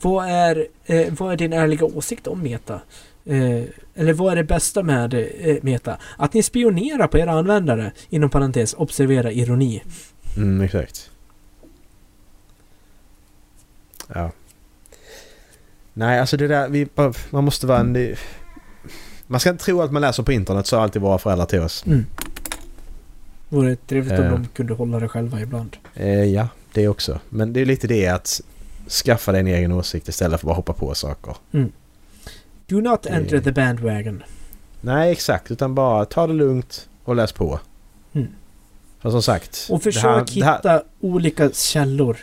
Speaker 1: Vad är, eh, vad är din ärliga åsikt om Meta? Eh, eller vad är det bästa med eh, Meta? Att ni spionerar på era användare. Inom parentes, observera ironi.
Speaker 2: Mm, exakt. Ja. Nej, alltså det där, vi, bara- man måste vara en... det- Man ska inte tro att man läser på internet, så har alltid våra föräldrar till oss.
Speaker 1: Mm. Vore trevligt om
Speaker 2: Eh.
Speaker 1: de kunde hålla det själva ibland.
Speaker 2: Eh, ja, det också. Men det är lite det att skaffa dig en egen åsikt istället för att bara hoppa på saker.
Speaker 1: Do not
Speaker 2: Det-
Speaker 1: enter the bandwagon.
Speaker 2: Nej, exakt. Utan bara ta det lugnt och läs på.
Speaker 1: Mm.
Speaker 2: För som sagt...
Speaker 1: Och försök
Speaker 2: det här- det här-
Speaker 1: hitta olika källor.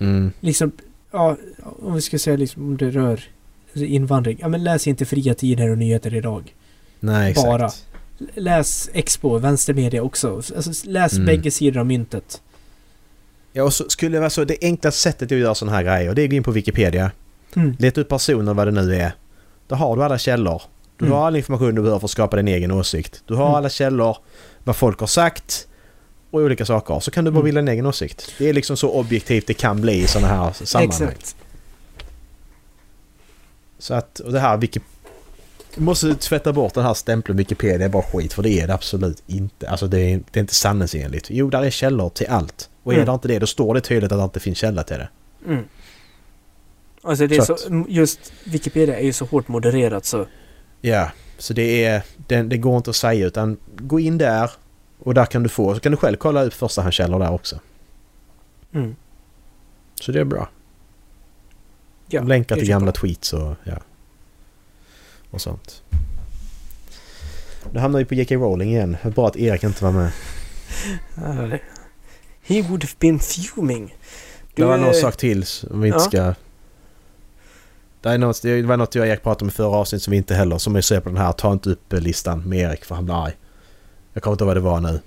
Speaker 2: Mm,
Speaker 1: Liksom, ja, om vi ska säga liksom om det rör invandring. Ja men läs inte Fria Tider och Nyheter idag.
Speaker 2: nej, exakt.
Speaker 1: Bara. L- Läs Expo, Vänstermedia också. Alltså, läs
Speaker 2: Mm.
Speaker 1: bägge sidor av myntet.
Speaker 2: Ja, och så skulle det vara så, det enklaste sättet att göra sådana här grejer, det är att gå in på Wikipedia.
Speaker 1: Mm.
Speaker 2: Leta upp personer vad det nu är. Då har du alla källor. Du
Speaker 1: Mm.
Speaker 2: har all information du behöver för att skapa din egen åsikt. Du har
Speaker 1: Mm.
Speaker 2: alla källor, vad folk har sagt och olika saker. Så kan du bara
Speaker 1: Mm.
Speaker 2: bilda din egen åsikt. Det är liksom så objektivt det kan bli i sådana här sammanhang.
Speaker 1: Exakt.
Speaker 2: Så att, och det här Wiki... Du måste tvätta bort den här stämpeln Wikipedia är bara skit för det är det absolut inte. Alltså det är, det är inte sanningsenligt. Jo, där är källor till allt. Och är
Speaker 1: Mm.
Speaker 2: det inte det, då står det tydligt att det inte finns källa till det.
Speaker 1: Mm. Alltså det är
Speaker 2: Så
Speaker 1: så, just Wikipedia är ju så hårt modererat så.
Speaker 2: Ja, så det är... Det, det går inte att säga utan gå in där och där kan du få... Så kan du själv kolla upp förstahandskällor där också.
Speaker 1: Mm.
Speaker 2: Så det är bra.
Speaker 1: Ja,
Speaker 2: Länkar
Speaker 1: det
Speaker 2: till
Speaker 1: är
Speaker 2: gamla
Speaker 1: bra.
Speaker 2: tweets och ja. Och sånt. Nu hamnar vi på J.K. Rowling igen. Det är Bra att Erik inte var med.
Speaker 1: Ja, det- He would have been fuming.
Speaker 2: Det var
Speaker 1: eh,
Speaker 2: någon sak till som vi inte
Speaker 1: ja.
Speaker 2: ska... Det, är något, det var något jag och Erik pratade om i förra avsnittet som vi inte heller... Som är så på den här ta inte upp eh, listan med Erik för han blir arg. Jag kommer inte ihåg vad det var nu.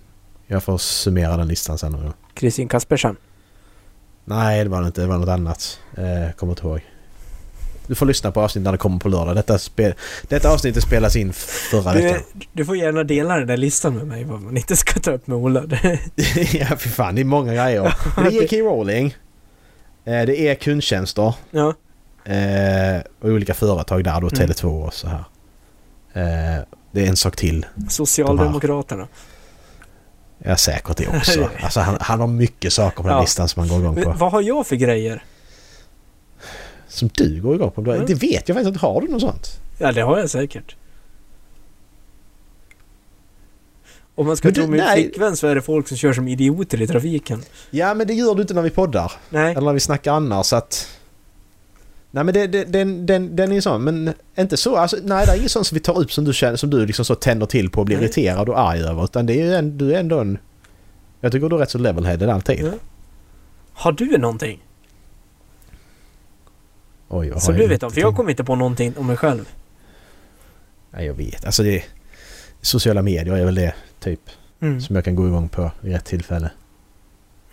Speaker 2: Jag får summera den listan sen. någon gång.
Speaker 1: Kristin Kaspersen.
Speaker 2: Nej, det var det inte. Det var något annat. Eh, kommer inte ihåg. Du får lyssna på avsnittet när det kommer på lördag. Detta, spel, detta avsnittet spelas in förra veckan.
Speaker 1: Du, du får gärna dela den där listan med mig vad man inte ska ta upp med Ola. Det-
Speaker 2: ja, för fan. Det är många grejer. Det är J.K. Rowling. Eh, det är kundtjänster.
Speaker 1: ja.
Speaker 2: Eh, och olika företag där då.
Speaker 1: Mm.
Speaker 2: Tele2 och så här. Eh, det är en sak till.
Speaker 1: Socialdemokraterna.
Speaker 2: Jag är säkert det också. Alltså han, han har mycket saker på den
Speaker 1: Ja.
Speaker 2: listan som han går igång
Speaker 1: Men,
Speaker 2: på.
Speaker 1: vad har jag för grejer?
Speaker 2: Som du går igång på.
Speaker 1: Mm.
Speaker 2: Det vet jag faktiskt inte. Har du något sånt?
Speaker 1: Ja, det har jag säkert. Om man ska
Speaker 2: Men
Speaker 1: tro
Speaker 2: du-
Speaker 1: min
Speaker 2: nej.
Speaker 1: flickvän så är det folk som kör som idioter i trafiken.
Speaker 2: Ja men det gör du inte när vi poddar.
Speaker 1: Nej.
Speaker 2: Eller när vi snackar annars så att... Nej men det, det, den, den, den är ju sån. Men inte så. Alltså, nej det är ingen sån som vi tar upp som du känner som du liksom så tänder till på och blir
Speaker 1: Nej.
Speaker 2: irriterad och arg över. Utan det är ju en, du är ändå en... Jag tycker du är rätt så level-headed alltid.
Speaker 1: Ja. Har du någonting?
Speaker 2: Oj, jag har
Speaker 1: Som
Speaker 2: ju
Speaker 1: du
Speaker 2: inte
Speaker 1: vet om? För jag
Speaker 2: tänkt-
Speaker 1: kommer inte på någonting om mig själv.
Speaker 2: Nej jag vet. Alltså det... Sociala medier är väl det typ.
Speaker 1: Mm.
Speaker 2: Som jag kan gå igång på vid rätt tillfälle.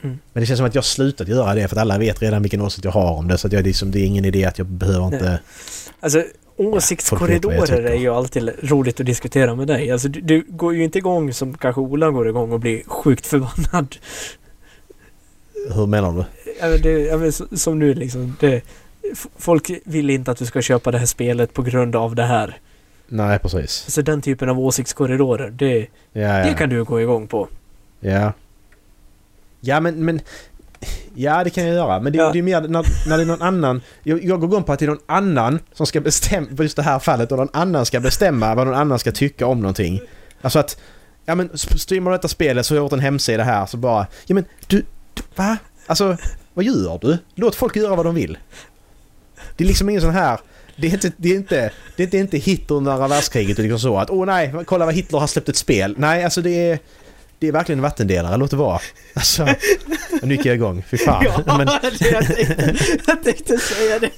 Speaker 1: Mm.
Speaker 2: Men det känns som att jag har slutat göra det för att alla vet redan vilken åsikt jag har om det. Så att jag, liksom, det är ingen idé att jag behöver inte...
Speaker 1: Alltså,
Speaker 2: Ja, folk vet vad
Speaker 1: åsiktskorridorer
Speaker 2: jag
Speaker 1: är
Speaker 2: tycker.
Speaker 1: ju alltid roligt att diskutera med dig. Alltså, du, du går ju inte igång som kanske Ola går igång och blir sjukt förbannad.
Speaker 2: Hur menar du?
Speaker 1: Ja, men det, ja, men s- som nu liksom. Det, f- folk vill inte att du ska köpa det här spelet på grund av det här.
Speaker 2: Nej precis.
Speaker 1: Alltså den typen av åsiktskorridorer, det,
Speaker 2: Ja, ja.
Speaker 1: det kan du gå igång på.
Speaker 2: Ja. Ja men, men... Ja det kan jag göra. Men det,
Speaker 1: Ja.
Speaker 2: det är mer när, när det är någon annan... Jag, jag går igång på att det är någon annan som ska bestämma... På just det här fallet. Och någon annan ska bestämma vad någon annan ska tycka om någonting. Alltså att... Ja men sp- streamar du detta spelet så har jag gjort en hemsida här så bara... Ja men du... du va? Alltså vad gör du? Låt folk göra vad de vill. Det är liksom ingen sån här... Det är inte, det är inte, det är inte, inte Hitler under andra världskriget och liksom så att åh oh, nej, kolla vad Hitler har släppt ett spel. Nej, alltså det är... Det är verkligen en vattendelare, låt det vara. Alltså, nu gick jag igång, fy fan. Men,
Speaker 1: det, jag, tänkte, jag tänkte säga det.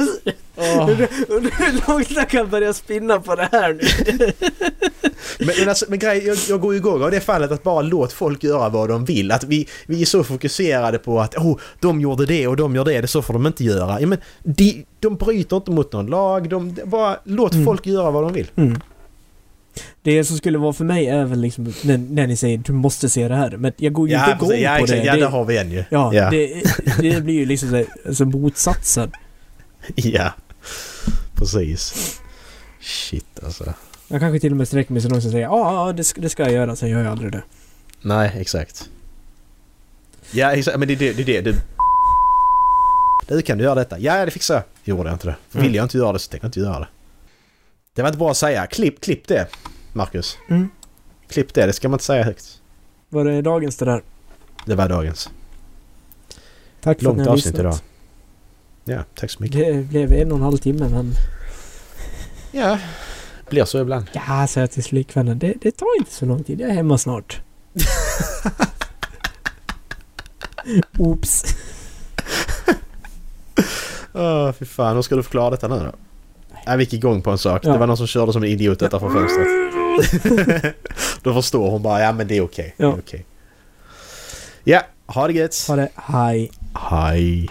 Speaker 2: åh.
Speaker 1: Undrar hur långt jag kan börja spinna på det här nu.
Speaker 2: men, men, alltså, men grej, jag, jag går ju igång av det fallet att bara låt folk göra vad de vill. Att vi, vi är så fokuserade på att oh, de gjorde det och de gör det, det så får de inte göra. Ja, men de, de bryter inte mot någon lag, de, bara låt
Speaker 1: Mm.
Speaker 2: folk göra vad de vill.
Speaker 1: Mm. Det som skulle vara för mig är väl liksom när, när ni säger du måste se det här. Men jag går ju inte igång
Speaker 2: precis. ja,
Speaker 1: på
Speaker 2: exakt.
Speaker 1: det.
Speaker 2: ja,
Speaker 1: det,
Speaker 2: där har vi en ju.
Speaker 1: ja,
Speaker 2: ja.
Speaker 1: Det, det blir ju liksom så här, alltså motsatsen.
Speaker 2: ja. precis. Shit alltså.
Speaker 1: Jag kanske till och med sträcker mig så långt som säger ja, ja, ja, det, ska- det ska jag göra. Sen gör jag aldrig det.
Speaker 2: Nej, exakt. Ja, exakt. Men det är det, det, är det du... Du kan du göra detta. Ja, det fixar jag. Gjorde jag inte det. Vill
Speaker 1: Mm.
Speaker 2: jag inte göra det så tänker jag inte göra det. Det var inte bra att säga. Klipp, klipp det, Marcus.
Speaker 1: Mm.
Speaker 2: Klipp det, det ska man inte säga högt.
Speaker 1: Var det dagens det där?
Speaker 2: Det var dagens.
Speaker 1: Tack för att
Speaker 2: Långt
Speaker 1: ni har
Speaker 2: avsnitt
Speaker 1: lyssnat.
Speaker 2: idag. Ja, tack så mycket.
Speaker 1: Det blev en och en halv timme men...
Speaker 2: Ja, blir så ibland.
Speaker 1: Ja, säger jag till flickvännen. Det, det tar inte så lång tid. Jag är hemma snart. Oops.
Speaker 2: Åh, fy fan. Hur ska du förklara detta nu då? Nej, vi gick igång på en sak.
Speaker 1: Ja.
Speaker 2: Det var någon som körde som en idiot utanför fönstret. Då förstår hon bara, ja men det är okej. Det är
Speaker 1: Ja.
Speaker 2: okej. Ja, ha det gött.
Speaker 1: Ha det. Hej.
Speaker 2: Hej.